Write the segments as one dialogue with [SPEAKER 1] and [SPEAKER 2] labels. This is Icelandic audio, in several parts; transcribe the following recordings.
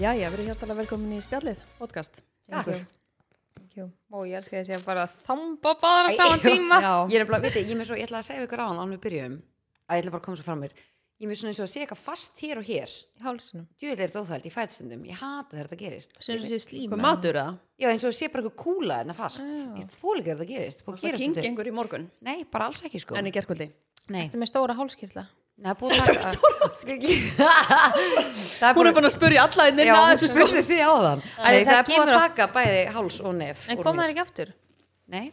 [SPEAKER 1] Jæja, verið hjartalega velkomin í spjallið, podcast.
[SPEAKER 2] Takk.
[SPEAKER 1] Einhver.
[SPEAKER 2] Jú, Ó, ég elska þessi að bara þamba báðar á saman tíma.
[SPEAKER 1] Já,
[SPEAKER 3] Ég er nefnilega, veit ég, ég er með svo, ég ætla að segja við ykkur á hann ánum við byrjum, að ég ætla bara að koma svo fram mér ég er með svona eins og að segja eitthvað fast hér og hér
[SPEAKER 2] Í hálsunum.
[SPEAKER 3] djúvel er þetta óþælt, ég fæt stundum, ég hata þegar þetta gerist
[SPEAKER 2] Svona þessi slíma.
[SPEAKER 1] hvað matur það?
[SPEAKER 3] já eins og að sé bara eitthvað kúla en það fast ég þóli ekki þegar þetta gerist, búið að
[SPEAKER 1] Það
[SPEAKER 3] gera
[SPEAKER 1] kingi
[SPEAKER 3] stundum
[SPEAKER 1] einhver í morgun,
[SPEAKER 3] nei, bara alls ekki sko
[SPEAKER 1] en
[SPEAKER 3] nei,
[SPEAKER 1] í gerkvöldi.
[SPEAKER 2] Þetta er með stóra hálskirla.
[SPEAKER 3] það er búið að taka það
[SPEAKER 1] Hún er búin að spurja alla inn inn
[SPEAKER 3] já,
[SPEAKER 1] að
[SPEAKER 3] hún
[SPEAKER 1] þessu sko.
[SPEAKER 3] spurði því á þann nei,
[SPEAKER 2] það
[SPEAKER 3] það er búið
[SPEAKER 2] kemur
[SPEAKER 3] að
[SPEAKER 2] oft.
[SPEAKER 3] taka bæði háls og nef
[SPEAKER 2] En
[SPEAKER 3] úr
[SPEAKER 2] koma
[SPEAKER 3] mér.
[SPEAKER 2] þær ekki aftur?
[SPEAKER 3] nei,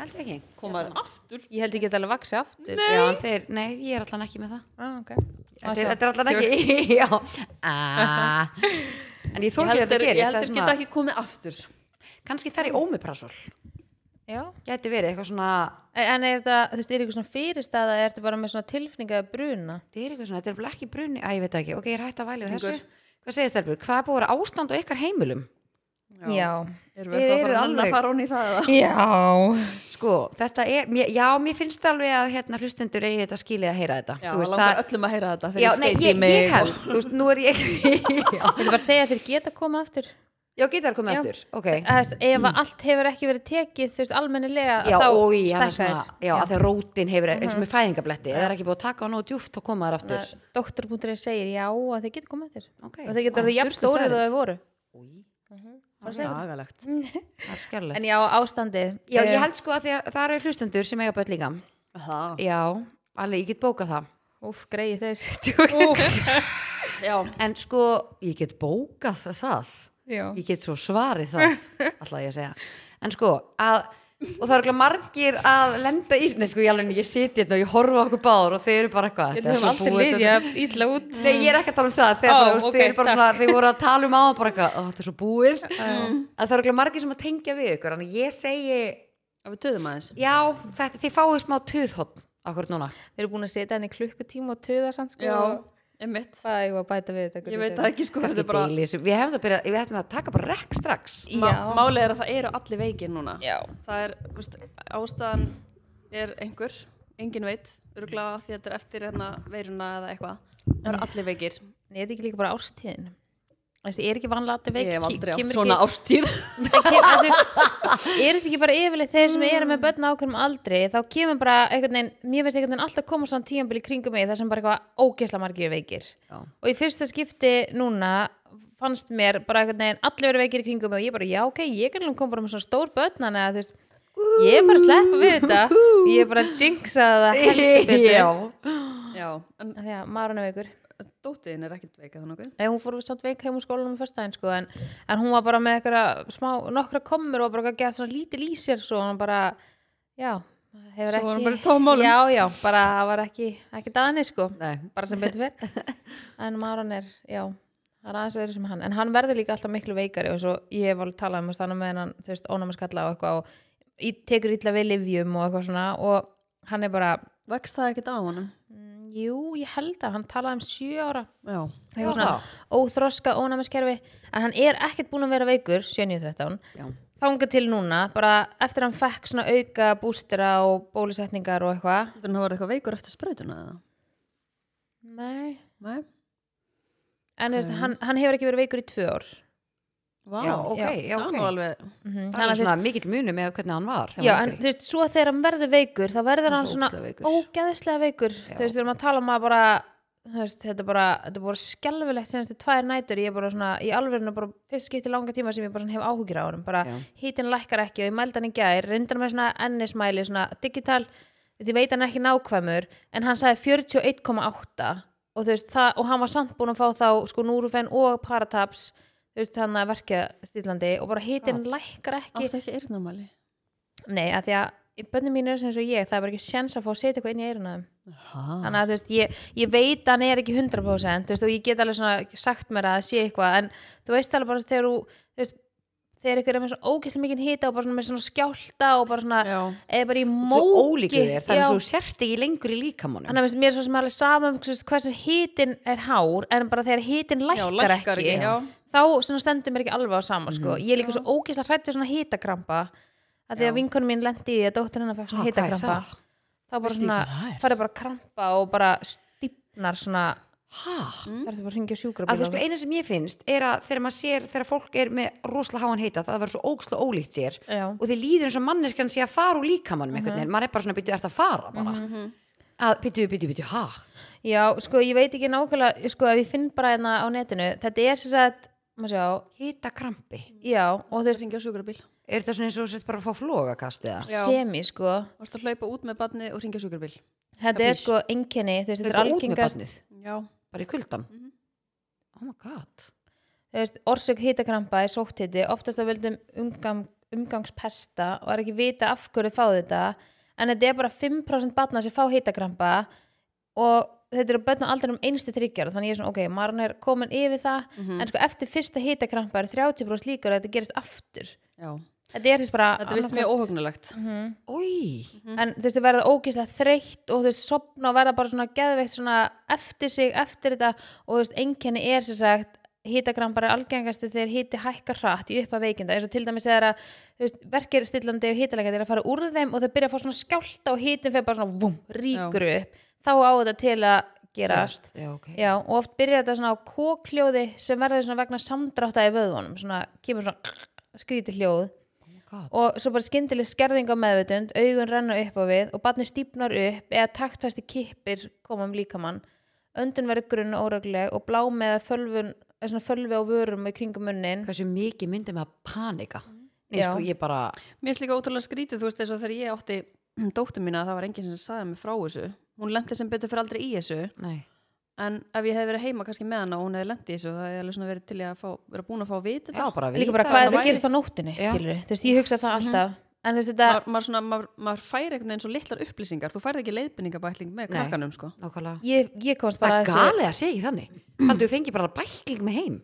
[SPEAKER 3] heldur ekki
[SPEAKER 1] Komaður aftur.
[SPEAKER 2] Ég held ég get alveg vaksið aftur.
[SPEAKER 3] já, en þeir, nei, ég er allan ekki með það
[SPEAKER 2] Ah, ok.
[SPEAKER 3] Þetta er, þetta er allan ekki Já ah. En ég
[SPEAKER 1] Ég
[SPEAKER 3] þótti
[SPEAKER 1] held
[SPEAKER 3] þetta
[SPEAKER 1] þeir
[SPEAKER 3] gerist það er
[SPEAKER 1] geta
[SPEAKER 3] svona,
[SPEAKER 1] ekki komið aftur.
[SPEAKER 3] Kannski þær í ómiprasol
[SPEAKER 2] Já.
[SPEAKER 3] Gæti verið eitthvað svona
[SPEAKER 2] En en er þetta, þú veist, er eitthvað svona fyrirstaða, er þetta bara með svona tilfninga bruna?
[SPEAKER 3] Þetta er eitthvað svona, þetta er bara ekki brunni Æ, ég veit það ekki, ok, ég er hægt að væli við þessu Hvað segir stelpur, hvað er búið að vera ástand á ykkar heimilum?
[SPEAKER 2] Já.
[SPEAKER 1] Erum
[SPEAKER 3] Þið
[SPEAKER 1] við eitthvað
[SPEAKER 3] eruð
[SPEAKER 1] að fara að
[SPEAKER 3] alveg-
[SPEAKER 1] fara hún í það? eða?
[SPEAKER 2] Já.
[SPEAKER 3] Sko, þetta er, mér, já, mér finnst alveg að hérna hlustendur eigi þetta skilið að heyra þetta
[SPEAKER 1] Já,
[SPEAKER 3] Þú
[SPEAKER 1] það
[SPEAKER 3] veist,
[SPEAKER 1] langar öllum að heyra þetta
[SPEAKER 3] Já,
[SPEAKER 1] þegar
[SPEAKER 3] nei,
[SPEAKER 1] ég skeiti
[SPEAKER 3] ég,
[SPEAKER 1] mig.
[SPEAKER 3] ég held, þú veist, nú er ég Já,
[SPEAKER 2] Ég vil bara segja að þeir geta koma aftur.
[SPEAKER 3] já getur komið
[SPEAKER 2] Já.
[SPEAKER 3] aftur, ok
[SPEAKER 2] Eða, þú veist, Ef að allt hefur ekki verið tekið, þú veist, almennilega,
[SPEAKER 3] já,
[SPEAKER 2] þá
[SPEAKER 3] og í hann
[SPEAKER 2] stækkar
[SPEAKER 3] er svona,
[SPEAKER 2] þær.
[SPEAKER 3] já, að þegar rótin hefur
[SPEAKER 1] Mhm.
[SPEAKER 3] eins og með fæðingabletti, ef það er ekki búið að taka á nóg djúft þá koma þær aftur
[SPEAKER 2] Doktor.is segir já að þeir geta komað þér
[SPEAKER 3] okay.
[SPEAKER 2] og þeir geta verið jafn stórið og þeir voru
[SPEAKER 3] Bara segja
[SPEAKER 1] Lagalegt.
[SPEAKER 3] Mm. það er skerlegt
[SPEAKER 2] en já, ástandið
[SPEAKER 3] já,
[SPEAKER 2] eh,
[SPEAKER 3] ég held sko að því að það eru hlustendur sem eiga börn líka
[SPEAKER 1] Það.
[SPEAKER 3] já, alveg, ég get bókað það
[SPEAKER 2] úff, greið þeir Djók.
[SPEAKER 1] Já,
[SPEAKER 3] en sko, ég get bókað það
[SPEAKER 2] já.
[SPEAKER 3] ég get svo svarið það alltaf ég að segja en sko, að og það eru ekki margir að lenda í nei, sko, ég alveg, ég siti hérna og ég horfa okkur báður og þeir eru bara eitthvað
[SPEAKER 2] Ég
[SPEAKER 3] þetta er
[SPEAKER 2] höfum
[SPEAKER 3] svo
[SPEAKER 2] aldrei
[SPEAKER 3] búið, þetta er svo-
[SPEAKER 2] liðja ítla út
[SPEAKER 3] Nei, ég er ekki að tala um það þegar
[SPEAKER 2] Ó,
[SPEAKER 3] bara, þú veist,
[SPEAKER 2] ok,
[SPEAKER 3] þeir, eru bara
[SPEAKER 2] takk.
[SPEAKER 3] svona, þeir voru að tala um áðan bara eitthvað, ó, þetta er svo búið að það eru ekki margir sem að tengja við ykkur en ég segi,
[SPEAKER 1] að við töðum aðeins.
[SPEAKER 3] já, þetta, þið fáið smá tuðhótt akkur núna
[SPEAKER 2] Við erum búin að setja henni klukkutíma og töða samt sko
[SPEAKER 1] Já,
[SPEAKER 2] og
[SPEAKER 1] emitt.
[SPEAKER 2] Það er eitthvað að bæta við þetta
[SPEAKER 1] Ég
[SPEAKER 2] Guðrún
[SPEAKER 1] veit
[SPEAKER 2] Sif.
[SPEAKER 1] það ekki sko, þetta
[SPEAKER 3] Kannski
[SPEAKER 1] er bara...
[SPEAKER 3] deili þessu. við hefum það byrja, við ættum að taka bara rekk strax
[SPEAKER 1] Ma-
[SPEAKER 2] Já.
[SPEAKER 1] Málið er að það eru allir veikir núna.
[SPEAKER 2] Já,
[SPEAKER 1] það er, þú veist, ástæðan er einhver, engin veit örgulega því að þetta er eftir hérna veiruna eða eitthvað, það eru allir veikir
[SPEAKER 2] en ég er ekki líka bara árstíðin Þessi, ég er ekki vanlega alltaf veik
[SPEAKER 1] ég hef
[SPEAKER 2] ke-
[SPEAKER 1] aldrei
[SPEAKER 2] kemur
[SPEAKER 1] átt
[SPEAKER 2] ekki-
[SPEAKER 1] svona árstíð
[SPEAKER 2] En kem- en þú veist, er þetta ekki bara yfirleitt þeir sem eru með börn á ákveðnum aldri þá kemur bara einhvern veginn, mér veist einhvern veginn alltaf koma svona tíambil í kringum mig þar sem bara eitthvað ógeðsla margir eru veikir
[SPEAKER 3] Já.
[SPEAKER 2] og í fyrsta skipti núna fannst mér bara einhvern veginn allir eru veikir í kringum mig og ég bara já ok, ég er alveg kom bara með svona stór börn þannig að þú veist, ég er bara að sleppa við þetta ég er bara að jinxa það heldur betur
[SPEAKER 3] já,
[SPEAKER 1] já, en
[SPEAKER 2] Af því að maður er veikur
[SPEAKER 1] dóttiðin er ekkert veika þannig
[SPEAKER 2] Nei, hún fór samt veik heim úr skólanum fyrstæðin sko, en, en hún var bara með eitthvað smá, nokkra kommur og bara gett svona lítið í sér svo hún bara, já hefur
[SPEAKER 1] Svo
[SPEAKER 2] ekki,
[SPEAKER 1] var hún bara í tómmálum.
[SPEAKER 2] já, já, bara það var ekki, ekki daðinni sko
[SPEAKER 3] Nei.
[SPEAKER 2] bara sem betur fyrr en Maron er, já, það er aðeins verið sem hann en hann verður líka alltaf miklu veikari og svo ég hef alveg talað um að stanna með hennan þú veist, ónæmaskalla og eitthvað og í- tekur illa við livjum og eitthvað svona og hann er bara,
[SPEAKER 1] vext það ekkert á honum
[SPEAKER 2] mm, jú, ég held að hann talaði um sjö ára
[SPEAKER 1] já,
[SPEAKER 3] Já,
[SPEAKER 2] eitthvað svona
[SPEAKER 3] þá.
[SPEAKER 2] óþroska ónæmiskerfi en hann er ekkert búin að vera veikur 7.13
[SPEAKER 3] já,
[SPEAKER 2] þanga til núna, bara eftir að hann fekk svona auka bústera og bólusetningar og eitthvað
[SPEAKER 1] þannig að það var eitthvað veikur eftir sprautuna eða
[SPEAKER 2] Nei.
[SPEAKER 1] nei,
[SPEAKER 2] en þú veist, hann, hann hefur ekki verið veikur í tvö ár
[SPEAKER 1] vá,
[SPEAKER 3] já, ok, já,
[SPEAKER 1] það
[SPEAKER 3] ok
[SPEAKER 1] er nú alveg
[SPEAKER 2] mm
[SPEAKER 3] það er svona mikill munum með hvernig hann var þegar
[SPEAKER 2] Já,
[SPEAKER 3] hann
[SPEAKER 2] en
[SPEAKER 3] var
[SPEAKER 2] þú veist, svo þegar hann verður veikur þá verður
[SPEAKER 3] Hann er
[SPEAKER 2] hann
[SPEAKER 3] svo
[SPEAKER 2] svona
[SPEAKER 3] ógeðslega veikur.
[SPEAKER 2] ógeðslega veikur
[SPEAKER 3] Já.
[SPEAKER 2] þú veist, við erum að tala um að bara þú veist, þetta er bara, þetta er bara skelfilegt sem þetta tvær nætur, ég er bara svona, í alvörinu bara fyrst skipti langa tíma sem ég bara svona hef áhugir á honum bara
[SPEAKER 3] Já.
[SPEAKER 2] hítin lækkar ekki og ég mældi hann í gær reyndar með svona ennismæli, svona digital ég veit hann er ekki nákvæmur en hann sagði 41,8 og þú veist, það, og hann var samt búin að fá þá sko Núrufen og Parataps þú veist, hann að verkja stílandi og bara hítin lækkar ekki
[SPEAKER 1] áttu ekki eyrnamæli
[SPEAKER 2] Nei, af því að bönnum mínu er sem svo ég, það er bara ekki sjens að fá að setja eitthvað inn í eyruna á þeim.
[SPEAKER 1] Aha.
[SPEAKER 2] Þannig að þú veist, ég, ég veit að hann er ekki 100% þú veist, og ég get alveg svona sagt mér að það sé eitthvað, en þú veist alveg bara þegar þú, þú veist, þegar ykkur er með svona ógeðslega mikinn hita og bara svona með svona skjálta og bara svona,
[SPEAKER 1] já,
[SPEAKER 2] eða bara í móki.
[SPEAKER 3] svo ólíkur þér, það
[SPEAKER 2] Já.
[SPEAKER 3] er svo sért ekki lengur í líkamunum
[SPEAKER 2] Þannig að veist, mér er svo sem alveg sama um hversu- hversu hitin er hár, en bara þegar hitin lækkar,
[SPEAKER 1] já, lækkar
[SPEAKER 2] ekki,
[SPEAKER 1] ekki já,
[SPEAKER 2] þá svona stendur mér ekki alveg á sama sko.
[SPEAKER 3] Mhm.
[SPEAKER 2] ég er líka svo ógeðslega hrætt við svona hitakrampa að því að vinkonum mín lendi í því að dóttir hennar fekk svona
[SPEAKER 3] Ha,
[SPEAKER 2] hitakrampa þá bara
[SPEAKER 3] hvað er það? Veistu ekki
[SPEAKER 2] svona,
[SPEAKER 3] hvað það er?
[SPEAKER 2] farið bara að krampa og bara stífnar svona
[SPEAKER 3] hæ?
[SPEAKER 2] Það er það bara að ringja sjúkrabíl
[SPEAKER 3] Mm. að þú sko eina sem ég finnst er að þegar maður sér, þegar fólk er með rosalega háan heita, það verður svo ógslega ólíkt sér
[SPEAKER 2] Já.
[SPEAKER 3] og þeir líður eins og manneskan sé að fara úr líkamannum einhvern veginn, maður er bara svona byrju, ert að fara bara
[SPEAKER 1] Mhm.
[SPEAKER 3] að byrju, byrju, byrju, ha
[SPEAKER 2] Já, sko, ég veit ekki nákvæmlega, sko, ef ég finn bara hérna á netinu, þetta er sem sagt, maður sjá,
[SPEAKER 3] hita krampi,
[SPEAKER 2] já, og þú veist,
[SPEAKER 1] ringja á sjúkrabíl
[SPEAKER 3] er þetta svona eins og þú sett bara að fá flogakast eða?
[SPEAKER 1] Já.
[SPEAKER 2] semi, sko,
[SPEAKER 1] Þú ert að hlaupa út með badni og ringja á sjúkrabíl
[SPEAKER 2] þetta er
[SPEAKER 3] Kapís.
[SPEAKER 2] sko enginni, þú veist,
[SPEAKER 3] Þetta
[SPEAKER 2] þetta er algengast, Mhm.
[SPEAKER 3] barnið,
[SPEAKER 1] Já,
[SPEAKER 3] bara í kuldan oh my god
[SPEAKER 2] þú veist, orsök hitakrampa er sótthiti, oftast að völdum umgang, umgangspesta og er ekki vita af hverju fá þetta, en þetta er bara 5% batna sem fá hitakrampa og þetta eru börn á aldrinum einstu tryggjar þannig ég er svona, ok, maður er komin yfir það
[SPEAKER 1] Mm. Mhm.
[SPEAKER 2] en sko eftir fyrsta hitakrampa er 30% líkur að þetta gerist aftur
[SPEAKER 1] já
[SPEAKER 2] þetta er þess bara
[SPEAKER 1] Þetta er vist mjög
[SPEAKER 2] annaðhvort-
[SPEAKER 1] óhugnulegt
[SPEAKER 3] Ói,
[SPEAKER 2] en þú veist, þau verða ógeðslega þreytt og þú veist, sopna og verða bara svona geðveikt svona eftir sig, eftir þetta og þú veist, einkenni er sem sagt hítakrampar er algengasti þegar híti hækkar hratt í uppa veikinda, eins og til dæmis þegar að þú veist, verkir stillandi og hítalega þeir að fara úr þeim og þau byrja að fá svona skjálta og hítin fyrir bara svona vum, ríkur upp þá á þetta til að gerast
[SPEAKER 3] já, okay.
[SPEAKER 2] Já, og oft byrjar þetta svona á kókljóði sem verður svona vegna samdrátta í vöðvunum svona, kemur svona skríti hljóð
[SPEAKER 3] Oh God.
[SPEAKER 2] og svo bara skyndileg skerðing á meðvitund augun renna upp á við og barni stípnar upp eða taktfæsti kippir koma um líkamann öndun verður grunn og óregleg og blá með fölvun eða svona fölvi á vörum í kringum munnin
[SPEAKER 3] hversu mikið myndi með að panika
[SPEAKER 2] Mhm.
[SPEAKER 3] Nei,
[SPEAKER 2] Já.
[SPEAKER 3] sko, ég bara,
[SPEAKER 1] Mér finnst líka ótrúlega skrítið, þú veist, eins og þegar ég átti dóttu mína, það var enginn sem sagði mig frá þessu. Hún lendi sem betur fyrir aldrei í þessu,
[SPEAKER 3] nei
[SPEAKER 1] en ef ég hefði verið heima kannski með hana og hún hefði lendið þessu, það hefði alveg svona verið til í að fá, vera búin að fá að vita þetta.
[SPEAKER 3] já, bara
[SPEAKER 2] líka bara
[SPEAKER 3] vita
[SPEAKER 2] hvað
[SPEAKER 3] að
[SPEAKER 2] þetta
[SPEAKER 3] væri-
[SPEAKER 2] gerist á nóttinni
[SPEAKER 3] Já. Mhm.
[SPEAKER 2] skilur þú veist, ég hugsa það alltaf en þú veist þetta,
[SPEAKER 1] Maður, maður, svona, maður, maður fær einhvern veginn svo litlar upplýsingar, þú færð ekki leiðbendingabækling með
[SPEAKER 3] Nei.
[SPEAKER 1] krakkanum, sko.
[SPEAKER 3] Nákvæmlega.
[SPEAKER 2] ég, ég komst
[SPEAKER 3] Það
[SPEAKER 2] bara
[SPEAKER 3] er galið að segja þannig Þannig þú fengir bara bækling með heim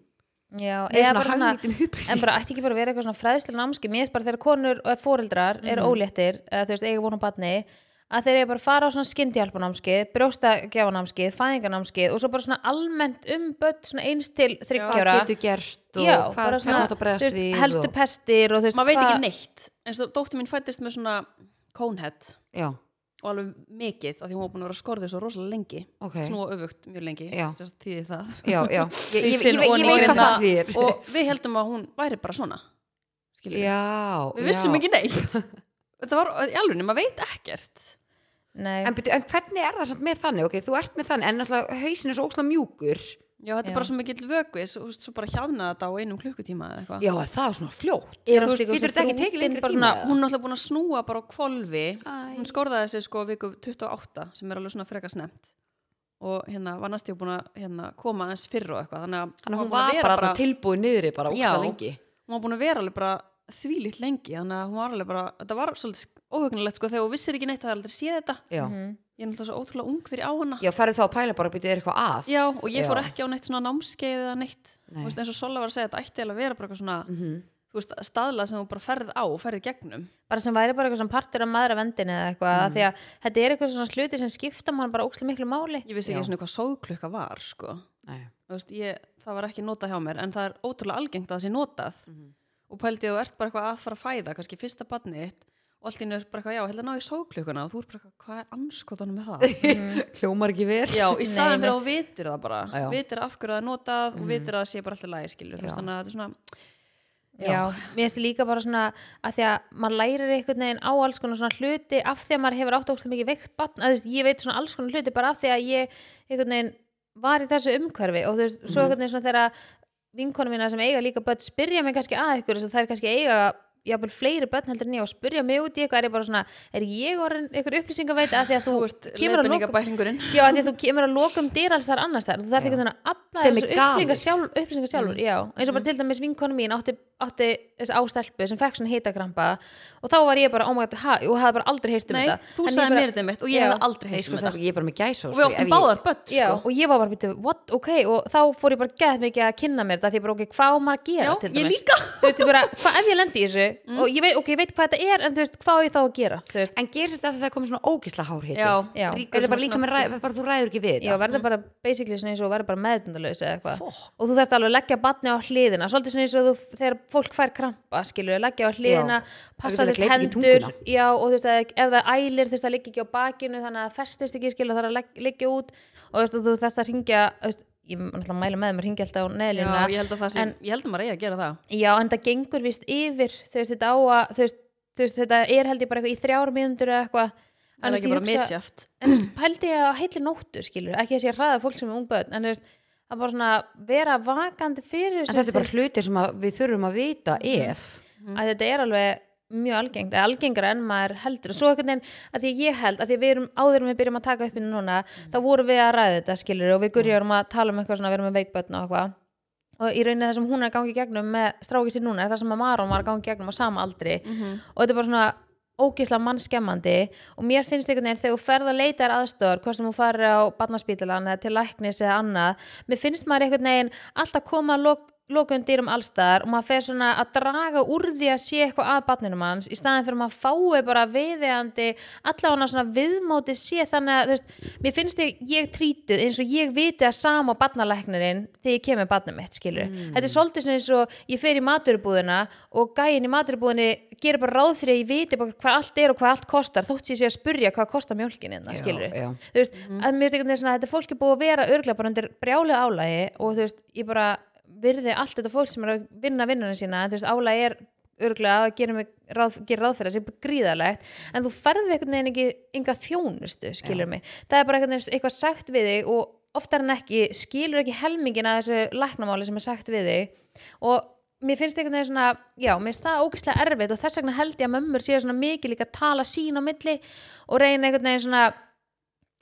[SPEAKER 2] já,
[SPEAKER 3] Með
[SPEAKER 2] eða
[SPEAKER 3] svona
[SPEAKER 2] bara svona
[SPEAKER 3] hagnýttum
[SPEAKER 2] en
[SPEAKER 3] upplýsing
[SPEAKER 2] bara ætti ekki bara að vera eitthvað svona fræðslega námski mér er bara þegar konur og fóreldrar
[SPEAKER 3] Mhm.
[SPEAKER 2] eru óléttir eða þú veist, eiga vonum batni að þeir eru bara að fara á svona skyndihjálpanámskið brjóstagjafanámskið, fæðinganámskið og svo bara svona almennt um börn svona eins til
[SPEAKER 3] Hvað
[SPEAKER 2] þryggjára
[SPEAKER 3] getur gerst og hvað er hægt að bregðast við
[SPEAKER 2] helstu
[SPEAKER 3] og,
[SPEAKER 2] pestir og þú veist
[SPEAKER 1] Maður veit
[SPEAKER 2] hvað-
[SPEAKER 1] ekki neitt, eins og dóttu mín fættist með svona conehead
[SPEAKER 3] Já,
[SPEAKER 1] og alveg mikið, af því hún var búin að vera skorðið svo rosalega lengi,
[SPEAKER 3] Ok.
[SPEAKER 1] snúa öfugt mjög lengi,
[SPEAKER 3] Já.
[SPEAKER 1] sem sagt þýðir það.
[SPEAKER 3] já, já Ég, ég, ég,
[SPEAKER 2] Hausinn
[SPEAKER 3] ég,
[SPEAKER 2] og
[SPEAKER 3] ég veit
[SPEAKER 2] nefið.
[SPEAKER 3] hvað það þýr
[SPEAKER 1] og við heldum að hún væri bara svona skilur við,
[SPEAKER 3] Já,
[SPEAKER 1] við vissum
[SPEAKER 3] já.
[SPEAKER 1] ekki neitt það var í alveg, maður veit ekkert
[SPEAKER 2] Nei.
[SPEAKER 3] en, byrju, en hvernig er það samt með þannig? Okay, þú ert með þannig, en náttúrulega hausin er svo óslega mjúkur
[SPEAKER 1] já, þetta
[SPEAKER 2] Já.
[SPEAKER 1] er bara svo mikill vöku svo, þú veist, svo bara hjáðna þetta á einum klukkutíma eða eitthvað
[SPEAKER 3] Já, en það er svona
[SPEAKER 2] Er
[SPEAKER 3] fljótt
[SPEAKER 1] þú
[SPEAKER 2] oft
[SPEAKER 1] veist,
[SPEAKER 2] eitthvað svona
[SPEAKER 3] getur þetta ekki tekið
[SPEAKER 2] þrútin
[SPEAKER 3] lengri
[SPEAKER 2] bara
[SPEAKER 3] tíma?
[SPEAKER 2] svona-
[SPEAKER 1] hún er alltaf búin að snúa bara á kvolfi
[SPEAKER 3] Æ.
[SPEAKER 1] hún skorðaði sig sko viku 28 sem er alveg svona frekar snemt og hérna var næstu búin að hérna, koma aðeins fyrr og eitthvað þannig að
[SPEAKER 3] Þannig að hún
[SPEAKER 1] búin að
[SPEAKER 3] var
[SPEAKER 1] vera
[SPEAKER 3] bara, bara tilbúið niðri bara
[SPEAKER 1] Já.
[SPEAKER 3] óslega lengi
[SPEAKER 1] hún var búin að vera alveg bara þvílitt lengi þannig að hún var alveg bara, þetta var svolítið óhugnulegt sko þegar hún vissir ekki neitt að það aldrei séð þetta
[SPEAKER 3] Já,
[SPEAKER 2] Mhm.
[SPEAKER 1] ég er náttúrulega svo ótrúlega ung þegar ég á hana
[SPEAKER 3] já færðu þá að pæla bara að byrja er eitthvað að
[SPEAKER 1] Já, og ég fór ekki á neitt svona námskeið eða neitt,
[SPEAKER 3] Nei.
[SPEAKER 1] þú veist, eins og Sola var að segja þetta ætti alveg að vera bara eitthvað svona
[SPEAKER 3] Mhm.
[SPEAKER 1] þú veist, staðla sem þú bara ferð á, ferð í gegnum
[SPEAKER 2] bara sem væri bara eitthvað svona partur af maðuravendinni eða eitthvað, mm.
[SPEAKER 3] Mhm.
[SPEAKER 2] því að þetta er eitthvað svona sluti sem skipta mann bara ókslega miklu máli
[SPEAKER 1] ég vissi
[SPEAKER 3] Já.
[SPEAKER 1] ekki svona hvað sóðklukka var sko.
[SPEAKER 3] Nei.
[SPEAKER 1] Þú veist, ég, það var ekki notað hjá mér en það er ótrúlega algengt að það sé notað og pældi að þú ert bara eitthvað að fara að fæða kannski fyrsta badni þitt og allt í einu er bara eitthvað, já, held að ná í sóðklukkuna og þú er bara eitthvað, hvað er anskotanum með það
[SPEAKER 3] Hljómar ekki vel
[SPEAKER 1] Mhm. já, í staðan fyrir
[SPEAKER 2] Nei,
[SPEAKER 1] að
[SPEAKER 2] mitt.
[SPEAKER 1] þú vitir það bara
[SPEAKER 3] Já.
[SPEAKER 1] vitir af hverju það er notað og vitir að það sé bara alltaf lægi skilur, þú veist,
[SPEAKER 3] Já.
[SPEAKER 1] þannig að þetta er svona
[SPEAKER 2] Já, mér finnst líka bara svona að því að maður lærir einhvern veginn á alls konar svona hluti af því að maður hefur átt ókslega mikið veikt batn, að þú veist, ég veit svona alls konar hluti bara af því að ég einhvern veginn var í þessu umhverfi og þú veist, svo einhvern veginn svona þegar vinkonum mína sem eiga líka börn spyrja mig kannski að ykkur þess að það er kannski eiga jafnvel fleiri börn heldur en ég og spyrja mig út í eitthvað er ég bara svona, er ég orðin einhver upplýsingaveit að því að þú kemur að lokum
[SPEAKER 1] leiðbeiningabæklingurinn.
[SPEAKER 2] Já, af því að þú kemur að lokum dyr alls þar annars þar þú þarf ekki að afla
[SPEAKER 3] Sem
[SPEAKER 2] þessu
[SPEAKER 3] er galið.
[SPEAKER 2] upplýsinga sjálf, upplýsinga sjálfur
[SPEAKER 1] Mm.
[SPEAKER 2] já, eins og bara til dæmis vinkonu mín átti, átti þessi ástelpu sem fekk svona hitakrampa og þá var ég bara, oh my god, ha, og hafði bara aldrei heyrt um
[SPEAKER 1] Nei,
[SPEAKER 2] þetta
[SPEAKER 1] þú
[SPEAKER 2] En ég
[SPEAKER 1] sagði
[SPEAKER 2] bara-
[SPEAKER 1] mér þetta mitt og ég
[SPEAKER 2] Já.
[SPEAKER 1] hefði aldrei
[SPEAKER 3] Nei,
[SPEAKER 1] heist
[SPEAKER 3] sko,
[SPEAKER 1] um þetta
[SPEAKER 3] það, ég er bara með gæs
[SPEAKER 1] og við áttum báðar börn
[SPEAKER 2] Já,
[SPEAKER 1] sko.
[SPEAKER 2] og ég var bara, býttu, what, ok og þá fór ég bara gett mikið að kynna mér það því ég bara, ok, hvað á maður að gera
[SPEAKER 1] Já,
[SPEAKER 2] til
[SPEAKER 1] ég
[SPEAKER 2] dæmis
[SPEAKER 1] líka. Mm.
[SPEAKER 2] Þú veist, ég bara, hvað ef ég lendi í þessu og ég veit, ok, ég veit hvað þetta er en þú veist, hvað á ég þá að gera þú veist,
[SPEAKER 3] En gerist þetta að það komið svona ógisla hár hiti?
[SPEAKER 1] já,
[SPEAKER 2] Já.
[SPEAKER 3] Er
[SPEAKER 1] ríkur
[SPEAKER 3] það bara
[SPEAKER 1] svona
[SPEAKER 3] líka með,
[SPEAKER 1] snöggur.
[SPEAKER 3] ræð, bara þú ræður ekki við
[SPEAKER 2] já,
[SPEAKER 3] þetta?
[SPEAKER 2] verður bara basically svona eins og verður bara meðutundalaus eða eitthvað
[SPEAKER 3] Fokk.
[SPEAKER 2] og þú þarft alveg að leggja batni á hliðina svolítið svona eins og þú, þegar fólk fær krampa skilur, leggja á hliðina,
[SPEAKER 3] Já.
[SPEAKER 2] passa
[SPEAKER 3] Það er ekki til að
[SPEAKER 2] þess
[SPEAKER 3] gleypa ekki
[SPEAKER 2] hendur
[SPEAKER 3] tunguna.
[SPEAKER 2] já, og þú veist, að, ef það ælir þú veist, það liggja ekki á bakinu, þannig að það festist ekki skilur, það er að legg- liggja út og þú veist, og þú þarft að ringja, ég náttúrulega mæla með þeim að hringja alltaf á
[SPEAKER 1] já,
[SPEAKER 2] neðlina
[SPEAKER 1] ég held að það sé,
[SPEAKER 2] en-
[SPEAKER 1] ég held að maður eigi að gera það
[SPEAKER 2] Já, en það gengur vist yfir þú veist, þetta á að þú veist, þú veist, þetta er held ég bara eitthvað í þrjár mínútur eða eitthvað
[SPEAKER 1] það er ekki bara
[SPEAKER 2] hugsa-
[SPEAKER 1] misjaft
[SPEAKER 2] en þú veist, pældi ég að heilli nóttu skilur, ekki að sé að hraða fólk sem er ungböðn en þú veist, að bara svona vera vakandi fyrir
[SPEAKER 3] En þetta er bara hlutir sem að við þurfum að vita
[SPEAKER 1] Mhm.
[SPEAKER 3] ef
[SPEAKER 2] að þetta er alveg mjög algengt, eða algengara en maður heldur og svo einhvern veginn, að því að ég held að því að við erum áður en við byrjum að taka upp inni núna þá
[SPEAKER 3] Mm.
[SPEAKER 2] vorum við að ræða þetta skilur og við gurjum að tala um eitthvað svona, við erum með veikbötn og eitthvað og í rauninni það sem hún er að gangi gegnum með strákið sér núna er það sem að Maron var að gangi gegnum á sama aldri og þetta er bara svona ógisla mannskemmandi og mér finnst einhvern veginn þegar þú ferð að leita þér aðstöður hvort sem þú farir á barnaspítalan eða til læknis eða annað, mér finnst maður einhvern veginn alltaf koma að lok, lokum dýrum allstaðar og maður fer svona að draga úr því að sé eitthvað að barninum hans í staðin fyrir að maður fái bara viðeigandi allavega svona viðmóti sé þannig að þú veist, mér finnst ég, ég trítuð eins og ég viti að sama og barnalæknirinn þegar ég kemur barnum mitt skilur
[SPEAKER 3] Mm.
[SPEAKER 2] þetta er svolítið svona eins og ég fer í maturubúðina og gæin í maturubúðinni gerir bara ráð fyrir að ég viti bara hvað allt er og hvað allt kostar þótt ég sé að spurja hvað kostar mjólkin hérna, innan
[SPEAKER 3] Já,
[SPEAKER 2] skilur
[SPEAKER 3] já.
[SPEAKER 2] þú veist, að mér finnst einhvern veginn svona þetta fólk er búið að vera örglega bara undir brjálið álægi og þú veist, ég bara virði allt þetta fólk sem er að vinna vinnunum sína en þú veist, álægi er örglega að gera, mig, ráð, gera ráð fyrir þessi gríðalegt en þú ferði einhvern veginn ekki enga þjónustu, skilur mig það er bara einhvern veginn eitthvað sagt við þig og oftar en ekki skilur ekki helmingin að þessu læknamáli sem er sagt við þig og mér finnst einhvern veginn svona, já, mér finnst það ógeðslega erfitt og þess vegna held ég að mömmur séu svona mikið líka að tala sín á milli og reyna einhvern veginn svona
[SPEAKER 3] að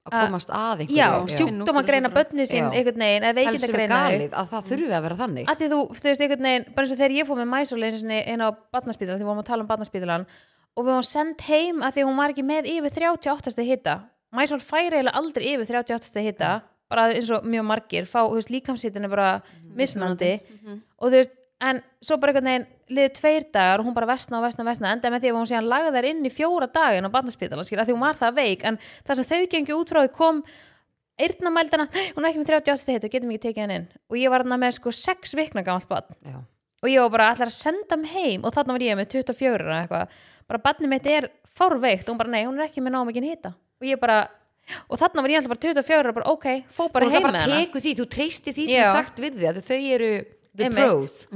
[SPEAKER 1] Uh,
[SPEAKER 3] komast að einhverju.
[SPEAKER 2] já,
[SPEAKER 1] Finna út
[SPEAKER 2] sjúkdóma
[SPEAKER 1] úr
[SPEAKER 2] greina
[SPEAKER 1] þessu bara.
[SPEAKER 2] bönni sín
[SPEAKER 3] Já.
[SPEAKER 2] einhvern veginn, eða
[SPEAKER 3] Það er
[SPEAKER 2] veikinda
[SPEAKER 3] sem er
[SPEAKER 2] greina
[SPEAKER 3] galið að það þurfi að vera þannig.
[SPEAKER 2] Mm. að því þú, þú veist, einhvern veginn bara eins og þegar ég fór með mæsul inn á barnaspítalan, því við vorum að tala um barnaspítalan og við vorum send heim að því hún var ekki með yfir 38. stig hita mæsul færi eiginlega aldrei yfir 38. stig hita bara eins og mjög margir fá, þú veist, líkamshittin er bara
[SPEAKER 3] Mhm.
[SPEAKER 2] mismunandi
[SPEAKER 1] Mhm.
[SPEAKER 2] og þú veist, en svo bara einhvern veginn liðið tveir dagar og hún bara vestna og vestna og vestna endaði með því að hún síðan lagði þær inn í fjóra daginn á barnaspítalan, skilja, því hún var það veik en það sem þau gengi út frá því kom eyrnamældana, "Nei, hún er ekki með 38 hit og getum ekki tekið hann inn og ég var þarna með sko 6 vikna gamalt barn
[SPEAKER 3] Já.
[SPEAKER 2] og ég var bara allar að senda hann heim og þarna var ég með 24 eða eitthvað bara barnið mitt er fárveikt og hún bara nei, hún er ekki með náum ekki hita og ég bara, og þarna var ég alltaf bara 24 og bara ok, fó bara
[SPEAKER 3] Þú
[SPEAKER 2] heim
[SPEAKER 3] það
[SPEAKER 2] með
[SPEAKER 3] bara
[SPEAKER 2] hana
[SPEAKER 3] tekur því, þú treystir því sem
[SPEAKER 2] Já.
[SPEAKER 3] er sagt við því að þau eru the
[SPEAKER 2] Einmitt.
[SPEAKER 3] pros.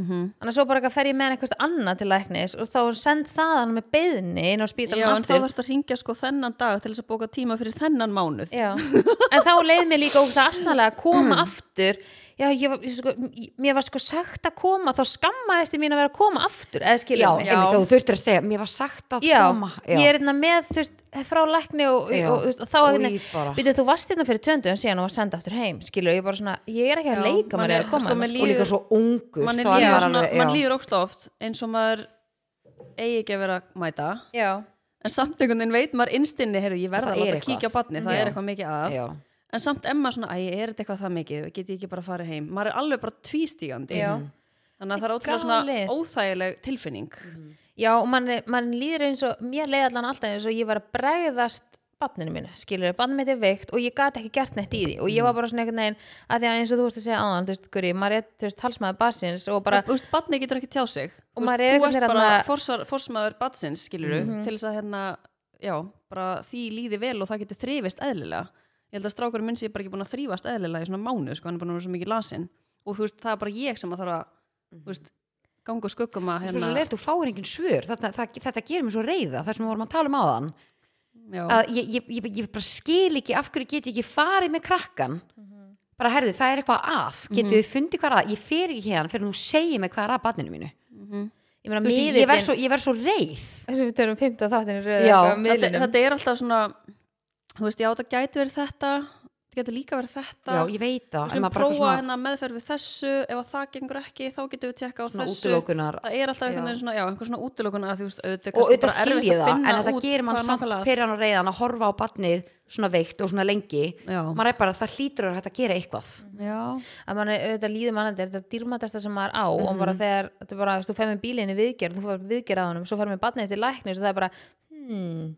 [SPEAKER 2] annars svo bara eitthvað fer ég með hann eitthvað annað til læknis og þá send það hann með beðni inn á
[SPEAKER 1] já,
[SPEAKER 2] spítalan
[SPEAKER 1] en þá
[SPEAKER 2] aftur
[SPEAKER 1] þarf að ringja sko þennan dag til þess að bóka tíma fyrir þennan mánuð
[SPEAKER 2] Já, en þá leið mér líka ógst að asnalega að koma
[SPEAKER 1] Hmm.
[SPEAKER 2] aftur Já, ég var, ég sko, ég- mér var sko sagt að koma þá skammaðist ég mín að vera að koma aftur eða
[SPEAKER 3] Já,
[SPEAKER 2] skilja mig
[SPEAKER 1] Já.
[SPEAKER 3] einmitt, þú þurftir að segja, mér var sagt að
[SPEAKER 2] Já,
[SPEAKER 3] koma.
[SPEAKER 2] ég er hérna með þú veist, frá lækni og,
[SPEAKER 3] Já.
[SPEAKER 2] og, og, og þá
[SPEAKER 3] Új, bara.
[SPEAKER 2] hérna, byrjuð þú varst hérna fyrir töndum síðan og var senda aftur heim, skilju, ég bara svona ég er ekki
[SPEAKER 1] Já,
[SPEAKER 2] að leika
[SPEAKER 1] mann
[SPEAKER 2] mér
[SPEAKER 1] er-
[SPEAKER 2] eða að koma
[SPEAKER 1] sko,
[SPEAKER 2] hérna,
[SPEAKER 1] mér
[SPEAKER 3] og líka
[SPEAKER 1] líður-
[SPEAKER 3] svo ungur
[SPEAKER 1] mann,
[SPEAKER 3] þá
[SPEAKER 1] er
[SPEAKER 3] er maður
[SPEAKER 1] líður, svona,
[SPEAKER 3] alveg,
[SPEAKER 1] mann
[SPEAKER 3] já.
[SPEAKER 1] líður óksla oft eins og maður eigi ekki að vera að mæta
[SPEAKER 2] sko. Já,
[SPEAKER 1] en samt einhvern veginn veit maður innstinni heyrðu, ég verða
[SPEAKER 3] Það
[SPEAKER 1] að
[SPEAKER 3] er
[SPEAKER 1] láta
[SPEAKER 3] eitthvað.
[SPEAKER 1] kíkja á badni, það
[SPEAKER 3] Já.
[SPEAKER 1] er eitthvað mikið að
[SPEAKER 3] Já.
[SPEAKER 1] en samt emma svona, æ, er þetta eitthvað það mikið get ég ekki bara að fara heim, maður er alveg bara tvístígandi
[SPEAKER 2] Já.
[SPEAKER 1] þannig að það er
[SPEAKER 2] Þetta er
[SPEAKER 1] ótrúlega svona
[SPEAKER 2] galið. Mhm.
[SPEAKER 1] óþægileg tilfinning
[SPEAKER 2] Já, og mann, mann líður eins og, mér leiði allan alltaf eins og ég var að bregðast barninu mínu, skilur þau, barninu mitt er veikt og ég gat ekki gert neitt í því og ég
[SPEAKER 3] Mm.
[SPEAKER 2] var bara svona einhvern veginn að því að eins og þú vorst að segja áðan, þú veist, Guri, maður er, þú veist, halsmaður basins og
[SPEAKER 1] bara,
[SPEAKER 2] bara,
[SPEAKER 1] þú veist, badni getur ekki tjá sig
[SPEAKER 2] Og
[SPEAKER 1] Þú
[SPEAKER 2] maður
[SPEAKER 1] veist,
[SPEAKER 2] er
[SPEAKER 1] þú
[SPEAKER 2] einhvern
[SPEAKER 1] ert
[SPEAKER 2] veginn
[SPEAKER 1] bara
[SPEAKER 2] þarna- Mhm.
[SPEAKER 1] forsvar, forsmaður badsins skilur til þess að hérna, já, bara því líði vel og það getur þrifist eðlilega ég held að strákurinn minn sé bara ekki búin að þrýfast eðlilega í svona mánu, sko, hann er búin að vera svo mikið lasin og þú veist, það er bara ég sem að þarf að
[SPEAKER 2] Mhm.
[SPEAKER 1] þú veist, ganga og skuggum að
[SPEAKER 3] Svo svo
[SPEAKER 1] hérna,
[SPEAKER 3] leilt, þú fáir engin svör þetta, það, þetta gerir mér svo reyða, það sem við vorum að tala um áðan
[SPEAKER 1] já,
[SPEAKER 3] að ég, ég, ég, ég bara skil ekki af hverju get ég ekki farið með krakkan bara herðu, það er eitthvað að getið
[SPEAKER 2] Mhm.
[SPEAKER 3] þið fundið hvað er að, ég fer ekki hérna fyrir hún segir mig hvað er að barninu mínu
[SPEAKER 2] ég meina,
[SPEAKER 3] Þú veist, ég, ég, verð svo, ég verð svo reyð
[SPEAKER 2] þessum við törum 15 þáttinni
[SPEAKER 3] Já,
[SPEAKER 2] röðu
[SPEAKER 1] þetta, þetta er alltaf svona þú veist, já, það gæti verið þetta það getur líka verið þetta
[SPEAKER 3] já, ég veit
[SPEAKER 1] Við
[SPEAKER 3] það en
[SPEAKER 1] skulum
[SPEAKER 3] maður bara
[SPEAKER 1] prófa
[SPEAKER 3] eitthvað svona,
[SPEAKER 1] hérna meðferð við þessu ef að það gengur ekki, þá getum við tekka á
[SPEAKER 3] svona
[SPEAKER 1] þessu
[SPEAKER 3] útilókunar
[SPEAKER 1] það er alltaf
[SPEAKER 3] Já.
[SPEAKER 1] einhvern veginn svona, já, einhver svona útilokunar að því, þú veist, auðvitað er
[SPEAKER 3] og
[SPEAKER 1] kannski bara
[SPEAKER 3] auðvitað
[SPEAKER 1] erfitt
[SPEAKER 3] skil ég
[SPEAKER 1] að
[SPEAKER 3] það
[SPEAKER 1] finna
[SPEAKER 3] en þetta
[SPEAKER 1] út
[SPEAKER 3] gerir mann
[SPEAKER 1] hvað er
[SPEAKER 3] samt
[SPEAKER 1] nákvæmlega að-
[SPEAKER 3] perjan og reyðan að horfa á barnið svona veikt og svona lengi
[SPEAKER 1] Já, Mm.
[SPEAKER 3] maður er bara að það hlýtur að vera hægt að gera eitthvað
[SPEAKER 1] já,
[SPEAKER 2] að mann auðvitað líður mannandi þetta er dýrmatasta sem maður á og
[SPEAKER 3] Mhm.
[SPEAKER 2] bara þegar þetta er bara, þú veist, þú fer með bílinni viðgerð þú fer viðgerð á honum, svo fer með barnið til læknis og það er bara, hmm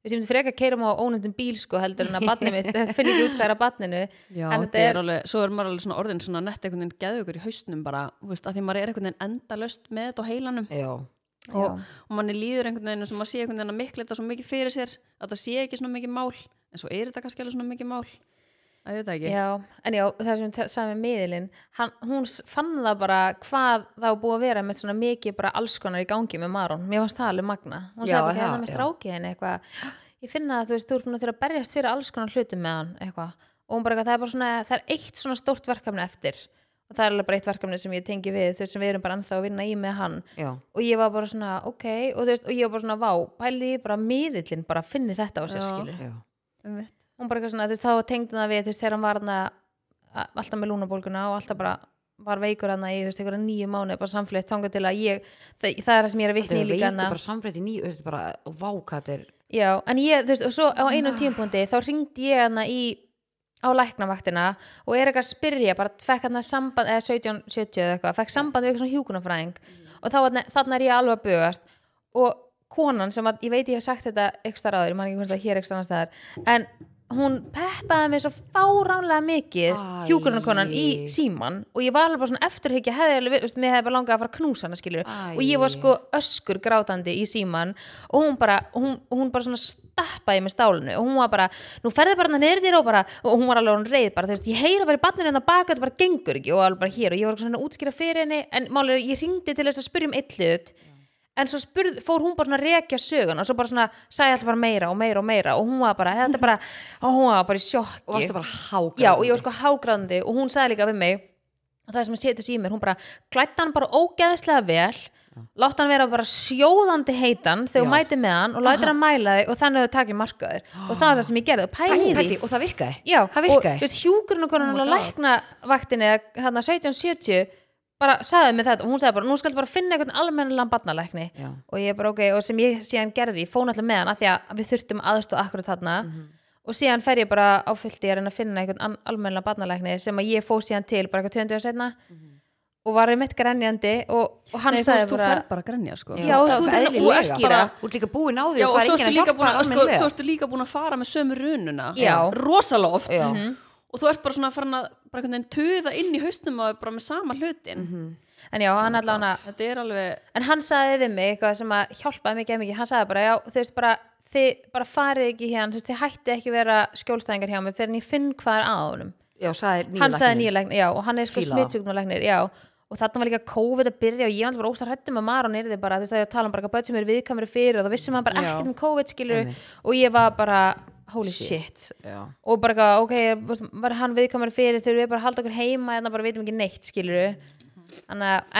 [SPEAKER 2] við séum frekar keirum á ónundum bíl sko heldur en að barnið mitt, það finn ekki út hvað er að barninu
[SPEAKER 1] já,
[SPEAKER 2] En
[SPEAKER 1] þetta er alveg, svo er maður alveg svona orðin svona nett einhvern veginn geðugur í hausnum bara, þú veist, að því maður er einhvern veginn endalaust með þetta á heilanum
[SPEAKER 3] já,
[SPEAKER 1] og, og manni líður einhvern veginn sem maður sé einhvern veginn að mikla þetta svo mikið fyrir sér að það sé ekki svona mikið mál en svo er þetta kannski alveg svona mikið mál að ég veit það ekki
[SPEAKER 2] já, en já, það sem ég sagði með miðilinn hann, hún s- fann það bara hvað það var búið að vera með svona mikið bara alls konar í gangi með Maron, mér fannst það alveg magna hún
[SPEAKER 3] Já,
[SPEAKER 2] sagði bara
[SPEAKER 3] það,
[SPEAKER 2] hérna með
[SPEAKER 3] já.
[SPEAKER 2] strákið henni eitthvað ég finna að þú veist, þú ert búin að þurfa að berjast fyrir alls konar hlutum með hann eitthvað og hún bara eitthvað, það er bara svona, það er eitt svona stórt verkefni eftir og það er alveg bara eitt verkefni sem ég tengi við þau sem við erum bara ennþá að vinna í með hann
[SPEAKER 3] já,
[SPEAKER 2] og ég var bara svona, ok og, þú veist, og ég var bara svona, vá, pæliði ég bara miðillin bara finni þetta á sér
[SPEAKER 1] Já.
[SPEAKER 2] skilur
[SPEAKER 3] já,
[SPEAKER 1] Einmitt.
[SPEAKER 2] hún bara eitthvað svona, þú veist, þá tengdi hún það við þú veist, þegar hann var hann alltaf með lúnabólguna og alltaf bara var veikur hann í, þú veist, einhverja nýju mánu bara samflétt, þangað til að ég, það, það er það sem ég er að
[SPEAKER 3] þetta
[SPEAKER 2] vitni í
[SPEAKER 3] er
[SPEAKER 2] líka
[SPEAKER 3] veikur
[SPEAKER 2] hann
[SPEAKER 3] bara sambreyt í nýju þetta er bara, og vá hvað þetta er
[SPEAKER 2] já, en ég, þú veist, og svo á einum tímpúndi þá ringdi ég hann í á læknavaktina og er eitthvað að spyrja bara fekk hann samband, eða 1770 eða eitthvað, fekk samband við eitthvað svona hjúkunafræðing og þá, var- þarna er ég alveg að bugast og konan sem að, ég veit ég hef sagt þetta ekstra ráður, ég man ekki hvort það er hér ekstra annars staðar en hún peppaði mig svo fáránlega mikið
[SPEAKER 3] Æ.
[SPEAKER 2] hjúkurunarkonan í síman og ég var alveg bara svona eftirhyggja hefði alveg, verið- þú veist, mér hefði bara langað að fara að knúsa hana skilur
[SPEAKER 3] Æ.
[SPEAKER 2] og ég var sko öskur grátandi í síman og hún bara, hún, hún bara svona stappaði með stálinu og hún var bara, nú ferði bara hana neyrir þér og bara, og hún var alveg hún reið bara, þú veist, ég heyra bara í barninu en það baka þetta bara gengur ekki og alveg bara hér og ég var svona að útskýra fyrir henni en málið er, að ég ringdi til þess að spyrja um eitt hlut en svo spurð, fór hún bara svona að rekja sögun og svo bara svona, sagði alltaf bara meira og meira og meira og hún var bara, þetta er bara og hún var bara í sjokki
[SPEAKER 3] og varstu bara hágrandi
[SPEAKER 2] já og ég var sko hágrandi og hún sagði líka við mig og það sem að setja sig í mér, hún bara glætti hann bara ógeðslega vel látt hann vera bara sjóðandi heitan þegar hún
[SPEAKER 3] Já.
[SPEAKER 2] mæti með hann og láti hann mæla þig og þannig að þau takið markaður og það var það sem ég gerði, og pæli í því
[SPEAKER 3] Pældi, og það virkaði,
[SPEAKER 2] já,
[SPEAKER 3] það
[SPEAKER 2] og
[SPEAKER 3] virkaði
[SPEAKER 2] just, hjúkurinn og konan
[SPEAKER 1] Oh my
[SPEAKER 2] oh
[SPEAKER 1] God.
[SPEAKER 2] læknavaktinni hann 1770 bara sagði mig þetta og hún sagði bara, nú skal bara finna einhvern almennilegan barnalækni
[SPEAKER 3] Já.
[SPEAKER 2] og ég bara ok, og sem ég síðan gerði, ég fóna alltaf með hann af því að við þurftum aðstóð akkurat þarna
[SPEAKER 1] Mhm.
[SPEAKER 2] og síðan fer ég bara á fullti að reyna að finna einhvern almennilega barnalækni sem að ég fó síðan til bara eitthvað 20 og setna og var ég mitt grenjandi og, og hann
[SPEAKER 1] Mhm. Nei, þú
[SPEAKER 2] sagði
[SPEAKER 1] veist, þú
[SPEAKER 2] bara
[SPEAKER 1] ferð bara að grenja sko
[SPEAKER 2] Já, og þú ert
[SPEAKER 1] það
[SPEAKER 2] alveg
[SPEAKER 1] eðlilega.
[SPEAKER 2] að útskýra.
[SPEAKER 3] Þú ert líka búin á því
[SPEAKER 1] Já,
[SPEAKER 3] og
[SPEAKER 1] og
[SPEAKER 3] það er
[SPEAKER 1] svo
[SPEAKER 3] enginn
[SPEAKER 1] ertu
[SPEAKER 3] að
[SPEAKER 1] líka
[SPEAKER 3] hjálpa
[SPEAKER 1] búin að, sko,
[SPEAKER 3] almennilega.
[SPEAKER 1] svo ertu líka búin að fara með sömu rununa
[SPEAKER 2] Já.
[SPEAKER 1] rosaloft
[SPEAKER 3] Já.
[SPEAKER 1] og þú ert bara svona farin að bara einhvern veginn tuða inn í hausnum og bara með sama hlutin
[SPEAKER 3] Mhm.
[SPEAKER 2] en já,
[SPEAKER 1] Oh
[SPEAKER 2] hann allavega
[SPEAKER 1] þetta er alveg
[SPEAKER 2] en hann sagði við mig eitthvað sem að hjálpaði mig ekki mikið, hann sagði bara, já, þú veist bara þið bara farið ekki hérna, þú veist, þið hætti ekki vera skjólstæðingar hjá mig fyrir en ég finn hvað er að honum,
[SPEAKER 3] Já, sagði nýja
[SPEAKER 2] hann sagði
[SPEAKER 3] læknirinn.
[SPEAKER 2] nýja læknir, já, og hann er sko
[SPEAKER 3] Fíla það.
[SPEAKER 2] smittsugnulegnir, já og þarna var líka COVID að byrja og ég var alltaf bara óstar hrættum að Maron yrði bara, þú veist, það ég tala um bara hvað börn sem eru viðkamri fyrir og það vissi maður bara
[SPEAKER 1] Já.
[SPEAKER 2] ekkert um COVID skilur og ég var bara, holy shit
[SPEAKER 3] Já.
[SPEAKER 2] og bara eitthvað, ok, þú veist, var hann viðkomur fyrir þurfum við bara að halda okkur heima en það bara veitum ekki neitt, skilur við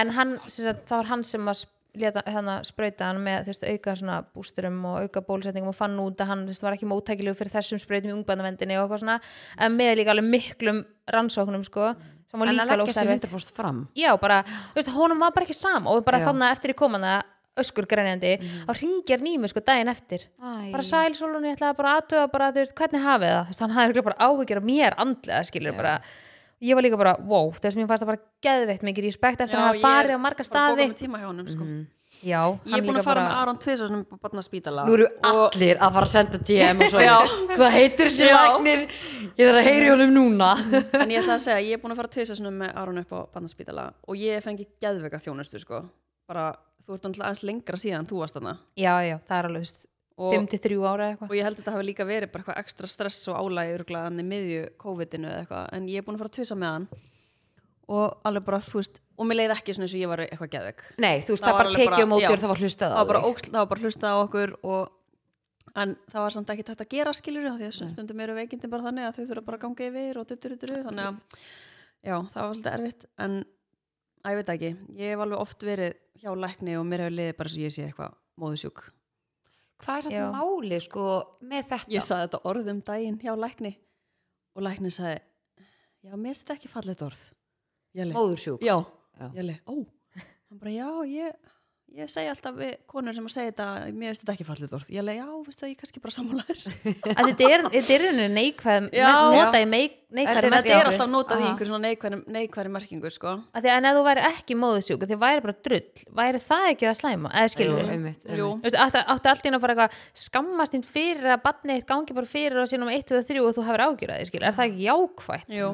[SPEAKER 2] en hann, sem sagt, það var hann sem að leta, hana, sprauta hann með þú veist, auka svona bústurum og auka bólusetningum og fann út að hann þú veist, var ekki móttækilegu fyrir þessum sprautum í ungbændavendinni og eitthvað svona en með líka alveg miklum rannsóknum sko, sem var
[SPEAKER 3] En að
[SPEAKER 2] líka
[SPEAKER 3] leggja sér
[SPEAKER 2] lófsarveitt
[SPEAKER 3] 100% fram
[SPEAKER 2] já, bara, þú veist, honum var bara ekki sama og bara
[SPEAKER 3] Já.
[SPEAKER 2] þannig að eftir ég kom hann öskur grænjandi, þá ringjar nými sko daginn eftir,
[SPEAKER 3] Æ.
[SPEAKER 2] bara sæl Solon ég ætlaði bara aðtöða bara, þú veist, hvernig hafið það Þú veist, hann hafði örugglega bara áhyggjur á mér andlega skilur bara, ég var líka bara wow, þú veist, mér fannst það bara geðveikt mikið respekt eftir
[SPEAKER 1] Já,
[SPEAKER 2] að
[SPEAKER 1] ég
[SPEAKER 2] hann hafa farið
[SPEAKER 1] er
[SPEAKER 2] á marga
[SPEAKER 1] bara
[SPEAKER 2] staði
[SPEAKER 1] bókuð með tíma hjá honum sko
[SPEAKER 3] Mhm.
[SPEAKER 2] já,
[SPEAKER 1] Ég er
[SPEAKER 2] hann
[SPEAKER 1] búin
[SPEAKER 2] líka
[SPEAKER 1] að fara
[SPEAKER 2] bara
[SPEAKER 1] með Aron Tvisa sem er bara að spítala
[SPEAKER 3] Nú eru allir að fara að senda DM og svo
[SPEAKER 1] Já.
[SPEAKER 3] Hvað heitir sér
[SPEAKER 1] Já.
[SPEAKER 3] læknir? Ég þarf að heyri honum núna
[SPEAKER 1] En ég ætla að segja, ég er búin að fara Tvisa með Aron upp á barnaspítala og ég fengi geðveika þjónustu sko bara, þú ert náttúrulega aðeins lengra síðan þú varst hana
[SPEAKER 2] já, já, það er alveg, þú
[SPEAKER 1] og,
[SPEAKER 2] veist, 5-3 ára eða
[SPEAKER 1] og
[SPEAKER 2] eitthvað
[SPEAKER 1] ég held að þetta hafi líka verið bara eitthvað ekstra stress og álægi örgulega hann í miðju COVID-inu eða eitthvað en ég er búin að fara Tvisa með hann og alveg bara, þú veist, og mér leið ekki svona eins og ég var eitthvað geðveik
[SPEAKER 3] Nei, þú veist,
[SPEAKER 1] Það var
[SPEAKER 3] það bara
[SPEAKER 1] alveg bara-
[SPEAKER 3] tekið á móti
[SPEAKER 1] já.
[SPEAKER 3] og það var hlustað á
[SPEAKER 1] það var bara
[SPEAKER 3] þig.
[SPEAKER 1] óksl, það var bara hlustað á okkur og en það var samt ekki þetta að gera skilur því að stundum eru veikindi bara þannig að þau þurfa bara að ganga yfir og dutturuturu þannig að já, það var svolítið erfitt en að ég veit það ekki, ég hef alveg oft verið hjá lækni og mér hefur liðið bara svo ég sé eitthvað móðusjúk.
[SPEAKER 3] Hvað er
[SPEAKER 2] Já.
[SPEAKER 3] þetta málið sko með þetta?
[SPEAKER 1] Ég saði þetta orðum daginn hjá um lækni og læknir sagði já, mér finnst þetta ekki fallegt orð Jæli,
[SPEAKER 3] Móðursjúk
[SPEAKER 1] já,
[SPEAKER 3] Já.
[SPEAKER 1] Jæli, ó hann bara, já, ég ég segi alltaf við konur sem að segja þetta mér finnst þetta ekki fallegt orð, Jæli, já, veistu það ég er kannski bara sammálaður
[SPEAKER 2] að þetta er, þetta er einu neikvæð
[SPEAKER 1] Já.
[SPEAKER 2] nota í
[SPEAKER 3] Þetta
[SPEAKER 2] neikvæð
[SPEAKER 3] er-
[SPEAKER 1] þetta er alltaf notað í
[SPEAKER 3] Aha.
[SPEAKER 1] einhverjum svona neikværi, neikværi merkingu, sko
[SPEAKER 2] að því að en ef þú væri ekki móðusjúk því væri bara drull, væri það ekki það slæma eða skilur
[SPEAKER 3] Jú,
[SPEAKER 2] þú
[SPEAKER 3] einmitt,
[SPEAKER 1] Jú.
[SPEAKER 3] einmitt.
[SPEAKER 2] veist, átti, átti allt inn að fara eitthvað skammast inn fyrir að badni eitt gangi bara fyrir og sínum 1 og 3 og þú hefur ágjörðið skilur, er það ekki jákvætt
[SPEAKER 1] Jú,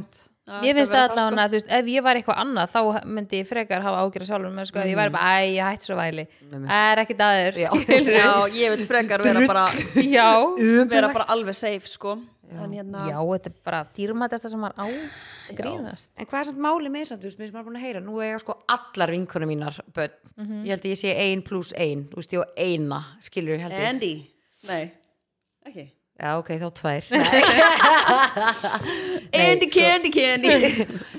[SPEAKER 2] ég finnst það
[SPEAKER 1] sko.
[SPEAKER 2] allavega að þú veist, ef ég væri eitthvað annað þá myndi ég frekar hafa ágjörðið sjálfum mér, sko, ef ég væri bara, æ, ég hætti svo væli
[SPEAKER 3] Mm. Einmitt.
[SPEAKER 2] er ekki daður,
[SPEAKER 3] Já. Um.
[SPEAKER 2] skilur
[SPEAKER 1] sko. Já, ég vil frekar vera bara,
[SPEAKER 2] já,
[SPEAKER 1] vera bara alveg safe, sko En hérna,
[SPEAKER 2] já, þetta er bara dýrmætasta sem maður á grínast
[SPEAKER 3] En hvað er samt máli með samt, þú veist, mér sem maður búin að heyra Nú eiga sko allar vinkunum mínar bönn Ég held að ég sé ein pluss ein Þú veist, ég og eina, skilur ég held ég
[SPEAKER 1] Andy Nei, ekki
[SPEAKER 3] Já, ok, þá tvær
[SPEAKER 1] Andy,
[SPEAKER 2] sko.
[SPEAKER 1] candy, candy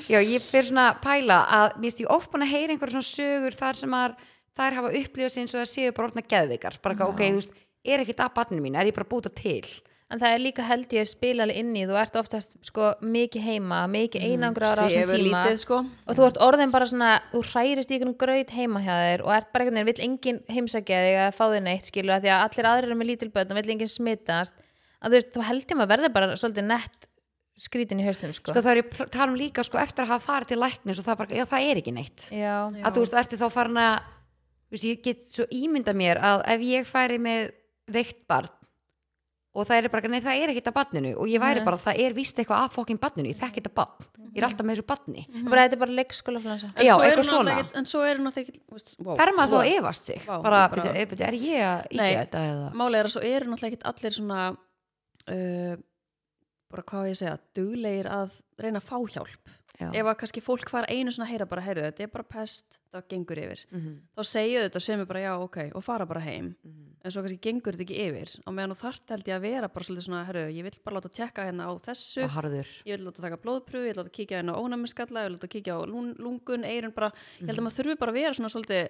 [SPEAKER 3] Já, ég fyrir svona að pæla að Mér veist, ég oft búin að heyra einhverja svona sögur Þar sem að þær hafa upplifað sig eins og þær séu bara orðna geðveikar Bara ekki, ok, þú veist, er ekki það barninu mín Er ég bara að búta til
[SPEAKER 2] En það er líka held ég spilaleg inn í, þú ert oftast sko mikið heima, mikið einangraður á þessum
[SPEAKER 1] Sefur
[SPEAKER 2] tíma
[SPEAKER 1] Mm, lítið, sko
[SPEAKER 2] og þú ert orðin bara svona, þú hrærist í einhvern graut heima hjá þér og ert bara einhvern veginn, vill enginn heimsækja þig að fá þig neitt skilur að því að allir aðrir eru með lítil börn og vill enginn smitast að þú veist, þú held ég maður verður bara svolítið nett skrítin í hausnum sko.
[SPEAKER 3] sko, Það er ég pl- tala um líka, sko, eftir að hafa farið til læknis Og það bara, já, það er ekki neitt
[SPEAKER 2] Já,
[SPEAKER 1] Já.
[SPEAKER 3] að þú veist, ertu þá farin að þú veist, ég get svo ímynda mér að ef ég færi með veikt barn og það er bara, nei það er ekkert að barninu og ég væri bara, það er vist eitthvað að fokkin barninu, ég þekki þetta barn ég er alltaf með þessu barni
[SPEAKER 2] bara þetta er bara leikskóla
[SPEAKER 1] En
[SPEAKER 3] Já,
[SPEAKER 1] svo eru
[SPEAKER 3] eitthvað
[SPEAKER 1] náttúrulega
[SPEAKER 3] svona.
[SPEAKER 1] ekkit- En svo eru náttúrulega ekki wow,
[SPEAKER 3] þar maður þá
[SPEAKER 1] wow.
[SPEAKER 3] að efast sig
[SPEAKER 1] Vá,
[SPEAKER 3] bara,
[SPEAKER 1] bara-
[SPEAKER 3] bara... Er, er ég að íkja
[SPEAKER 1] Nei.
[SPEAKER 3] þetta eða
[SPEAKER 1] Málið er að svo eru náttúrulega ekkit allir svona uh, bara hvað á ég að segja duglegir að reyna að fá hjálp
[SPEAKER 2] Mm,
[SPEAKER 3] Já.
[SPEAKER 1] ef að kannski fólk hvar einu svona heyra bara heyrðu þetta er bara pest, það gengur yfir
[SPEAKER 3] mm -hmm.
[SPEAKER 1] þá segju þetta sem er bara já ok og fara bara heim
[SPEAKER 2] Mhm.
[SPEAKER 3] mhm.
[SPEAKER 1] en svo kannski gengur þetta ekki yfir og meðan þú þart held ég að vera bara svolítið svona heyrðu ég vil bara láta tekka hérna á þessu
[SPEAKER 3] og harður
[SPEAKER 1] ég vil láta taka blóðpröfu, ég vil láta kíkja inn á ónæmiskalla, ég vil láta kíkja á lún, lungun, eirun bara, ég held að maður þurfi bara að vera svona svolítið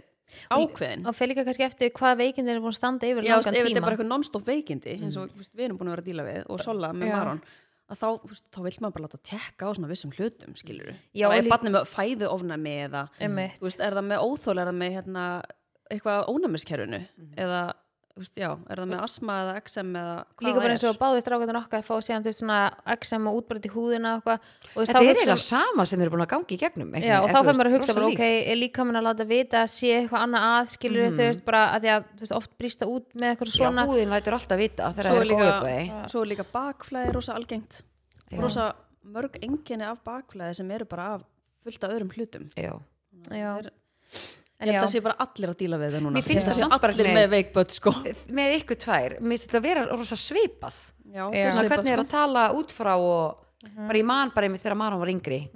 [SPEAKER 1] ákveðin.
[SPEAKER 2] og fyrir líka kannski eftir hvað veikindin er búin að standa yfir
[SPEAKER 1] Já, þú veist,
[SPEAKER 2] langan
[SPEAKER 1] ef þetta er
[SPEAKER 2] tíma
[SPEAKER 1] bara eitthvað non-stop veikindi, eins og þú veist, við erum búin að vera að díla við og sola með
[SPEAKER 2] Já.
[SPEAKER 1] maron, að þá, þú veist, þá vil maður bara láta tekka á svona vissum hlutum, skilur við.
[SPEAKER 2] Já,
[SPEAKER 1] er
[SPEAKER 2] og lí-
[SPEAKER 1] barnið með fæðuofnæmi eða,
[SPEAKER 2] Einmitt.
[SPEAKER 1] þú veist, er það með óþól, er það með hérna, eitthvað á ónæmiskerfinu eða, þú veist, já, er það með asma eða XM eða hvað
[SPEAKER 2] líka
[SPEAKER 1] það
[SPEAKER 2] bara eins
[SPEAKER 1] er.
[SPEAKER 2] og báðist rákatun okkar fá síðan þú veist svona XM og útbrot í húðina og eitthvað og þú veist, þá
[SPEAKER 3] þetta er
[SPEAKER 2] hugsa-
[SPEAKER 3] eitthvað sama sem eru búin að gangi í gegnum einhvern
[SPEAKER 2] Já, og þá
[SPEAKER 3] veginn, eða
[SPEAKER 2] fyrir
[SPEAKER 3] þú veist,
[SPEAKER 2] maður að hugsa
[SPEAKER 3] rosa
[SPEAKER 2] bara, ok, eh,
[SPEAKER 3] líkt. Mhm.
[SPEAKER 2] er líka mann að láta vita að sé eitthvað annað að, skilur þau veist bara að því að þú veist, oft brýsta út með eitthvað
[SPEAKER 3] já,
[SPEAKER 2] svona
[SPEAKER 3] húðin lætur alltaf vita þegar
[SPEAKER 1] svo er
[SPEAKER 3] það er
[SPEAKER 1] líka,
[SPEAKER 3] góðu bæ
[SPEAKER 1] svo er líka bakflæði rosa algengt
[SPEAKER 3] Já.
[SPEAKER 1] rosa mörg enginni af bakflæði sem eru bara af fullt af öðrum hlutum
[SPEAKER 3] já
[SPEAKER 2] já.
[SPEAKER 1] Það er-
[SPEAKER 2] En
[SPEAKER 1] ég held
[SPEAKER 2] já,
[SPEAKER 1] að sé bara allir að díla við það núna
[SPEAKER 3] Mér finnst
[SPEAKER 1] Ég held
[SPEAKER 3] það
[SPEAKER 1] að sé
[SPEAKER 3] samt bara
[SPEAKER 1] allir með
[SPEAKER 3] einhvern
[SPEAKER 1] veikböld sko
[SPEAKER 3] með ykkur tvær, mér finnst þetta að vera rosa svipað
[SPEAKER 1] já,
[SPEAKER 2] Já. Mhm.
[SPEAKER 3] svona, hvernig er
[SPEAKER 1] sko.
[SPEAKER 3] að tala út frá og bara ég man bara einmitt þegar maður var yngri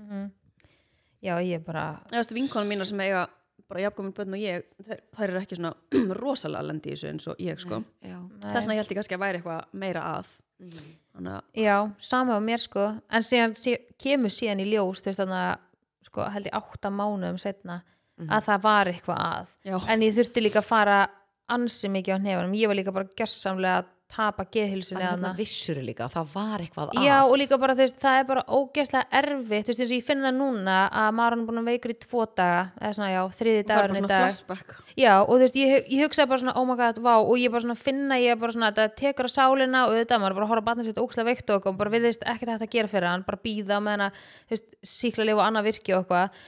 [SPEAKER 2] já, ég bara
[SPEAKER 1] Eðast, vinkonum mínar sem eiga bara jafnkvæmum bönn og ég þær, þær eru ekki svona rosalega lendi í þessu eins og ég sko
[SPEAKER 3] já,
[SPEAKER 1] þess vegna ég held ég kannski að væri eitthvað meira að þannig að
[SPEAKER 2] Já, sama á mér sko en síðan sí, kemur síðan í ljós þú veist þannig að, sko, held ég átta mánuðum setna
[SPEAKER 3] Mhm.
[SPEAKER 2] að það var eitthvað að
[SPEAKER 1] Já.
[SPEAKER 2] en ég þurfti líka að fara ansi mikið á hnefanum, ég var líka bara gjörsamlega að tapa geðhilsunni
[SPEAKER 3] að hérna
[SPEAKER 2] þarna.
[SPEAKER 3] þarna vissur líka að það var eitthvað að
[SPEAKER 2] Já og líka bara þú veist það er bara ógeðslega erfitt þú veist eins og ég finn það núna að maður hann búin að veikur í tvo daga eða svona já þriði
[SPEAKER 1] það er bara
[SPEAKER 2] dagurinn í
[SPEAKER 1] svona
[SPEAKER 2] dag
[SPEAKER 1] flashback
[SPEAKER 2] já og þú veist ég, hu- ég hugsaði bara svona oh my god vá og ég bara svona finna ég bara svona þetta tekur á sálina og þetta maður er bara að horfa að batna sitt ógeðslega veikt og eitthvað, og bara virðist ekkert hægt að gera fyrir hann bara býða með hana þú veist síkla lifa annað virki og eitthvað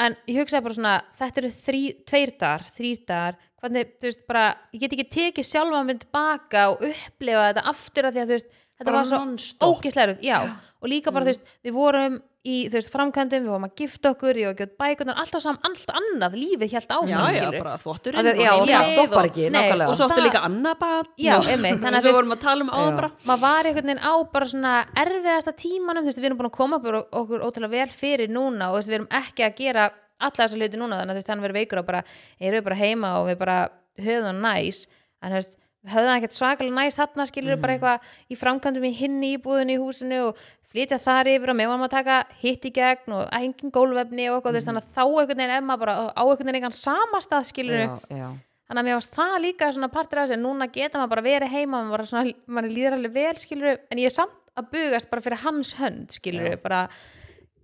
[SPEAKER 2] en ég hugsaði bara svona þetta eru þrí, tveir dagar, þrýr dagar hvernig þú veist bara ég get ekki tekið sjálfa minn tilbaka og upplifa þetta aftur af því að þú veist þetta
[SPEAKER 3] Bara
[SPEAKER 2] var svo
[SPEAKER 3] non-stop.
[SPEAKER 2] ógeð ógislega erfitt, já. og líka bara, þú veist, við vorum í, þú veist, framkvæmdum, við vorum að gifta okkur, ég var að gjönd bækunar, alltaf saman, allt annað, lífið hjælt
[SPEAKER 1] já,
[SPEAKER 2] áfram,
[SPEAKER 1] já,
[SPEAKER 2] skilur.
[SPEAKER 1] bara
[SPEAKER 3] Að
[SPEAKER 1] þvotturinn
[SPEAKER 3] það- já, og
[SPEAKER 1] heilbrigð
[SPEAKER 3] það stoppar ekki,
[SPEAKER 2] Nei,
[SPEAKER 3] nákvæmlega
[SPEAKER 1] og svo
[SPEAKER 2] Það-
[SPEAKER 1] áttu líka annað bat
[SPEAKER 2] Já, einmitt, þannig að
[SPEAKER 1] þannig að
[SPEAKER 2] þú
[SPEAKER 1] við
[SPEAKER 2] veist-
[SPEAKER 1] vorum að tala um áðan
[SPEAKER 3] Já.
[SPEAKER 1] bara
[SPEAKER 2] maður var einhvern veginn á bara svona erfiðasta tímanum, þú veist, við erum búin að koma bara okkur ótrúlega vel fyrir núna og þú veist, við erum ekki að gera alla þessa hluti núna þannig að þú veist, hann verið veikur og bara erum við bara heima og við bara höfum það næs en þú veist, við höfum það ekkert svakalega næs þarna skilur bara eitthvað í framkvæmdum í hinni íbúðinu í húsinu og flytja þar yfir og með varum að taka hitt í gegn og engin gólvefni og okkur, þú veist, þannig að þá einhvern veginn er maður bara á einhvern veginn engan samastað skilur
[SPEAKER 3] já, já.
[SPEAKER 2] þannig að mér varst það líka svona partur af þessu en núna geta maður bara verið heima maður, bara svona, maður líður alveg vel skilur en ég er samt að að bugast bara fyrir hans hönd skilur við bara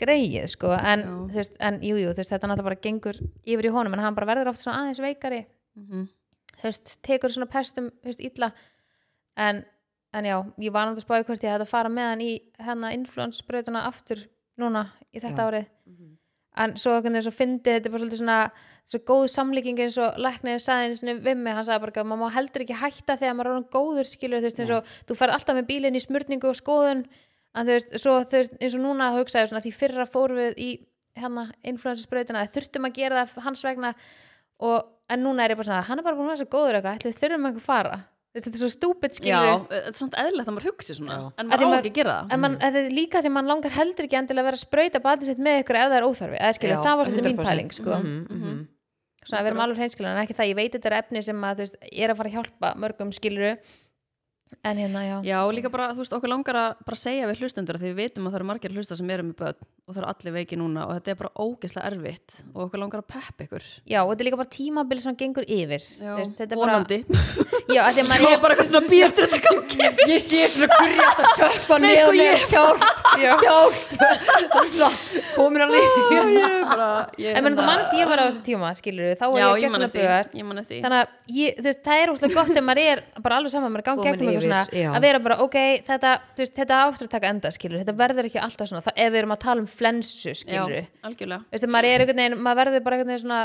[SPEAKER 2] greið sko en,
[SPEAKER 1] Já.
[SPEAKER 2] þú veist, en jú, jú, þú veist, þetta náttúrulega bara gengur yfir í honum en hann bara verður oft svona aðeins veikari
[SPEAKER 1] Mhm.
[SPEAKER 2] þú veist, tekur svona pestum þú veist, illa en, en já, ég var náttúrulega að spáði hvort ég hefði að fara með hann í hérna influensbrautuna aftur núna í þetta
[SPEAKER 3] Já.
[SPEAKER 2] árið en svo hvernig þess að fyndi þetta er bara svolítið svona svo góð samlíking eins og læknirinn sagði eins og við mig, hann sagði bara eitthvað, maður má heldur ekki hætta þegar maður er orðin góður skilur þú veist eins og þú ferð alltaf með bílinn í smurningu og skoðun en þú veist, svo, þú veist eins og núna hugsaði svona því fyrra fórum við í hérna influensasbrautina, þurftum að gera það hans vegna og en núna er ég bara svona, hann er bara búin að vera svo góður eitthvað, ætli við þurfum ekki að fara Þú veist, þetta er svo stúpid
[SPEAKER 1] Já,
[SPEAKER 2] skilur
[SPEAKER 1] þetta er samt eðlilegt að maður hugsi svona
[SPEAKER 3] Já.
[SPEAKER 1] En maður
[SPEAKER 2] Af því
[SPEAKER 1] á
[SPEAKER 2] maður-
[SPEAKER 1] ekki að gera það
[SPEAKER 2] en man, þetta er líka því að mann langar heldur ekki endilega að vera að sprauta batið sitt með ykkur ef það er óþarfi eða skilur,
[SPEAKER 3] Já,
[SPEAKER 2] það var svolítið mín
[SPEAKER 3] 100%.
[SPEAKER 2] pæling sko.
[SPEAKER 1] Mm.
[SPEAKER 3] Mhm, mhm.
[SPEAKER 2] svona að vera alveg hreinskilur en ekki það, ég veit þetta er efni sem að þú veist, er að fara að hjálpa mörgum skiluru en hérna, já,
[SPEAKER 1] Já, og líka bara, þú veist, okkur langar að bara segja við hlustendur af því við vitum að það eru margir hlusta sem eru með börn og það eru allir veiki núna og þetta er bara ógeðslega erfitt og okkur langar að peppa ykkur
[SPEAKER 2] já, og þetta er líka bara tímabil sem gengur yfir
[SPEAKER 1] Já,
[SPEAKER 2] Þú veist, þetta er
[SPEAKER 1] vonandi Sko,
[SPEAKER 2] bara, já, af því að
[SPEAKER 1] Ég
[SPEAKER 2] maður
[SPEAKER 1] er bara eitthvað svona býð eftir þetta gangi
[SPEAKER 3] Ég sé svona gurjátt að sökva
[SPEAKER 1] Nei,
[SPEAKER 3] neðan
[SPEAKER 1] sko,
[SPEAKER 3] með
[SPEAKER 1] ég-
[SPEAKER 3] hjálp, hjálp og svona komin að
[SPEAKER 1] Já,
[SPEAKER 3] lífi
[SPEAKER 1] ég er bara ég, hérna-
[SPEAKER 2] en menn þú mannst ég var á þessu tíma skiluru, þá
[SPEAKER 1] Já,
[SPEAKER 2] er
[SPEAKER 1] ég
[SPEAKER 2] ég
[SPEAKER 1] man
[SPEAKER 2] gæslega
[SPEAKER 1] eftir því,
[SPEAKER 2] bugast
[SPEAKER 1] Ég man eftir því.
[SPEAKER 2] þannig að ég, þú veist, það er úrslega gott ef maður er bara alveg saman, maður er gangi
[SPEAKER 3] Komin
[SPEAKER 2] gegnum eitthvað
[SPEAKER 3] yfir,
[SPEAKER 2] svona,
[SPEAKER 3] já.
[SPEAKER 2] að vera bara, ok, þetta þú veist, þetta áttur að taka enda, skilur, þetta verður ekki alltaf svona, það, ef við erum að tala um flensu,
[SPEAKER 1] Já,
[SPEAKER 2] skilur, þú
[SPEAKER 1] algjörlega
[SPEAKER 2] veist, maður er einhvern veginn, maður verður bara einhvern veginn svona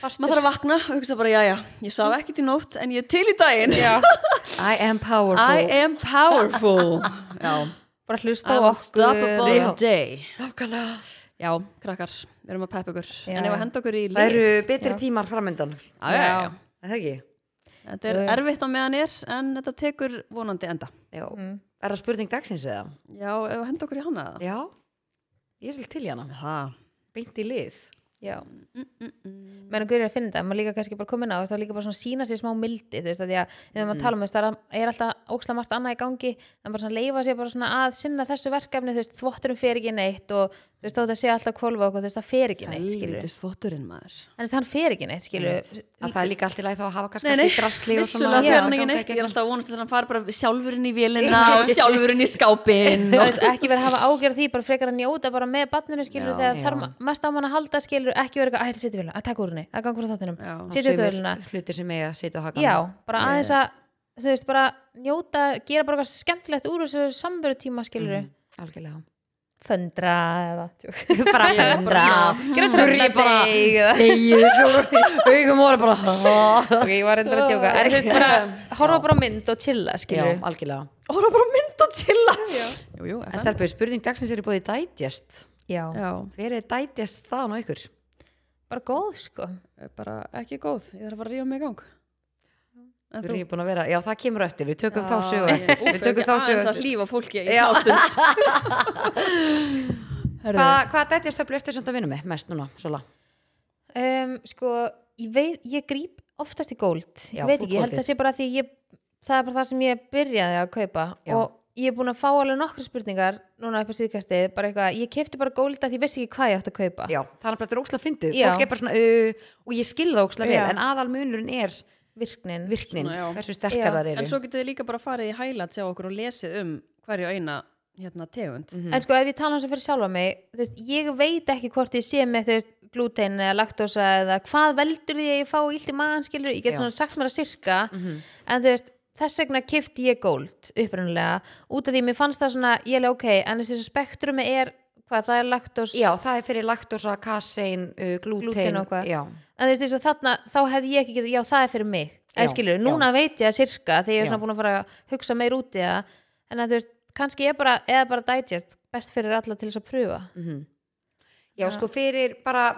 [SPEAKER 1] Maður
[SPEAKER 2] fastur,
[SPEAKER 1] þarf að vakna og hugsa bara, já, já, ég svaf
[SPEAKER 2] Mm.
[SPEAKER 1] ekkert í nótt en ég er til í daginn
[SPEAKER 3] I am powerful
[SPEAKER 1] I am powerful Já,
[SPEAKER 2] bara hlusta á
[SPEAKER 1] I'm
[SPEAKER 2] okkur
[SPEAKER 1] unstoppable today
[SPEAKER 3] Nákvæmlega
[SPEAKER 1] Já, krakkar, við erum að peppa ykkur
[SPEAKER 2] Já,
[SPEAKER 1] En ef
[SPEAKER 2] já.
[SPEAKER 1] að henda okkur í
[SPEAKER 3] Það
[SPEAKER 1] líf
[SPEAKER 3] eru betri tímar framöndan
[SPEAKER 1] já, já, já.
[SPEAKER 2] Já.
[SPEAKER 3] Er Það ekki?
[SPEAKER 1] Þetta er
[SPEAKER 2] Jú,
[SPEAKER 3] Eh.
[SPEAKER 2] jú.
[SPEAKER 1] erfitt á meðan er en þetta tekur vonandi enda
[SPEAKER 3] Já Er það spurning dagsins eða?
[SPEAKER 1] Já, ef að henda okkur í hana eða?
[SPEAKER 3] Já Ég er svolítið til í hana
[SPEAKER 1] Það
[SPEAKER 3] Beint í lið
[SPEAKER 2] Já,
[SPEAKER 3] Mm,
[SPEAKER 2] meðan Guður er að finna þetta, maður líka kannski bara komin á, þú veist, það er líka bara svona sína sér smá mildi, þú veist, af því að þegar
[SPEAKER 3] Mm.
[SPEAKER 2] maður tala um, þú veist, það er- er alltaf ókslega margt annað í gangi, en bara svona leifa sér bara svona að sinna þessu verkefni, þú veist, þvotturum fer ekki neitt og þú veist, þó þetta sé alltaf kvolfa okkur, þú veist, það fer ekki neitt, skilur.
[SPEAKER 1] Helvitist þvotturinn maður
[SPEAKER 2] En þú veist, hann fer ekki neitt, skilur.
[SPEAKER 3] Að það er líka allt í lagi þá að hafa kannski
[SPEAKER 1] Nei, nei,
[SPEAKER 3] allt í drasli og svona
[SPEAKER 1] vissulega
[SPEAKER 3] Já,
[SPEAKER 1] fyrir hann ekki
[SPEAKER 3] ganga
[SPEAKER 1] neitt Ég er
[SPEAKER 3] gegnum.
[SPEAKER 1] alltaf að vonast til að hann fari bara sjálfurinn í vélina og sjálfurinn í skápinn
[SPEAKER 2] Þú
[SPEAKER 1] og...
[SPEAKER 2] veist, ekki verið að hafa ágjörð því, bara frekar að njóta bara með barninu, skilur,
[SPEAKER 1] Já,
[SPEAKER 2] þegar
[SPEAKER 3] já.
[SPEAKER 2] þarf ma- mest á mann að halda, skilur, ekki verið að ætla að setja vilja, að taka úr henni, að ganga úr þáttunum,
[SPEAKER 1] Já.
[SPEAKER 2] setja
[SPEAKER 3] Sumir
[SPEAKER 2] þöluna,
[SPEAKER 3] Hlutir sem eiga að setja á hakan
[SPEAKER 2] já, bara aðeins að þú veist, bara njóta, gera bara eitthvað skemmtilegt úr þessu samveru tíma skilur
[SPEAKER 3] Mhm. Algjörlega
[SPEAKER 2] föndra eða tjók.
[SPEAKER 3] Bara
[SPEAKER 1] Já, bara-
[SPEAKER 3] fendra
[SPEAKER 2] gera trölladeig eða-
[SPEAKER 3] Egið svo Augum voru bara "Ah."
[SPEAKER 2] ok, ég var reyndar að tjóka en þú veist, bara horfa
[SPEAKER 3] Já.
[SPEAKER 2] bara á mynd og chilla
[SPEAKER 3] Já,
[SPEAKER 2] skilur
[SPEAKER 3] algjörlega
[SPEAKER 1] Og það er bara mynd og chilla Jú, jú,
[SPEAKER 3] En
[SPEAKER 1] FM.
[SPEAKER 3] stelpur, spurning dagsins er í bóði dætjast.
[SPEAKER 2] já,
[SPEAKER 1] Já,
[SPEAKER 3] Hver er dætjast staðan á ykkur?
[SPEAKER 2] bara góð sko
[SPEAKER 1] bara ekki góð Ég þarf að fara að rífa mig í gang En
[SPEAKER 3] Við
[SPEAKER 1] þú-
[SPEAKER 3] erum búin að vera, já það kemur eftir, við tökum þá
[SPEAKER 1] Já,
[SPEAKER 3] sögu
[SPEAKER 1] ég-
[SPEAKER 3] eftir.
[SPEAKER 1] Úff,
[SPEAKER 3] Við tökum þá sögu
[SPEAKER 1] Aðeins að
[SPEAKER 3] eftir.
[SPEAKER 1] hlýfa fólki í
[SPEAKER 3] Já.
[SPEAKER 1] náttund
[SPEAKER 3] Hva, hvað dætjast stelpur eftir sem það vinnum með mest núna, Sola?
[SPEAKER 2] um, sko, ég veit, ég gríp oftast í góld, ég
[SPEAKER 3] Já,
[SPEAKER 2] veit
[SPEAKER 3] þú
[SPEAKER 2] ekki, ég held
[SPEAKER 3] goldið.
[SPEAKER 2] að sé bara því ég, það er bara það sem ég byrjaði að kaupa
[SPEAKER 3] Já.
[SPEAKER 2] og ég er búin að fá alveg nokkru spurningar núna upp á síðkastið, bara eitthvað, ég kefti bara góld að ég vissi ekki hvað ég átt að kaupa
[SPEAKER 3] Já, það er bara þetta er ókslega fyndið.
[SPEAKER 2] Já.
[SPEAKER 3] Fólk er bara svona, uh, og ég skil það ókslega vel,
[SPEAKER 2] Já.
[SPEAKER 3] en aðal munurinn er
[SPEAKER 2] virknin,
[SPEAKER 3] virknin,
[SPEAKER 1] Svona, já.
[SPEAKER 3] hversu
[SPEAKER 2] Já.
[SPEAKER 3] sterkar þar
[SPEAKER 1] En
[SPEAKER 3] eru.
[SPEAKER 1] svo getið þið líka bara farið í hælat hjá okkur og lesið um hverju eina hérna, tegund.
[SPEAKER 3] Mhm. Mm.
[SPEAKER 2] en sko ef ég tala hans að fyrir sjálfa mig þú veist, ég veit ekki hvort ég sé með þú veist, glútein eða laktósa eða hvað veldur því að ég fá illt í maðan skilur ég get
[SPEAKER 3] Já. Mhm.
[SPEAKER 2] svona sagt mér að sirka en þú veist, þess vegna kifti ég góld upprunalega, út af því mér fannst það svona ég leið ok, en þessi þessi spektrumi er hvað, það er laktós
[SPEAKER 3] Já, það er fyrir laktosa, kasein, uh, glútein.
[SPEAKER 2] Glúten og hvað.
[SPEAKER 3] Já,
[SPEAKER 2] en þú veist, eins og þarna, þá hefði ég ekki getið, já það er fyrir mig eða
[SPEAKER 3] Já,
[SPEAKER 2] skilur,
[SPEAKER 3] já.
[SPEAKER 2] núna veit ég að sirka þegar ég er
[SPEAKER 3] Já.
[SPEAKER 2] svona búin að fara að hugsa meir út í það en að þú veist, kannski ég bara eða bara digest, best fyrir alla til þess að pröfa
[SPEAKER 3] já, sko fyrir bara,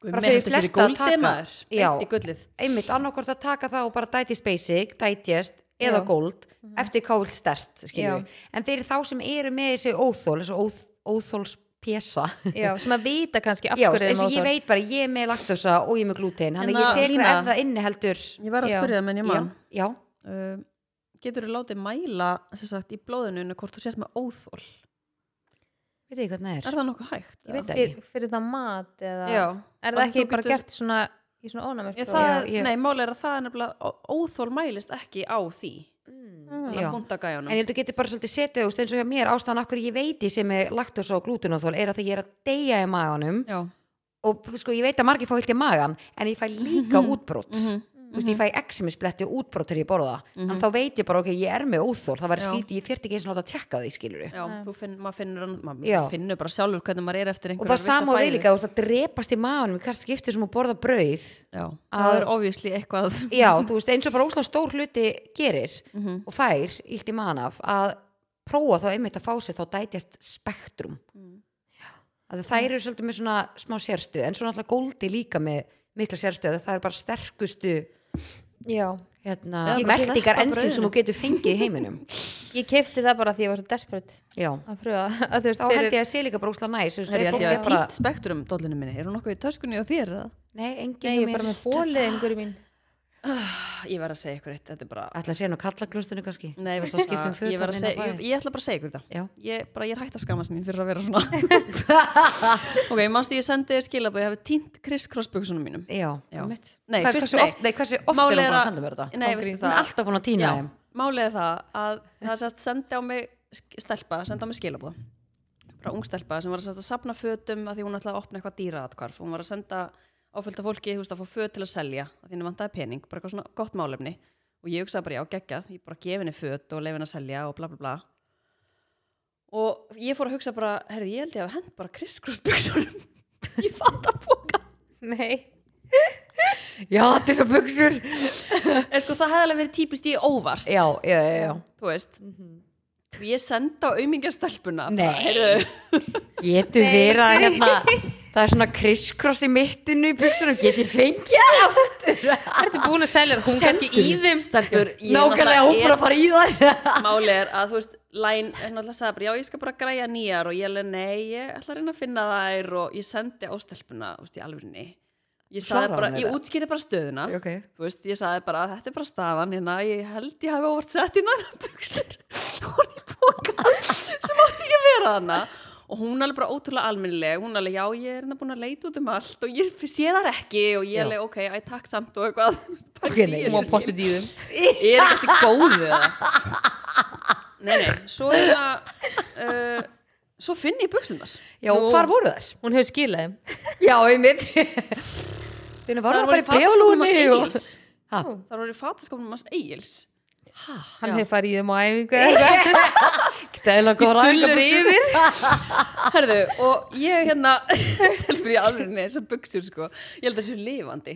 [SPEAKER 1] Guð,
[SPEAKER 3] bara
[SPEAKER 1] með
[SPEAKER 3] fyrir
[SPEAKER 1] þetta sér í
[SPEAKER 3] flesta að
[SPEAKER 1] góldi,
[SPEAKER 3] taka.
[SPEAKER 1] maður.
[SPEAKER 3] Já,
[SPEAKER 1] Beint í gullið.
[SPEAKER 3] einmitt, annarkvort að taka það og bara dætist basic, dætist eða
[SPEAKER 2] Já.
[SPEAKER 3] gold eftir hvað vilt stert
[SPEAKER 2] Já.
[SPEAKER 3] skilur. en fyrir þá sem eru með þessi óþól, þessi óþ, óþóls pjesa
[SPEAKER 2] Já, sem að vita kannski af
[SPEAKER 3] Já,
[SPEAKER 2] hverju
[SPEAKER 3] eins og
[SPEAKER 2] þeim
[SPEAKER 3] ég
[SPEAKER 2] óþol.
[SPEAKER 3] veit bara, ég er með laktosa og ég er með glútein þannig
[SPEAKER 1] Hérna,
[SPEAKER 3] að ég tek
[SPEAKER 1] Lína.
[SPEAKER 3] það ef það inniheldur
[SPEAKER 1] Ég verð að
[SPEAKER 2] Já.
[SPEAKER 1] spyrja um það menn ég
[SPEAKER 3] já,
[SPEAKER 1] mann.
[SPEAKER 3] já,
[SPEAKER 1] Uh, getur þú látið mæla sem sagt, í blóðununu hvort þú sért með óþól?
[SPEAKER 3] veit ekki hvernig
[SPEAKER 1] Er
[SPEAKER 3] það er
[SPEAKER 1] það nokkuð hægt?
[SPEAKER 3] ég veit það
[SPEAKER 2] fyrir,
[SPEAKER 3] ekki,
[SPEAKER 2] fyrir það mat eða
[SPEAKER 1] Já.
[SPEAKER 2] er það
[SPEAKER 1] Bara
[SPEAKER 2] ekki
[SPEAKER 1] þú
[SPEAKER 2] bara
[SPEAKER 1] getur-
[SPEAKER 2] gert svona í svona ónæmert
[SPEAKER 1] Ég, það
[SPEAKER 3] Já, ég-
[SPEAKER 1] Nei, mál er að það er nefnilega ó- óþól mælist ekki á því.
[SPEAKER 3] Mm, Já. En
[SPEAKER 1] hundagæjanum
[SPEAKER 3] ég held að þú getur bara svolítið setið úst, eins og hjá mér ástæðan af hverju ég veiti sem er laktosa og glútenóþól er að því ég er að deyja í maganum
[SPEAKER 1] já,
[SPEAKER 3] og sko ég veit að margir fá hilt í magan en ég fæ líka útbrot mm
[SPEAKER 1] Mhm.
[SPEAKER 3] ég fæ eksimisbletti og útbrot þegar ég borða en þá veit ég bara ok, ég er með óþól það væri
[SPEAKER 1] Já.
[SPEAKER 3] skítið, ég þyrfti ekki eins og láta að tjekka því skilur
[SPEAKER 1] já, þú finn, maður finnur hann-
[SPEAKER 3] Mm-hmm. Já.
[SPEAKER 1] maður finnur bara sjálfur hvernig maður er eftir
[SPEAKER 3] og
[SPEAKER 1] einhverjar
[SPEAKER 3] það
[SPEAKER 1] vissar
[SPEAKER 3] sama og þið
[SPEAKER 1] fæðu.
[SPEAKER 3] líka, þú veist að drepast í maganum í hvert skipti sem þú borða brauð
[SPEAKER 1] já,
[SPEAKER 3] Að-
[SPEAKER 1] það er ofvísli eitthvað
[SPEAKER 3] já, þú veist eins og bara óslega stór hluti gerir
[SPEAKER 1] Mhm.
[SPEAKER 3] og fær illt í magan af að prófa þá einmitt að fá sér þá dætjast spektrum
[SPEAKER 1] Mm.
[SPEAKER 3] að þær eru svolítið með svona smá sérstu en svo náttúrulega góldi líka með mikla sérstu að það eru bara sterkustu
[SPEAKER 2] já
[SPEAKER 3] hérna,
[SPEAKER 1] Eða bara
[SPEAKER 3] meltingar
[SPEAKER 1] sleppa
[SPEAKER 3] ensým sem
[SPEAKER 1] brauðinu.
[SPEAKER 3] þú getur fengið í heiminum
[SPEAKER 2] ég kefti það bara því ég var svo desperate
[SPEAKER 3] já,
[SPEAKER 2] að pröfa að þú veist
[SPEAKER 3] þá held ég að sé líka bara óslega næs þú veist,
[SPEAKER 1] er ég
[SPEAKER 3] ef
[SPEAKER 1] held
[SPEAKER 3] fólk
[SPEAKER 1] ég
[SPEAKER 3] er
[SPEAKER 1] að
[SPEAKER 3] bara,
[SPEAKER 1] týnt spektrum dollinu minni, er hún nokkuð í töskunni og þér eða?
[SPEAKER 3] nei, engin
[SPEAKER 2] Nei, ég er bara með bólið einhverju mín
[SPEAKER 1] ég verð að segja ykkur eitt, þetta er bara
[SPEAKER 3] ætla að sé nú kallaklustinu kannski
[SPEAKER 1] Nei,
[SPEAKER 3] Þú
[SPEAKER 1] veistu
[SPEAKER 3] veist, um þá skiptum
[SPEAKER 1] það, ég, verð að
[SPEAKER 3] fötunum inn á
[SPEAKER 1] segja,
[SPEAKER 3] bæinn.
[SPEAKER 1] ég, ég ætla bara að segja ykkur þetta
[SPEAKER 3] Já.
[SPEAKER 1] ég, bara, ég er hægt að skamast mín fyrir að vera svona ok, mannstu ég sendi þér skilabóð ég hefði týnt Chris Crossbuksunum mínum
[SPEAKER 3] Já,
[SPEAKER 1] Já.
[SPEAKER 3] einmitt.
[SPEAKER 1] Nei,
[SPEAKER 3] Hvað-
[SPEAKER 1] fyrst-
[SPEAKER 3] hversu
[SPEAKER 1] nei.
[SPEAKER 3] oft, nei, hversu oft
[SPEAKER 1] Málið
[SPEAKER 3] er hún
[SPEAKER 1] er
[SPEAKER 3] bara að
[SPEAKER 1] að-
[SPEAKER 3] senda mér þetta?
[SPEAKER 1] Nei,
[SPEAKER 3] Án
[SPEAKER 1] veistu
[SPEAKER 3] gríns.
[SPEAKER 1] það-
[SPEAKER 3] Hún er alltaf búin að týna þeim
[SPEAKER 1] málið er það að það sérst sendi á mig sk- stelpa, sendi á mig skilabóð bara ung stelpa sem var að, að sapna fötum að því hún ætlaði að opna eitthvað dýraatkvarf hún var að senda áfölta fólki þú veist, að fá föt til að selja, að því henni vantaði pening bara eitthvað svona gott málefni og ég hugsaði bara já, geggjað, ég bara gef henni föt og leif henni að selja og bla bla bla og ég fór að hugsa bara, herrið, ég held ég að hend bara kriskrossbuksunum ég fatt að bóka
[SPEAKER 2] Nei,
[SPEAKER 3] Já, þetta er svo buksur
[SPEAKER 1] en sko það hefði alveg verið típist ég óvart
[SPEAKER 3] Já, já, já, já
[SPEAKER 1] þú veist og ég sendi á aumingastelpuna
[SPEAKER 3] Nei. Getur verið að hérna Það er svona kriskross í mittinu í buksunum Getur fengið það aftur
[SPEAKER 2] ertu búin að selja það? Hún
[SPEAKER 3] Sendu.
[SPEAKER 2] kannski í þeim
[SPEAKER 1] stelpur ég
[SPEAKER 3] Nákvæmlega, hún búin
[SPEAKER 1] náttúrulega
[SPEAKER 3] að fara í það
[SPEAKER 1] er- málið er að þú veist Læn, náttúrulega sagði bara, já ég skal bara græja nýjar og ég alveg, nei, ég ætla að reyna að finna þær og ég sendi á stelpuna, þú veist, í alvörinni ég sagði
[SPEAKER 3] Svaraði
[SPEAKER 1] bara,
[SPEAKER 3] hún
[SPEAKER 1] ég
[SPEAKER 3] þeirra?
[SPEAKER 1] útskýrði bara stöðuna
[SPEAKER 3] Ok.
[SPEAKER 1] þú veist, ég sagði bara að þetta er bara staðan hérna, ég held ég hafi óvart sett í næra buksur hún í bóka sem átti ekki að vera þarna og hún alveg bara ótrúlega almennileg hún alveg, já, ég er hérna búin að leita út um allt og ég sé þar ekki og ég
[SPEAKER 3] Já.
[SPEAKER 1] alveg, ok, æ, takk samt og eitthvað
[SPEAKER 3] Ok, nei,
[SPEAKER 1] Ég
[SPEAKER 3] hún var
[SPEAKER 1] sé-
[SPEAKER 3] pottþétt
[SPEAKER 2] í þeim
[SPEAKER 1] Ég er ekki góðu það Nei, nei, svo er það uh, Svo finn ég buksundar
[SPEAKER 3] Já, hvar voru þær?
[SPEAKER 2] Hún hefur skilað þeim
[SPEAKER 3] Já, einmitt Þunni var það bara í brjálúni og... Ha?
[SPEAKER 1] Það voru fattaskofnum hans eigils
[SPEAKER 2] Hann
[SPEAKER 1] Já.
[SPEAKER 2] hefur farið í þeim á æfingu eða eitthvað.
[SPEAKER 3] Dæla
[SPEAKER 2] Í
[SPEAKER 3] góða
[SPEAKER 2] stullur
[SPEAKER 3] æfingabuxur.
[SPEAKER 2] yfir
[SPEAKER 1] Herðu, og ég hérna Telfur ég alveg neins að buksur sko Ég held að það séu lifandi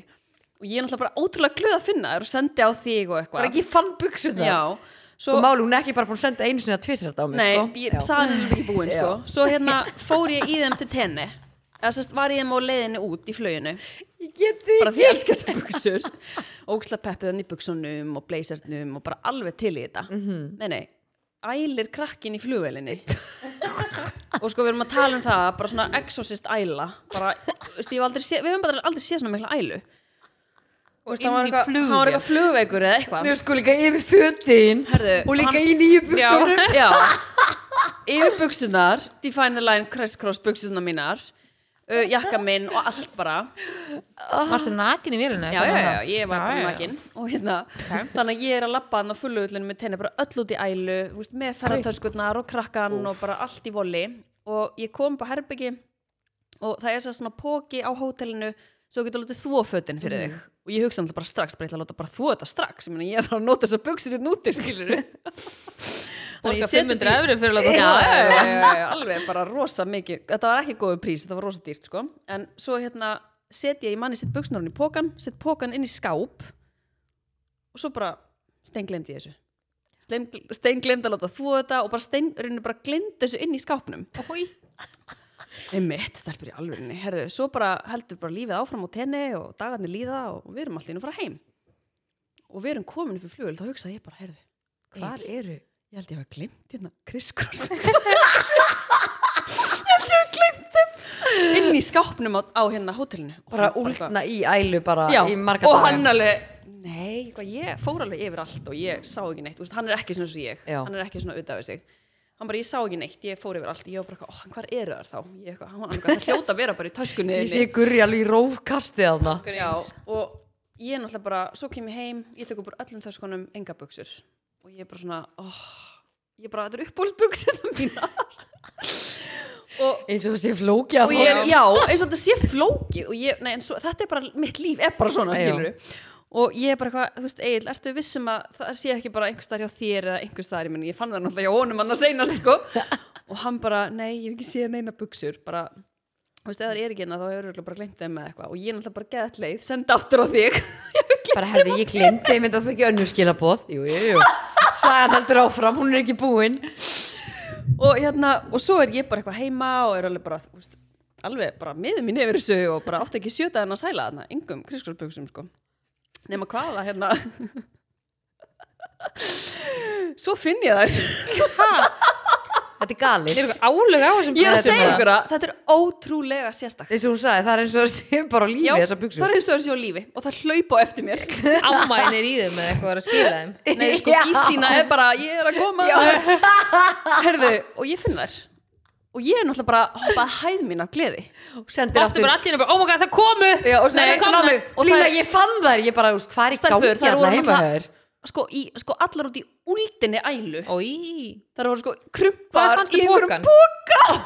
[SPEAKER 1] Og ég er náttúrulega bara ótrúlega glöð að finna þér og sendi á þig og
[SPEAKER 3] Bara
[SPEAKER 1] eitthvað
[SPEAKER 3] ekki fann buksun það
[SPEAKER 1] Já,
[SPEAKER 3] Og
[SPEAKER 1] svo
[SPEAKER 3] máli, hún er ekki bara búin að senda einu sinni að tvisa þetta á mig,
[SPEAKER 1] Nei,
[SPEAKER 3] sko
[SPEAKER 1] ég
[SPEAKER 3] Já.
[SPEAKER 1] sagði henni ekki búin sko Svo hérna fór ég í þeim til tenni Eða sérst var ég þeim á leiðinni út í flöginu
[SPEAKER 3] Ég get því
[SPEAKER 1] bara því ég elska þessar buksur ógsla peppiðan í buksunum og blazernum og bara alveg til í þetta nei nei, ælir krakkin í flugvelinni og sko við erum að tala um það bara svona exorcist æla bara, veist, ég hef aldrei sé, við hefum bara aldrei séð svona mikla ælu og veist, hann var
[SPEAKER 2] Inn í
[SPEAKER 1] eitthvað-
[SPEAKER 2] flugvél.
[SPEAKER 1] hann var eitthvað flugveikur eða eitthvað
[SPEAKER 3] Mér sko líka yfir fötin
[SPEAKER 1] Herðu,
[SPEAKER 3] og líka
[SPEAKER 1] hann-
[SPEAKER 3] í nýju buksunum
[SPEAKER 1] já, já. yfir buksunar Define the Line, Crest Cross buksunar mínar uh, jakka minn og allt bara
[SPEAKER 2] Varstu nakin í vélina?
[SPEAKER 1] já, já, já, ég var bara
[SPEAKER 2] já.
[SPEAKER 1] nakin og hérna, þannig að ég er að labba hann á fulluðlunum með tenni bara öll út í ælu þú veist, með ferratöskutnar og krakkan og bara allt í voli og ég kom upp á herbyggi og það er sér svona póki á hótelinu svo þú getur látið þvófötin fyrir
[SPEAKER 2] Mm.
[SPEAKER 1] þig og ég hugsa alltaf bara strax, bara ég ætla að láta bara þvó þetta strax ég, meina, ég er bara að nota hérna þessar buksir í núti skilur
[SPEAKER 2] Borga 500 eurur fyrir að láta
[SPEAKER 1] já,
[SPEAKER 2] það
[SPEAKER 1] já, já, já, já, alveg bara rosa mikið þetta var ekki góðu prís, þetta var rosa dýrt sko. en svo hérna set ég í manni sett buksnarinn í pókan, sett pókan inn í skáp og svo bara steinglemd ég þessu steinglemd að láta þú þetta og bara steinrunni bara glemd þessu inn í skápnum
[SPEAKER 2] Húi.
[SPEAKER 1] einmitt, stelpur í alvörinni, herðu svo bara heldur bara lífið áfram á tenni og dagarnir líða og við erum allir inn að fara heim og við erum komin upp í flugul þá hugsaði ég bara, herðu,
[SPEAKER 3] Hvar eru?
[SPEAKER 1] ég held ég hafa glemt hérna kriskurs inn í skápnum á, á hérna hótelinu Og
[SPEAKER 3] Bara
[SPEAKER 1] hann
[SPEAKER 3] úlna í ælu bara
[SPEAKER 1] eitthvað- já,
[SPEAKER 3] í marga
[SPEAKER 1] og
[SPEAKER 3] daga.
[SPEAKER 1] hann alveg nei, hvað, ég fór alveg yfir allt og ég sá ekki neitt, Úst, hann er ekki svona svo ég
[SPEAKER 3] Já.
[SPEAKER 1] hann er ekki svona auðvitað við sig hann bara, ég sá ekki neitt, ég fór yfir allt ég var bara, oh, hvað er þar þá ég, eitthvað, hann, hann, það hljóta að vera bara í töskunni
[SPEAKER 3] Ég
[SPEAKER 1] þinni.
[SPEAKER 3] sé gurri alveg í rófkasti aðna
[SPEAKER 1] Já, og ég náttúrulega bara, svo kem ég heim, ég tek upp úr öllum þess konum enga buksur og ég er bara svona oh, ég er bara, þetta er uppbólsbuksina mína og
[SPEAKER 3] eins og sé flókja
[SPEAKER 1] og ég er, já, eins og þetta sé flókið og ég, nei, en svo, þetta er bara, mitt líf er bara svona,
[SPEAKER 3] Já.
[SPEAKER 1] skilur og ég er bara eitthvað, þú veist, Egil, ertu vissum að það sé ekki bara einhvers staðar hjá þér eða einhvers staðar, ég menn, ég fann það náttúrulega hjá honum annars einast, sko, og hann bara nei, ég hef ekki séð neina buksur, bara þú veist, ef það er ekki hérna, þá hefur örugglega bara glemt þeim með eitthvað, og ég er náttúrulega bara geðat leið senda aftur á þig, ég hef
[SPEAKER 3] bara hefði ég glemt þeim en það fyrir önnur skilabóð jú, jú, jú sagan heldur áfram, hún er ekki búin
[SPEAKER 1] og hérna, og svo er ég bara eitthvað heima og er alveg bara, þú veist, alveg bara miður mín yfir þessu og bara átti ekki sjöta en að sæla þarna, yngum kriskursbuksum sko nema hvaða hérna svo finn ég þær
[SPEAKER 3] þetta er galið
[SPEAKER 2] er eitthvað álega á þessum
[SPEAKER 1] ég er að
[SPEAKER 2] buxum
[SPEAKER 1] segja
[SPEAKER 2] bara.
[SPEAKER 1] ykkur að þetta er ótrúlega sérstakt
[SPEAKER 3] eins og hún sagði, það er eins og það sé bara á lífi þessar
[SPEAKER 1] það
[SPEAKER 3] buksur
[SPEAKER 1] er eins og þessi á lífi og það hlaupa á eftir mér
[SPEAKER 2] ámæðin er í þeim eða eitthvað er að skila þeim
[SPEAKER 1] nei sko,
[SPEAKER 3] Já.
[SPEAKER 1] Gíslína er bara ég er að koma herðu, og ég finn þær og ég er náttúrulega bara hoppað hæð mín af gleði
[SPEAKER 3] og sendir
[SPEAKER 2] ofta
[SPEAKER 3] aftur
[SPEAKER 2] bara allir bara, oh my god, það komu
[SPEAKER 3] já, og svo
[SPEAKER 2] Nei,
[SPEAKER 3] sendir hún á
[SPEAKER 2] komna.
[SPEAKER 3] mig,
[SPEAKER 1] Og
[SPEAKER 3] Lína
[SPEAKER 1] þær-
[SPEAKER 3] ég fann þær ég bara, þú veist, hvað er í gangi
[SPEAKER 1] Stelpur, þær
[SPEAKER 3] hérna
[SPEAKER 1] voru
[SPEAKER 3] heima hjá
[SPEAKER 1] náttúrulega-
[SPEAKER 3] þér
[SPEAKER 1] sko, í, sko allar út í úldinni ælu
[SPEAKER 2] Ói.
[SPEAKER 1] þar voru sko
[SPEAKER 2] Hvað
[SPEAKER 1] krumpar
[SPEAKER 2] fannst þið
[SPEAKER 1] einhverjum-
[SPEAKER 2] pókan?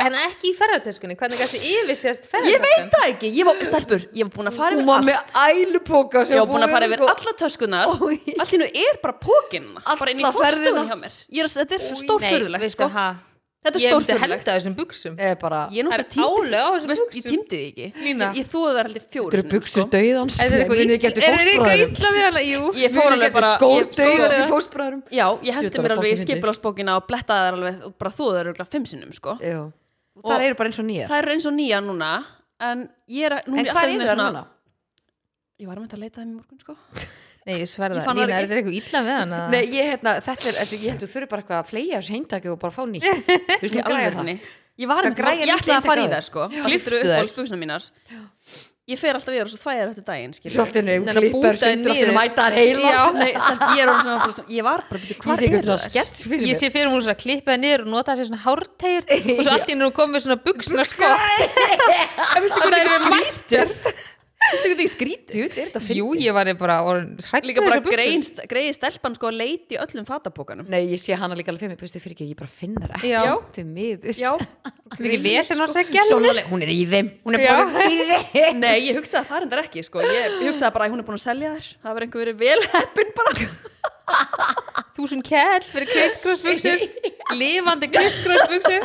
[SPEAKER 2] En Hérna, ekki í ferðartöskunni, hvernig gæstu yfirsérst
[SPEAKER 1] ég veit
[SPEAKER 2] ferðartöskun?
[SPEAKER 1] það ekki, ég var stelpur ég var búin að fara
[SPEAKER 3] hún
[SPEAKER 1] yfir
[SPEAKER 3] var
[SPEAKER 1] allt
[SPEAKER 3] með ælupoka
[SPEAKER 1] ég var búin að fara yfir alla töskunar allt sko- í nú er bara pókin bara inn í
[SPEAKER 3] Alla ferðina.
[SPEAKER 1] fórstofunni hjá mér Ég er, að- þetta er stórfyrðulegt sko. þetta er
[SPEAKER 2] Ég myndi
[SPEAKER 1] stórfyrðulegt
[SPEAKER 2] henda þessum buksum
[SPEAKER 3] alla bara,
[SPEAKER 1] ég er
[SPEAKER 2] Það er
[SPEAKER 1] náttúrulega tímdi
[SPEAKER 2] álag á þessum
[SPEAKER 1] veist, ég
[SPEAKER 2] buxum.
[SPEAKER 1] tímdi þið ekki
[SPEAKER 2] Lína.
[SPEAKER 1] ég, ég þóðu það heldur fjóru
[SPEAKER 3] þetta eru buksur döiðans
[SPEAKER 2] Er það eitthvað
[SPEAKER 3] ég
[SPEAKER 2] illa- er það eitthvað illa við hana? Jú,
[SPEAKER 1] Ég fór alveg bara-
[SPEAKER 3] skór
[SPEAKER 1] ég-
[SPEAKER 3] döiðans
[SPEAKER 2] skór-
[SPEAKER 3] í fóstbræðurum
[SPEAKER 1] já, ég
[SPEAKER 3] Djöfull,
[SPEAKER 1] hendi
[SPEAKER 3] það
[SPEAKER 1] mér
[SPEAKER 3] er
[SPEAKER 1] alveg í hérna.
[SPEAKER 3] fucking fyndið.
[SPEAKER 1] skipulagsbókina og blettaði þar alveg og bara þóðu það öruglega fimm sinnum sko.
[SPEAKER 3] og það eru bara eins og nýja
[SPEAKER 1] það eru eins og nýja núna en ég er að- núna
[SPEAKER 3] en
[SPEAKER 1] ég
[SPEAKER 3] hvað
[SPEAKER 1] alltaf
[SPEAKER 3] eru
[SPEAKER 1] með
[SPEAKER 3] það
[SPEAKER 1] svona-
[SPEAKER 3] núna?
[SPEAKER 1] ég var að mynda að leita þeim í morgun sko
[SPEAKER 2] Nei, ég sverða,
[SPEAKER 1] Ég fann það
[SPEAKER 2] Lína, er
[SPEAKER 1] ekki.
[SPEAKER 2] það eitthvað illa við hana?
[SPEAKER 3] Nei, ég, hérna, þetta er, þetta- ég held að þú þurfi bara eitthvað að fleia þessu heintaki og bara fá nýtt Þú
[SPEAKER 1] Í
[SPEAKER 3] slum græða það
[SPEAKER 1] alvörunni. Ég var
[SPEAKER 3] Skal
[SPEAKER 1] með ég
[SPEAKER 3] græja nýtt
[SPEAKER 1] ætlaði að fara í
[SPEAKER 3] eintak á
[SPEAKER 1] þær sko
[SPEAKER 2] Klipptu
[SPEAKER 1] Klipptu
[SPEAKER 2] þær.
[SPEAKER 1] þær Uppbúksna mínar Ég fer alltaf við þar og svo þvæði þær eftir daginn skilurðu.
[SPEAKER 3] Svolítinu,
[SPEAKER 2] Nei, að búta
[SPEAKER 3] klippar
[SPEAKER 2] þær
[SPEAKER 3] sundur áttur
[SPEAKER 2] niður.
[SPEAKER 3] mætaðar heila
[SPEAKER 1] Já, nei, stelp, ég er orðin svona bara svona- Ég var bara, byrju,
[SPEAKER 3] Ég
[SPEAKER 1] hvað
[SPEAKER 3] sé
[SPEAKER 1] er
[SPEAKER 3] eitthvað svona
[SPEAKER 1] þær?
[SPEAKER 3] skets fyrir
[SPEAKER 2] Ég
[SPEAKER 3] mér
[SPEAKER 2] sé fyrir hún svona klippaði niður og notaði sér svona hártegir og svo allt í nú komið svona buksuna skott.
[SPEAKER 1] Ég finnst
[SPEAKER 2] Það
[SPEAKER 1] ekki skrítið Ég finnst
[SPEAKER 2] er mætt.
[SPEAKER 1] ekki skrítið
[SPEAKER 3] Jú, þetta er þetta
[SPEAKER 2] Jú,
[SPEAKER 3] fyrir
[SPEAKER 2] ég var bara hrætt
[SPEAKER 1] Líka bara grein, greiði stelpan sko að leiti í öllum fatapókanum
[SPEAKER 3] Nei, ég sé hana líka alveg fyrir mér, búiðstu fyrir ekki, ég bara finn þær ekki
[SPEAKER 2] Já.
[SPEAKER 3] Þau miður
[SPEAKER 1] Já,
[SPEAKER 2] Mikið vesen á þess að
[SPEAKER 3] Sjónaleg, sko. hún er í þeim, hún er bara í þeim
[SPEAKER 1] nei, ég hugsaði það reyndar ekki sko Ég ég hugsaði bara að hún er búin að selja þær Það verður einhver verið vel heppin bara
[SPEAKER 2] Þúsund kell fyrir kriskrossbuksur, lifandi kriskrossbuksur.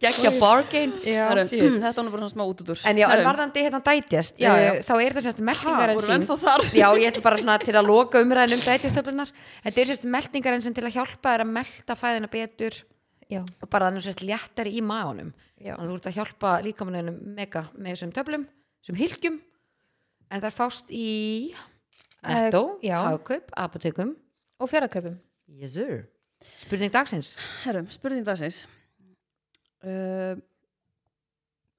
[SPEAKER 3] Gekja bargain
[SPEAKER 1] Herru,
[SPEAKER 3] shit.
[SPEAKER 1] mm, Þetta var nú bara svona smá út út úr
[SPEAKER 3] En já, en
[SPEAKER 1] Herru,
[SPEAKER 3] varðandi hérna dætjast
[SPEAKER 2] Já, já.
[SPEAKER 3] eh, Þá er það sérst
[SPEAKER 1] ha,
[SPEAKER 3] meltingarinn
[SPEAKER 1] vorum við
[SPEAKER 3] sín
[SPEAKER 1] ennþá þar
[SPEAKER 3] Já, ég ætla bara svona til að loka umræðin um dætjastöflunar Þetta er sérst meltingarinn sem til að hjálpa þær að melta fæðina betur
[SPEAKER 2] Já,
[SPEAKER 3] og bara þannig sett léttari í maðunum
[SPEAKER 2] Já.
[SPEAKER 3] þannig að þú ert að hjálpa líkamanunum mega með þessum töflum, þessum hylgjum en það er fást í
[SPEAKER 2] Eh,
[SPEAKER 3] Netto,
[SPEAKER 2] já.
[SPEAKER 3] Hagkaup, Apotekum
[SPEAKER 2] og fjörðarkaupum.
[SPEAKER 3] yes, sir. Spurning dagsins
[SPEAKER 1] Herrum, spurning dagsins uh,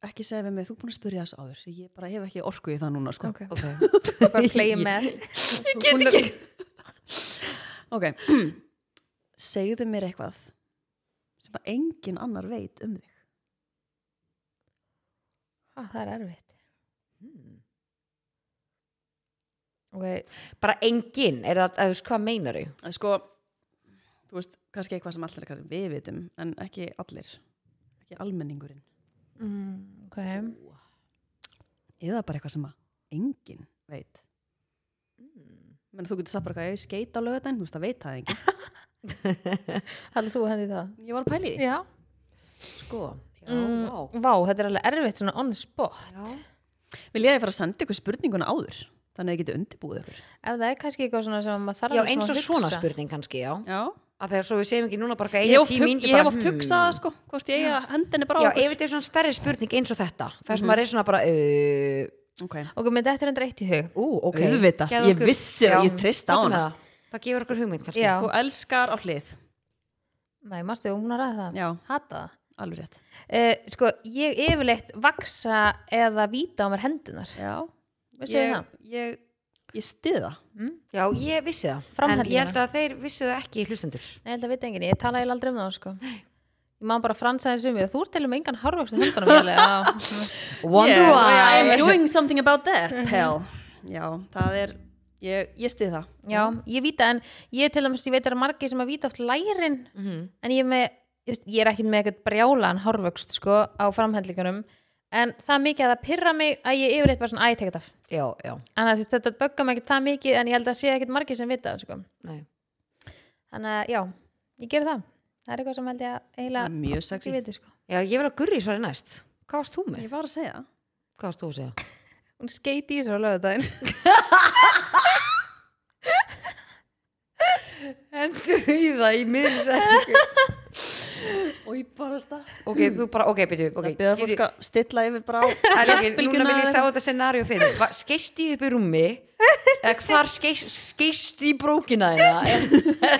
[SPEAKER 1] Ekki segja við mig, þú er búin að spyrja þess áður ég bara hef ekki orku í það núna sko.
[SPEAKER 2] Ok,
[SPEAKER 3] okay.
[SPEAKER 2] bara playa með.
[SPEAKER 1] Ég get ekki Ok Segðu mér eitthvað sem að engin annar veit um þig
[SPEAKER 2] Ah, Það er erfitt.
[SPEAKER 3] Hmm.
[SPEAKER 2] Ok,
[SPEAKER 3] bara engin, er það, að þú veist hvað meinar þau
[SPEAKER 1] Eh, Sko, þú veist, kannski eitthvað sem allir kannski við vitum, en ekki allir ekki almenningurinn
[SPEAKER 2] mm, ok.
[SPEAKER 1] eða bara eitthvað sem að engin veit menn þú getur sagt bara hvað ég skeit á lögðan þú veist, það veit það engin
[SPEAKER 2] Hallur þú hendi það?
[SPEAKER 1] Ég var að pæli því
[SPEAKER 2] Já.
[SPEAKER 3] sko, já,
[SPEAKER 2] Mm,
[SPEAKER 3] vá.
[SPEAKER 2] vá, þetta er alveg erfitt svona on the spot.
[SPEAKER 3] já.
[SPEAKER 1] Vil ég að ég fara að senda ykkur spurninguna áður þannig að þið getur undirbúið ykkur
[SPEAKER 2] Ef það er kannski eitthvað svona sem maður þarf
[SPEAKER 3] já,
[SPEAKER 2] alveg
[SPEAKER 3] eins og
[SPEAKER 2] að
[SPEAKER 3] svona
[SPEAKER 2] hugsa.
[SPEAKER 3] spurning kannski, já
[SPEAKER 1] Já
[SPEAKER 3] að þegar svo við segjum ekki núna bara eitthvað
[SPEAKER 1] Ég hef
[SPEAKER 3] eiga
[SPEAKER 1] oft
[SPEAKER 3] tíu
[SPEAKER 1] hug-
[SPEAKER 3] mínútur,
[SPEAKER 1] ég hef
[SPEAKER 3] bara,
[SPEAKER 1] oft
[SPEAKER 3] hmm.
[SPEAKER 1] hugsað sko Hvort ég eiga hendinni bara á
[SPEAKER 3] já,
[SPEAKER 1] ykkur
[SPEAKER 3] ef þetta er svona stærri spurning eins og þetta þess
[SPEAKER 1] Mhm.
[SPEAKER 3] að maður er svona bara uh,
[SPEAKER 1] Ok
[SPEAKER 2] Ok, með þetta er endur eitt í hug.
[SPEAKER 3] Ú, ok
[SPEAKER 1] Auðvitað,
[SPEAKER 3] Gefðu
[SPEAKER 1] ég
[SPEAKER 3] okkur-
[SPEAKER 1] vissi það,
[SPEAKER 3] Já,
[SPEAKER 1] ég treysti á
[SPEAKER 3] látum
[SPEAKER 1] hana.
[SPEAKER 3] við það. Það gefur okkur hugmynd kannski.
[SPEAKER 2] Já.
[SPEAKER 1] Þú elskar á hlið
[SPEAKER 2] Nei, mástu, hún að ræða það.
[SPEAKER 1] Já,
[SPEAKER 2] Hata það.
[SPEAKER 1] alveg rétt
[SPEAKER 2] Uh, sko, ég yfirleitt vaksa eða víta á mér hendunar.
[SPEAKER 1] Já
[SPEAKER 2] Vissu þið
[SPEAKER 1] Ég,
[SPEAKER 2] það?
[SPEAKER 1] ég, ég stiða
[SPEAKER 3] Já, ég vissi það En ég
[SPEAKER 2] Framhaldið
[SPEAKER 3] held að þeir vissi það ekki hlustendur
[SPEAKER 2] Nei, þetta veit enginn, ég tala eiginlega aldrei um það, sko. Nei. Ég má bara fransa þessu um mig. Þú ert til með engan harfvöxtu höndunum, ég
[SPEAKER 3] Wonder
[SPEAKER 1] yeah,
[SPEAKER 3] why
[SPEAKER 1] Mhm. I'm doing something about that, pal Já, það er ég, ég stið það
[SPEAKER 2] Já, ég víta en ég til dæmis, ég veit að það er margir sem að víta oft lærin
[SPEAKER 3] Mhm.
[SPEAKER 2] en ég er með, ég veist, ég er ekkert með eitthvað brjálan horfvöxt sko á framhendlingunum en það er mikið að það pyrra mig að ég yfirleitt bara svona æ, tek þetta af
[SPEAKER 3] já, já,
[SPEAKER 2] en að þetta böggar mig ekkert það mikið en ég held að sé ekkert margir sem vita það, sko.
[SPEAKER 3] nei
[SPEAKER 2] þannig að já, ég ger það það er eitthvað sem held ég að
[SPEAKER 1] Það er
[SPEAKER 2] eiginlega
[SPEAKER 1] mjög
[SPEAKER 2] ekki
[SPEAKER 1] sexy
[SPEAKER 2] viti sko.
[SPEAKER 3] Já, ég vil að gurri svari næst Hvað varst þú með?
[SPEAKER 1] Ég var að segja
[SPEAKER 3] Hvað varst þú að segja?
[SPEAKER 2] hún skeiti í þessu á lögðardaginn
[SPEAKER 3] Endur því það í miðlisækningu
[SPEAKER 1] Og ég bara stað
[SPEAKER 3] Ok, þú bara, ok, byrju
[SPEAKER 1] Það
[SPEAKER 3] okay.
[SPEAKER 1] okay, beða fólk að stilla yfir bara á
[SPEAKER 3] að okay, Núna
[SPEAKER 1] Bylgjuna
[SPEAKER 3] vil ég
[SPEAKER 1] eða
[SPEAKER 3] sá þetta scenaríu fyrir Va- Skeist í upp í rúmi Eða hvar skeist, skeist í brókina þeirna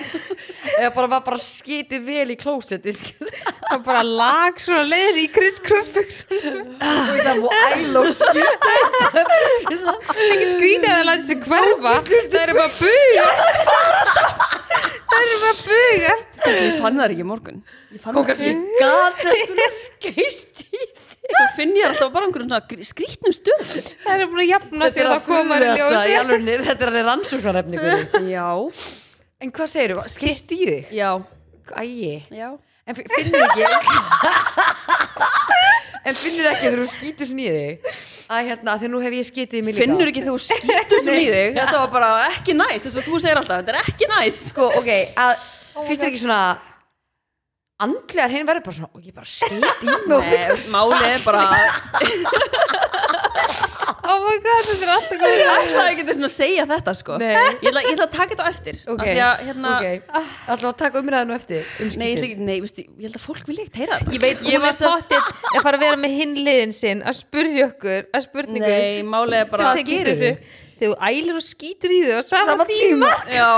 [SPEAKER 3] Eða bara var bara skitið vel í klósetti skil.
[SPEAKER 2] það bara lag svona leiðir í Chris Crossböksun
[SPEAKER 3] Og það mú æl og skitið
[SPEAKER 2] ekki skrítið að það lætist þið hverfa það eru bara bugast það eru bara bugast
[SPEAKER 1] Ég fann það ekki í morgun Ég fann
[SPEAKER 3] Kom
[SPEAKER 1] það
[SPEAKER 3] kannski
[SPEAKER 1] ekki
[SPEAKER 3] gat þetta Skeist í
[SPEAKER 1] Svo finn ég alltaf bara einhverjum svona gr- skrýtnum stöðum
[SPEAKER 2] það eru búin að jafna sig og það koma í
[SPEAKER 3] furðulegasta í
[SPEAKER 2] ljósi
[SPEAKER 3] alvörunni. Þetta er alveg rannsóknarefni Gurrí.
[SPEAKER 1] Já,
[SPEAKER 3] En hvað segirðu? Skeist í þig?
[SPEAKER 1] já,
[SPEAKER 3] Æi
[SPEAKER 1] já
[SPEAKER 3] En fi- finnur ekki En finnur ekki þegar þú skýtur svona í þig Að hérna, þegar nú hef ég skýtið í mig líka
[SPEAKER 1] Finnur ekki þú skýtur svo í þig Þetta var bara ekki næs, eins og þú segir alltaf Þetta er ekki næs
[SPEAKER 3] Sko, ok, að fyrst er ekki svona Andlegar hinn verður bara svona Og ég bara skýt í mig
[SPEAKER 1] Nei, málið er bara
[SPEAKER 2] oh my god, þetta er alltaf góð
[SPEAKER 1] Ég ætlaði að geta svona að segja þetta sko
[SPEAKER 3] Nei.
[SPEAKER 1] ég ætla, ég ætla að taka þetta á eftir
[SPEAKER 3] Ok,
[SPEAKER 1] af því að, hérna,
[SPEAKER 3] ok Alltaf að taka umræðinu eftir
[SPEAKER 1] Nei,
[SPEAKER 3] um
[SPEAKER 1] ég, ætla
[SPEAKER 3] skítið
[SPEAKER 1] ekki, nei veist, ég held að fólk vilja ekkert heyra þetta
[SPEAKER 2] Ég veit, hún
[SPEAKER 1] var
[SPEAKER 2] er
[SPEAKER 1] sem sagt-
[SPEAKER 2] pottitt að fara að vera með hinn liðin sinn að spurja okkur, að spurningu
[SPEAKER 1] Nei, málið er bara
[SPEAKER 2] Hvað tengist
[SPEAKER 3] gerir
[SPEAKER 2] þessu? Þegar þú ælir og skýtur í þau á sama,
[SPEAKER 3] Sama tíma
[SPEAKER 1] Já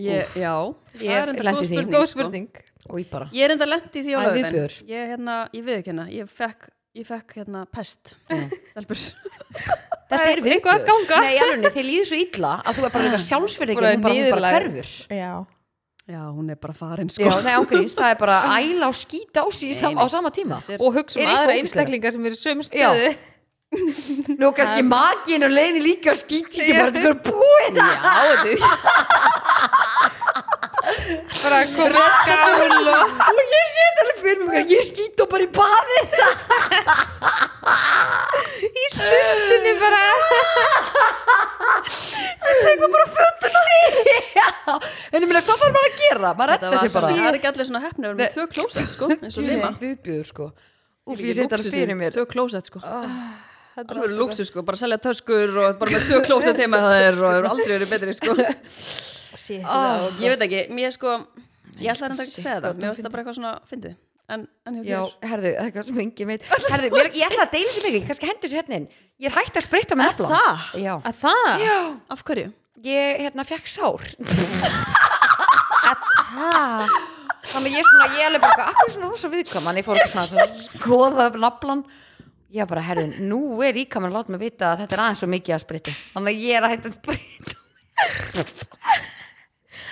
[SPEAKER 1] ég, Já,
[SPEAKER 3] Ég
[SPEAKER 1] það er enda
[SPEAKER 3] lenti
[SPEAKER 1] góð
[SPEAKER 3] í því.
[SPEAKER 1] spurning,
[SPEAKER 2] Góð
[SPEAKER 1] sko.
[SPEAKER 2] spurning
[SPEAKER 3] Og ég bara
[SPEAKER 1] Ég er enda lendi því á
[SPEAKER 3] Það er
[SPEAKER 1] lögðin
[SPEAKER 3] viðbjör.
[SPEAKER 1] Ég, hérna, ég veð ekki hérna, ég fekk, ég fekk hérna pest Stelpur
[SPEAKER 3] Þetta
[SPEAKER 2] er eitthvað
[SPEAKER 3] er
[SPEAKER 2] að
[SPEAKER 3] viðbjör.
[SPEAKER 2] ganga.
[SPEAKER 3] Nei, alveg, þið líður svo illa Að þú er bara líka sjálfsverð
[SPEAKER 2] Bara
[SPEAKER 3] ekki Hún bara, hún bara
[SPEAKER 2] niðurlæg.
[SPEAKER 3] hverfur
[SPEAKER 2] Já
[SPEAKER 1] Já, hún er bara farin sko
[SPEAKER 3] Já, nei, ángríns, það er bara æla og skýta á sig í sam- á sama tíma
[SPEAKER 2] Og hugsa um
[SPEAKER 3] Er eitthvað
[SPEAKER 2] aðra
[SPEAKER 3] ógeðslega?
[SPEAKER 2] einstaklingar sem eru í sömu stöðu
[SPEAKER 3] Nú kannski magin og leiðin líka skýti sem bara þetta er búið
[SPEAKER 1] Já, þetta
[SPEAKER 2] Bara koma skál og
[SPEAKER 3] og ég sé þetta alveg fyrir mig ég skýt og bara í baði
[SPEAKER 2] í stundinni bara
[SPEAKER 3] en ég meina hvað þarf maður að gera
[SPEAKER 1] Það
[SPEAKER 3] maður retta
[SPEAKER 1] var
[SPEAKER 3] sér bara
[SPEAKER 1] svona, það er ekki allir svona hefni að vera með tvö klósett sko eins og lima
[SPEAKER 3] viðbjöður sko úf ég sé þetta alveg fyrir mér
[SPEAKER 1] Tvö klósett sko
[SPEAKER 2] Þetta
[SPEAKER 1] Það eru lúksu sko, bara selja töskur og bara með tvö klósett heima það er og það eru aldrei verið betri sko
[SPEAKER 2] Shit,
[SPEAKER 3] Ah,
[SPEAKER 1] Ég veit ekki, mér sko Ég ætla reynda ekki að segja
[SPEAKER 3] Shit,
[SPEAKER 1] þetta,
[SPEAKER 3] hvað
[SPEAKER 1] mér
[SPEAKER 3] þú
[SPEAKER 1] finnst það bara eitthvað svona fyndið En, en hjá
[SPEAKER 3] já,
[SPEAKER 1] þér
[SPEAKER 3] herðu, það er eitthvað sem engin veit herðu, mér, ég ætla að deila sér mikið, kannski hendur sér hérna inn ég er hægt að spritta með nefla
[SPEAKER 1] það?
[SPEAKER 3] já,
[SPEAKER 2] Að það?
[SPEAKER 3] já.
[SPEAKER 1] Af hverju?
[SPEAKER 3] ég hérna fekk sár
[SPEAKER 2] Ha.
[SPEAKER 3] þannig að ég svona, ég alveg bara akkur svona rosa viðkvæm, en ég fór ekki svona, svona skoða upp naflan ég bara, herðu, nú er íkaman að láta mig vita að þetta er aðeins svo mikið að spriti þannig að ég er að hætta að sprita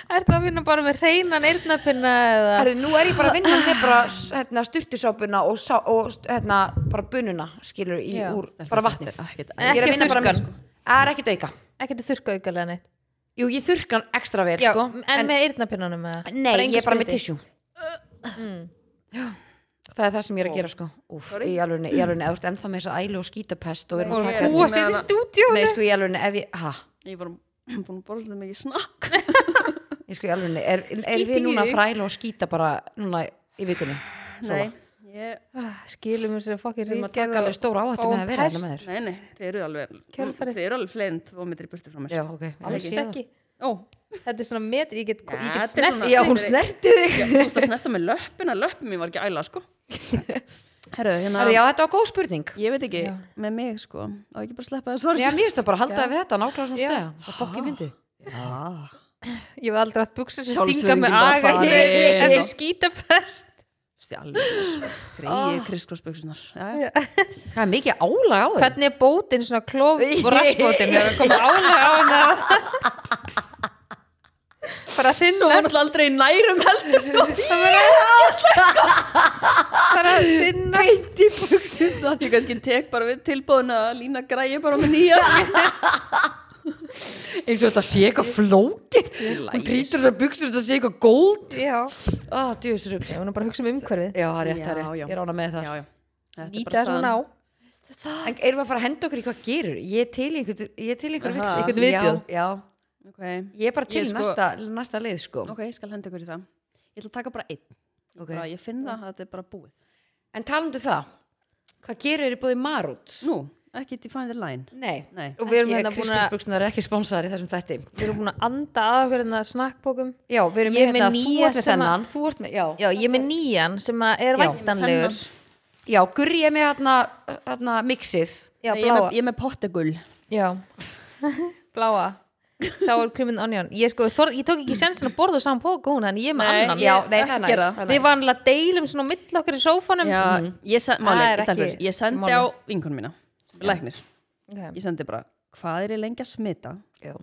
[SPEAKER 2] Ertu að vinna bara með reynan eyrnapinna eða?
[SPEAKER 3] herðu, nú er ég bara að vinna með bara hérna, styrtisápuna og, sá, og st- hérna, bara bununa, skilur í
[SPEAKER 2] Já,
[SPEAKER 3] úr, bara vatnið
[SPEAKER 1] Ekkert
[SPEAKER 2] En
[SPEAKER 3] ég er að
[SPEAKER 2] ekki
[SPEAKER 3] vinna bara með, sko.
[SPEAKER 2] þurrkan?
[SPEAKER 3] það er ekkert auka
[SPEAKER 2] Ekkert að þurrka aukalega neitt
[SPEAKER 3] jú, ég þurrkan ekstra vel,
[SPEAKER 2] Já,
[SPEAKER 3] sko
[SPEAKER 2] en, með eyrnapinnanum eða?
[SPEAKER 3] nei, ég
[SPEAKER 2] engin
[SPEAKER 3] er bara með
[SPEAKER 2] spriti?
[SPEAKER 3] tissjú Já. það er það sem ég er að gera, sko Úf, í alveg, í alveg, eða þú ert ennþá með þess að ælu og skítapest og við erum
[SPEAKER 2] Og
[SPEAKER 3] að taka
[SPEAKER 1] Ég er
[SPEAKER 2] húast
[SPEAKER 1] með
[SPEAKER 2] eitt í
[SPEAKER 1] hana.
[SPEAKER 2] stúdíu
[SPEAKER 3] Nei, sko, í alveg, ef ég, hæ,
[SPEAKER 1] Ég var búin að borða svolítið mikið snakk
[SPEAKER 3] ég sko, í alveg, er, er
[SPEAKER 2] Skíting í
[SPEAKER 3] við
[SPEAKER 2] þig.
[SPEAKER 3] núna að fræla og skýta bara núna í vikunni?
[SPEAKER 1] Nei, ég,
[SPEAKER 2] Ah, Skilum við sér fokkin
[SPEAKER 3] Við erum að taka alveg stóra áhættu
[SPEAKER 2] fáum
[SPEAKER 3] með að vera hérna
[SPEAKER 2] pest.
[SPEAKER 3] með þér.
[SPEAKER 1] nei, nei, þið eru alveg
[SPEAKER 2] Kjölfarið.
[SPEAKER 1] Þið eru alveg fleirinn tvo metri í burtu frá mér
[SPEAKER 3] Já, ok. ég
[SPEAKER 2] Alls
[SPEAKER 3] sé það.
[SPEAKER 2] ekki.
[SPEAKER 1] Ó,
[SPEAKER 2] Þetta er svona metri, ég get,
[SPEAKER 1] Ja,
[SPEAKER 2] ég get
[SPEAKER 1] þetta er
[SPEAKER 2] snert
[SPEAKER 1] svona-
[SPEAKER 3] Já, hún snerti þig.
[SPEAKER 1] þú ætti að snerta með löppina, löppin mín var ekki æla sko Herru, hérna
[SPEAKER 3] Herri, já, þetta var góð spurning.
[SPEAKER 1] Ég veit ekki, með mig sko Á ekki bara að sleppa það svar
[SPEAKER 3] Já, mér finnst það bara að halda við þetta nákvæmlega svona
[SPEAKER 2] Já.
[SPEAKER 3] að segja. Það fokk ég fyndi.
[SPEAKER 2] Ég hef aldrei átt buksur sem
[SPEAKER 1] Sjálfsögðin
[SPEAKER 2] stinga með
[SPEAKER 1] bara
[SPEAKER 2] aga
[SPEAKER 1] farin.
[SPEAKER 2] Ef ég skýta pest
[SPEAKER 1] Stjálfur, sko, greið kriskrossböksunar Já, já,
[SPEAKER 3] Það er mikið álag á þig.
[SPEAKER 2] Hvernig er bótin svona klóf og rassbótin Þegar það koma álega á hana Bara þinn
[SPEAKER 1] svo var náttúrulega aldrei nærum heldur sko
[SPEAKER 2] Það verður bara að þinna
[SPEAKER 3] Hvernig í buksundan?
[SPEAKER 1] Ég kannski tek bara við tilbúðuna að Lína græði bara með nýja
[SPEAKER 3] eins og þetta sé eitthvað flókið hún trýtur þessar buksur þetta sé eitthvað góld
[SPEAKER 2] Já.
[SPEAKER 3] ah, djöðsrugl
[SPEAKER 2] Ég var nú bara að hugsa um umhverfið.
[SPEAKER 3] já, það er rétt, það er
[SPEAKER 1] Já,
[SPEAKER 3] rétt,
[SPEAKER 1] já.
[SPEAKER 3] ég rána með það
[SPEAKER 1] já, já. Þetta er
[SPEAKER 2] Nýta
[SPEAKER 1] bara
[SPEAKER 2] svona
[SPEAKER 1] staðan.
[SPEAKER 2] á.
[SPEAKER 3] en erum við að fara að henda okkur í hvað gerur ég er til í einhvern ég er til í einhvern
[SPEAKER 1] Aha.
[SPEAKER 3] vitsi.
[SPEAKER 2] Einhvern viðbjóð.
[SPEAKER 3] já, já,
[SPEAKER 1] Ok,
[SPEAKER 3] ég er bara til
[SPEAKER 1] Ég
[SPEAKER 3] í
[SPEAKER 1] sko-
[SPEAKER 3] næsta, næsta leið sko
[SPEAKER 1] ok, ég skal henda ykkur í það Ég ætla að taka bara einn Ég,
[SPEAKER 3] Ok.
[SPEAKER 1] bara, ég finn það að þetta er bara búið
[SPEAKER 3] en talandu það, hvað gerur er búið marút?
[SPEAKER 1] Nú, ekki define the line
[SPEAKER 3] nei,
[SPEAKER 1] Nei,
[SPEAKER 2] Og við erum
[SPEAKER 3] ekki,
[SPEAKER 2] hérna búin að,
[SPEAKER 3] Kristinsbuxunar er ekki sponsor í þessum þætti
[SPEAKER 2] við erum búin að anda að okkur hérna snakkbókum.
[SPEAKER 3] já, við erum
[SPEAKER 2] Ég
[SPEAKER 3] með
[SPEAKER 2] er með
[SPEAKER 3] þetta, þú
[SPEAKER 2] nýja
[SPEAKER 3] ert með
[SPEAKER 2] sem að-
[SPEAKER 3] þennan þú ert með, já,
[SPEAKER 2] Já, ég er með nýjan sem að er
[SPEAKER 3] Já.
[SPEAKER 2] væntanlegur.
[SPEAKER 3] já, gurri ég með hérna, hérna mixið
[SPEAKER 2] Já,
[SPEAKER 1] Nei, ég, er
[SPEAKER 2] bláa.
[SPEAKER 1] með, ég er með pottegull
[SPEAKER 2] Já. bláa. Sour cream and onion. Ég sko, þor, ég tók ekki sensin að borða saman bók og hún, þannig ég er með
[SPEAKER 1] Nei.
[SPEAKER 2] annan.
[SPEAKER 3] já,
[SPEAKER 1] Ég-
[SPEAKER 3] nei, það er
[SPEAKER 1] ekki
[SPEAKER 3] næst
[SPEAKER 1] gera.
[SPEAKER 3] það er
[SPEAKER 2] Við
[SPEAKER 3] næst.
[SPEAKER 2] vanlega deilum um svona á milli okkur í sófanum.
[SPEAKER 1] Já,
[SPEAKER 3] Mhm.
[SPEAKER 1] ég, sen,
[SPEAKER 2] Það er
[SPEAKER 1] máli,
[SPEAKER 2] ekki-
[SPEAKER 1] stelpur, ég sendi
[SPEAKER 2] málið.
[SPEAKER 1] á vinkunum mína Læknir,
[SPEAKER 2] Mm. Ok.
[SPEAKER 1] ég sendi bara Hvað er ég lengi að smita
[SPEAKER 3] Já.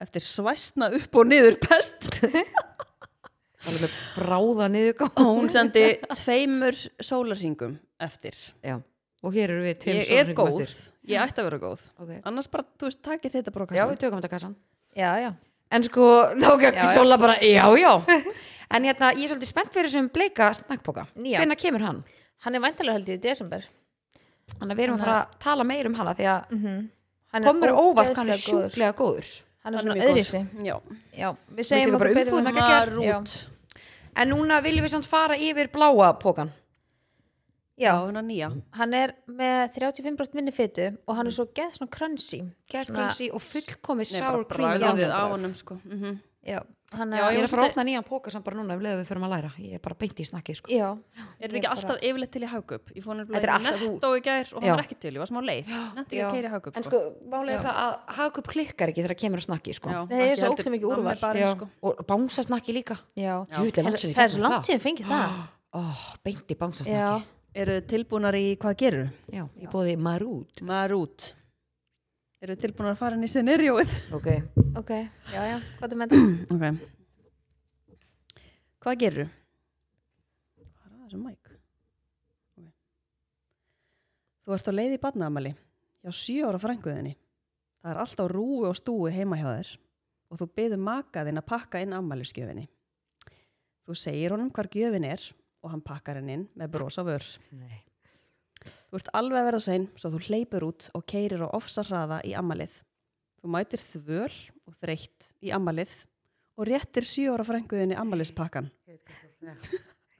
[SPEAKER 1] eftir svæstna upp og niður pest
[SPEAKER 3] alveg með bráða niður gá
[SPEAKER 1] og hún sendi tveimur sólarringum eftir
[SPEAKER 3] já. og hér eru við
[SPEAKER 1] Ég
[SPEAKER 3] tveim
[SPEAKER 1] er
[SPEAKER 3] sólarhringum
[SPEAKER 1] góð,
[SPEAKER 3] eftir.
[SPEAKER 1] ég ætti að vera góð
[SPEAKER 3] Ok.
[SPEAKER 1] Annars bara, þú veist, takið þetta bara á
[SPEAKER 3] já,
[SPEAKER 1] kassann.
[SPEAKER 3] við tökum þetta kassan
[SPEAKER 2] Já, já.
[SPEAKER 3] en sko, þá ekki
[SPEAKER 2] Já, já.
[SPEAKER 3] sola bara, já, já en hérna, ég er svolítið spennt fyrir þessum bleika snakkpoka
[SPEAKER 2] Já.
[SPEAKER 3] hvenær kemur hann?
[SPEAKER 2] Hann er væntanlegur held ég í desember.
[SPEAKER 3] þannig að við erum að fara að tala meir um hana því að
[SPEAKER 2] Mhm. Hann
[SPEAKER 3] komur óvart hvað hann er
[SPEAKER 2] ógeðslega góður.
[SPEAKER 3] sjúklega góður
[SPEAKER 1] Hann
[SPEAKER 2] Hann er
[SPEAKER 1] er
[SPEAKER 2] svona
[SPEAKER 1] mjög góð.
[SPEAKER 2] öðrisi.
[SPEAKER 1] Já,
[SPEAKER 2] Já, við
[SPEAKER 3] Veistu
[SPEAKER 2] segjum
[SPEAKER 3] hvað, bara
[SPEAKER 2] okkur betur um
[SPEAKER 3] umbúðin að geggjað?
[SPEAKER 2] það. Já.
[SPEAKER 3] en núna viljum við samt fara yfir bláa pokan
[SPEAKER 1] já,
[SPEAKER 2] Já,
[SPEAKER 1] hennar nýja
[SPEAKER 2] hann er með 35% minni fytu og hann er svo geð svona crunchy
[SPEAKER 3] gerðkrönsi og fullkomi
[SPEAKER 1] Nei, bara
[SPEAKER 3] sour cream í
[SPEAKER 1] bragðið á
[SPEAKER 3] ánum
[SPEAKER 1] honum, sko mm
[SPEAKER 2] Já, hann
[SPEAKER 1] Já,
[SPEAKER 2] er
[SPEAKER 3] ég er
[SPEAKER 1] var
[SPEAKER 3] að fara að
[SPEAKER 1] svolítið-
[SPEAKER 3] opna nýjan póka samt bara núna um leiðum við förum að læra ég er bara beint í snakkið sko
[SPEAKER 2] Já,
[SPEAKER 1] Er þetta ekki alltaf yfirleitt til í hagkaup? Ég fór
[SPEAKER 3] Þetta er
[SPEAKER 1] nefnilega í
[SPEAKER 3] alltaf-
[SPEAKER 1] nettó í gær og hann
[SPEAKER 3] Já.
[SPEAKER 1] var ekki til, ég var smá leið Nefndi ekki
[SPEAKER 3] Já.
[SPEAKER 1] að keira í hagkaup
[SPEAKER 3] en sko, málega það að hagkup klikkar ekki þegar kemur að snakki sko.
[SPEAKER 1] Já,
[SPEAKER 2] Nei, það er
[SPEAKER 1] ekki
[SPEAKER 2] svo
[SPEAKER 1] heldur
[SPEAKER 2] ógeðslega mikið
[SPEAKER 1] nammi
[SPEAKER 2] úrval.
[SPEAKER 1] barinn,
[SPEAKER 3] Já.
[SPEAKER 1] sko.
[SPEAKER 3] og bánsa snakki líka
[SPEAKER 2] já
[SPEAKER 3] Djöfull, er langt síðan ég
[SPEAKER 2] Það er
[SPEAKER 3] fengið
[SPEAKER 2] svo
[SPEAKER 3] það.
[SPEAKER 2] langt síðan fengið það
[SPEAKER 3] oh, beint í bánsa
[SPEAKER 2] Já,
[SPEAKER 3] snakki
[SPEAKER 1] Eru þið tilbúnar í hvað gerur?
[SPEAKER 3] já, ég bóði marút
[SPEAKER 1] Marút Eru þið tilbúnar að fara inn í scenarióið?
[SPEAKER 3] ok,
[SPEAKER 2] ok, já, já, hvað er með það?
[SPEAKER 1] ok Hvað gerur? Hvað er að þessu mæk? Okay. Þú ert á leið í badnaðamæli hjá sjö ára frænguðinni Það er alltaf rúi og stúi heima hjá þér og þú byður makaðinn að pakka inn ammælisgjöfinni. Þú segir honum hvar gjöfin er og hann pakkar henn inn með brosa vör.
[SPEAKER 3] Nei.
[SPEAKER 1] Þú ert alveg að verða sein svo þú hleypur út og keirir á ofsa hraða í ammalið. Þú mætir þvöl og þreytt í ammalið og réttir sjö ára frænguðinni ammaliðspakkan.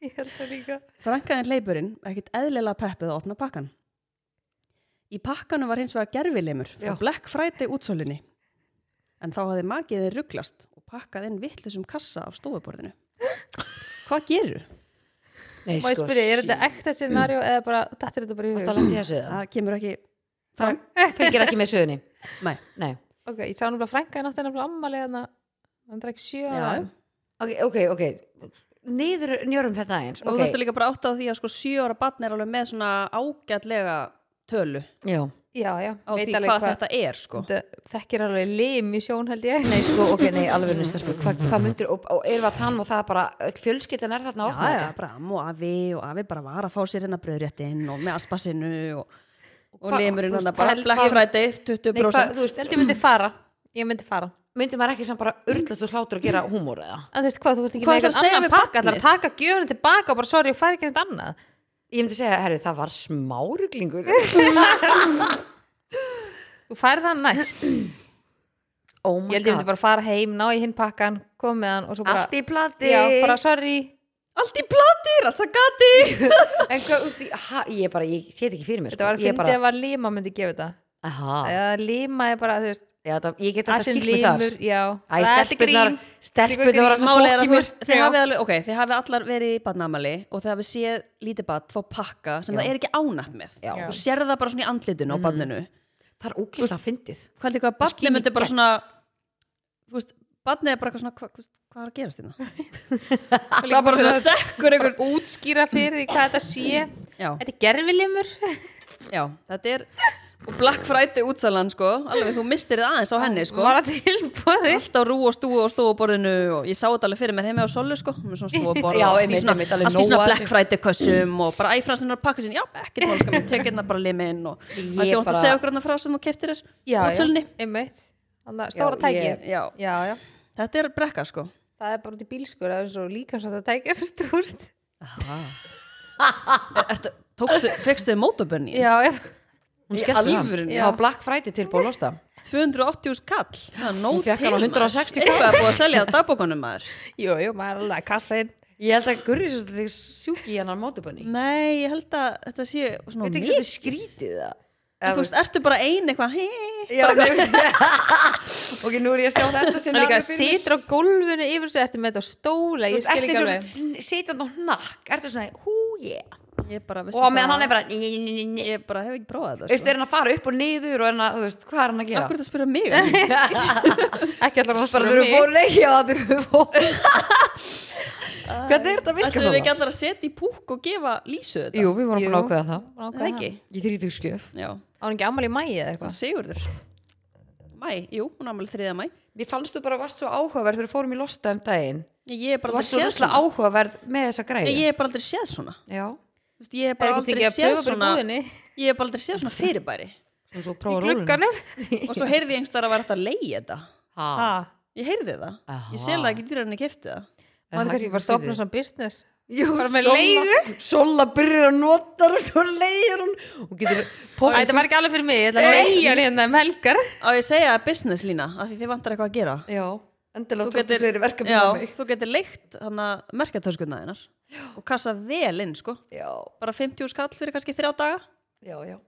[SPEAKER 2] Ég held það líka
[SPEAKER 1] Frænkaðin hleypurinn ekkit eðlilega peppuð að opna pakkan. Í pakkanu var hins vegar gerfilimur frá
[SPEAKER 3] Já.
[SPEAKER 1] Black Friday útsölinni. En þá hafði magiðin rugglast og pakkað inn vittlisum kassa af stofuborðinu. Hvað gerur?
[SPEAKER 3] Nei,
[SPEAKER 2] Má ég
[SPEAKER 3] sko,
[SPEAKER 2] spyrja, er
[SPEAKER 3] sí.
[SPEAKER 2] þetta ekta scenarió eða bara, dættir þetta bara í
[SPEAKER 3] Varstu að
[SPEAKER 2] hug?
[SPEAKER 3] lenda í þessu eða?
[SPEAKER 1] Það kemur ekki...
[SPEAKER 3] það fylgir ekki með sögunni
[SPEAKER 1] Nei.
[SPEAKER 3] Nei.
[SPEAKER 2] Ok, ég sá nefnilega frænka en átti nefnilega ammali hann hérna. hann drekk sjö ára
[SPEAKER 1] Já.
[SPEAKER 3] ok, ok, ok niður njörum þetta eins
[SPEAKER 1] Og þú
[SPEAKER 3] ok,
[SPEAKER 1] þarftu líka bara átt á því að sko sjö ára batn er alveg með svona ágætlega tölu
[SPEAKER 3] já
[SPEAKER 2] já, já,
[SPEAKER 1] á því hvað, þetta er sko.
[SPEAKER 2] þetta Þekkir alveg lim í sjón held ég
[SPEAKER 3] Nei, sko, ok, nei, alveg nýstarkur Hva, hvað myndir, og, og erum við að tannum og það bara öll fjölskyldan er
[SPEAKER 1] Já,
[SPEAKER 3] þarna að opna
[SPEAKER 1] já, bara amm og afi og afi bara var að fá sér hérna bröðréttinn og með aspasinu og, og
[SPEAKER 3] Hva-
[SPEAKER 1] limurinn
[SPEAKER 3] þú
[SPEAKER 1] hann
[SPEAKER 3] veist,
[SPEAKER 1] bara
[SPEAKER 3] held-
[SPEAKER 1] Black Friday
[SPEAKER 3] Nei, hvað,
[SPEAKER 1] 20%
[SPEAKER 3] þú veist,
[SPEAKER 2] Ég myndi fara, ég myndi fara
[SPEAKER 3] myndir maður ekki samt bara urðlast og hlátur að gera húmór eða
[SPEAKER 2] En þú veist hvað, þú ert ekki
[SPEAKER 1] Hvað
[SPEAKER 2] með
[SPEAKER 1] ætlarðu að segja
[SPEAKER 2] eitthvað annan
[SPEAKER 1] við
[SPEAKER 2] pakka, ætlar að
[SPEAKER 1] barnið?
[SPEAKER 2] taka gjöfuna tilbaka og bara sorry, ég fær ekki neitt annað.
[SPEAKER 3] Ég myndi segja, herru, það var smáruglingur
[SPEAKER 2] Þú fær það næst.
[SPEAKER 3] Oh
[SPEAKER 2] ég held
[SPEAKER 3] my
[SPEAKER 2] ég myndi
[SPEAKER 3] god,
[SPEAKER 2] bara fara heim, ná í hinn pakkan, kom með hann og svo bara,
[SPEAKER 3] allt í plati
[SPEAKER 2] já, bara sorry.
[SPEAKER 1] Allt í plati, rassagati
[SPEAKER 3] En hvað, úst, ha, ég bara, ég sé þetta ekki fyrir mér
[SPEAKER 2] Þetta var að
[SPEAKER 3] sko. Ég
[SPEAKER 2] fyndi
[SPEAKER 3] bara,
[SPEAKER 2] ef að lima myndi gefa þetta.
[SPEAKER 3] aha
[SPEAKER 2] Eða lima er bara, þú veist,
[SPEAKER 3] já, það, Ég get alltaf
[SPEAKER 2] asinn
[SPEAKER 3] skilt með það
[SPEAKER 2] limur, já.
[SPEAKER 3] Æ,
[SPEAKER 2] það er
[SPEAKER 3] stelpunar,
[SPEAKER 2] grín.
[SPEAKER 3] stelpunar var
[SPEAKER 2] grín.
[SPEAKER 3] svo
[SPEAKER 1] Máli er að
[SPEAKER 3] fólk í
[SPEAKER 1] þú
[SPEAKER 3] mér
[SPEAKER 1] veist, þið hafið alveg, ok, þið hafið allar verið í badnamali og þið hafið séð lítið badn fá pakka sem
[SPEAKER 3] Já.
[SPEAKER 1] það er ekki ánætt með
[SPEAKER 3] Já. Mhm.
[SPEAKER 1] og sér það bara svona í andlitinu á badninu
[SPEAKER 3] Það er ókist að fyndið
[SPEAKER 1] hvað heldur hvað
[SPEAKER 3] skín í
[SPEAKER 1] badni myndi bara
[SPEAKER 3] gegn.
[SPEAKER 1] svona þú veist, badni er bara eitthvað svona hva, hva, hvað er að gerast þérna? það er bara svona sekkur einhver
[SPEAKER 2] Bara útskýra fyrir því hvað þetta sé.
[SPEAKER 1] já,
[SPEAKER 2] Þetta er gerfilimur.
[SPEAKER 1] já, þetta er og Black Friday útsalan sko alveg þú mistir það aðeins á henni sko
[SPEAKER 2] Var það tilbúið.
[SPEAKER 1] alltaf rú og stúi og stúaborðinu og ég sá þetta alveg fyrir mér heima á Solu sko með svona stúaborð og
[SPEAKER 3] Já,
[SPEAKER 1] allt í
[SPEAKER 3] einmitt,
[SPEAKER 1] svona,
[SPEAKER 3] einmitt, alveg
[SPEAKER 1] allt í svona
[SPEAKER 3] nóg að
[SPEAKER 1] Black
[SPEAKER 3] þessu.
[SPEAKER 1] Friday kössum og bara æfransinnar pakkasin, já, ekkert mál skal mér tekið hérna bara limin og
[SPEAKER 3] Ég
[SPEAKER 1] það sé ótt að
[SPEAKER 3] bara-
[SPEAKER 1] segja okkur hérna frá sem þú keftir þér
[SPEAKER 2] Já, já,
[SPEAKER 1] útsölunni
[SPEAKER 2] einmitt. Þannig að stóra tæki.
[SPEAKER 3] ég-
[SPEAKER 1] Já,
[SPEAKER 2] Já, já.
[SPEAKER 1] þetta er brekka sko
[SPEAKER 2] Það er bara út í bílskur, það er svo líka svo þetta tæki er svo stúrt.
[SPEAKER 1] Er- Ertu, tókstu, fegstu þið mótabönni?
[SPEAKER 2] Já, já.
[SPEAKER 3] Hún
[SPEAKER 1] Í
[SPEAKER 3] skellt hann
[SPEAKER 1] alvörunni?
[SPEAKER 3] á Black Friday tilbúið að losta
[SPEAKER 1] 280 skall Það er nóg
[SPEAKER 3] Hún fékk
[SPEAKER 1] til,
[SPEAKER 3] hann á
[SPEAKER 1] maður.
[SPEAKER 3] 160 kall.
[SPEAKER 1] Eitthvað er búið að selja á dagbókunum maður
[SPEAKER 2] Jú, jú, maður er alveg að kassa inn.
[SPEAKER 3] Ég held að Gurri svo þetta sjúki í hennan mótubunni
[SPEAKER 1] Nei, ég held að þetta sé svona
[SPEAKER 3] Veit ekki
[SPEAKER 1] mikið.
[SPEAKER 3] þetta skrítið það
[SPEAKER 1] Þú veist, ertu bara ein eitthvað hei,
[SPEAKER 3] Já, nefnst Ok, nú er ég að sjá þetta sem
[SPEAKER 2] Það er líka
[SPEAKER 3] alveg fyrir mér.
[SPEAKER 2] situr á gólfinu yfir sig eftir með þetta á stóla,
[SPEAKER 3] Þú
[SPEAKER 2] ég
[SPEAKER 3] veist,
[SPEAKER 2] skil
[SPEAKER 3] Ertu
[SPEAKER 2] ekki alveg.
[SPEAKER 3] svo sitjandi á hnakk Ertu svona, hú yeah
[SPEAKER 1] Ég bara, veistu
[SPEAKER 3] Og á meðan
[SPEAKER 1] það,
[SPEAKER 3] hann er bara ný, ný, ný, ný, ný.
[SPEAKER 1] Ég bara hef ekki prófað
[SPEAKER 3] Þú veist,
[SPEAKER 1] þetta sko.
[SPEAKER 3] er hann að fara upp og niður og er hann að, þú veist, hvað er hann að gera?
[SPEAKER 1] Akkur þetta spyrja mig um?
[SPEAKER 2] Ekki allar hún
[SPEAKER 3] Bara þú eru fór leikja og þú eru fór Hvernig er þetta að virka
[SPEAKER 1] Ætlum við ekki
[SPEAKER 3] svona?
[SPEAKER 1] allar að setja í púkk og gefa lísu þetta?
[SPEAKER 3] Jú, við vorum búin
[SPEAKER 2] Jú.
[SPEAKER 3] að ákveða það
[SPEAKER 1] Það ekki?
[SPEAKER 3] Ég þrýtu skjöf
[SPEAKER 1] Já,
[SPEAKER 2] Á hann ekki ámæli í mæi eða eitthvað?
[SPEAKER 1] Sigurður Mæ, jú, hún ámæli 3. mæ
[SPEAKER 3] Mér fannst þú bara varst svo áhugaverð þegar við fórum í losta um daginn
[SPEAKER 1] Ég er
[SPEAKER 3] Þú
[SPEAKER 1] bara
[SPEAKER 3] varst
[SPEAKER 1] aldrei séð
[SPEAKER 3] svo rosalega
[SPEAKER 1] svona
[SPEAKER 3] áhugaverð með þessa
[SPEAKER 1] Nei,
[SPEAKER 3] græði
[SPEAKER 1] Ég er bara aldrei séð svona
[SPEAKER 3] Já,
[SPEAKER 1] Þú veist, Ég er
[SPEAKER 2] Er
[SPEAKER 1] bara
[SPEAKER 2] ekki
[SPEAKER 1] aldrei
[SPEAKER 2] fengið að
[SPEAKER 1] séð
[SPEAKER 2] pröfa bara í
[SPEAKER 1] svona
[SPEAKER 2] búðinni?
[SPEAKER 1] Ég er bara aldrei séð svona fyrirbæri
[SPEAKER 3] og svo
[SPEAKER 2] Í
[SPEAKER 3] prófa róluna
[SPEAKER 2] glugganum?
[SPEAKER 1] Og svo heyrði ég einhvers þar að vera þetta að leiði þetta
[SPEAKER 2] Ha,
[SPEAKER 3] Ha,
[SPEAKER 1] Ég heyrði það,
[SPEAKER 3] Aha.
[SPEAKER 1] ég sel það ekki dýrar en ég kefti það
[SPEAKER 2] maður kannski bara stopna svona business.
[SPEAKER 3] Jú,
[SPEAKER 2] bara með
[SPEAKER 3] Solla-
[SPEAKER 2] leigu.
[SPEAKER 3] Solla byrjar að nota og svo leiðir hún og getur
[SPEAKER 2] Æ,
[SPEAKER 3] poppað-
[SPEAKER 2] Þetta var ekki alveg fyrir mig, ég ætla að leigja hann hérna um helgar.
[SPEAKER 1] Á ég að segja business lína, af því þið vantar eitthvað að gera
[SPEAKER 3] Já, endilega
[SPEAKER 1] Þú
[SPEAKER 3] tóttu fleiri verkefni
[SPEAKER 1] já,
[SPEAKER 3] á mig
[SPEAKER 1] þú getur leikt þannig að merkatöskunnaðinar og kassa vel inn sko
[SPEAKER 3] Já,
[SPEAKER 1] bara 50 skall fyrir kannski þrjá daga
[SPEAKER 3] já, já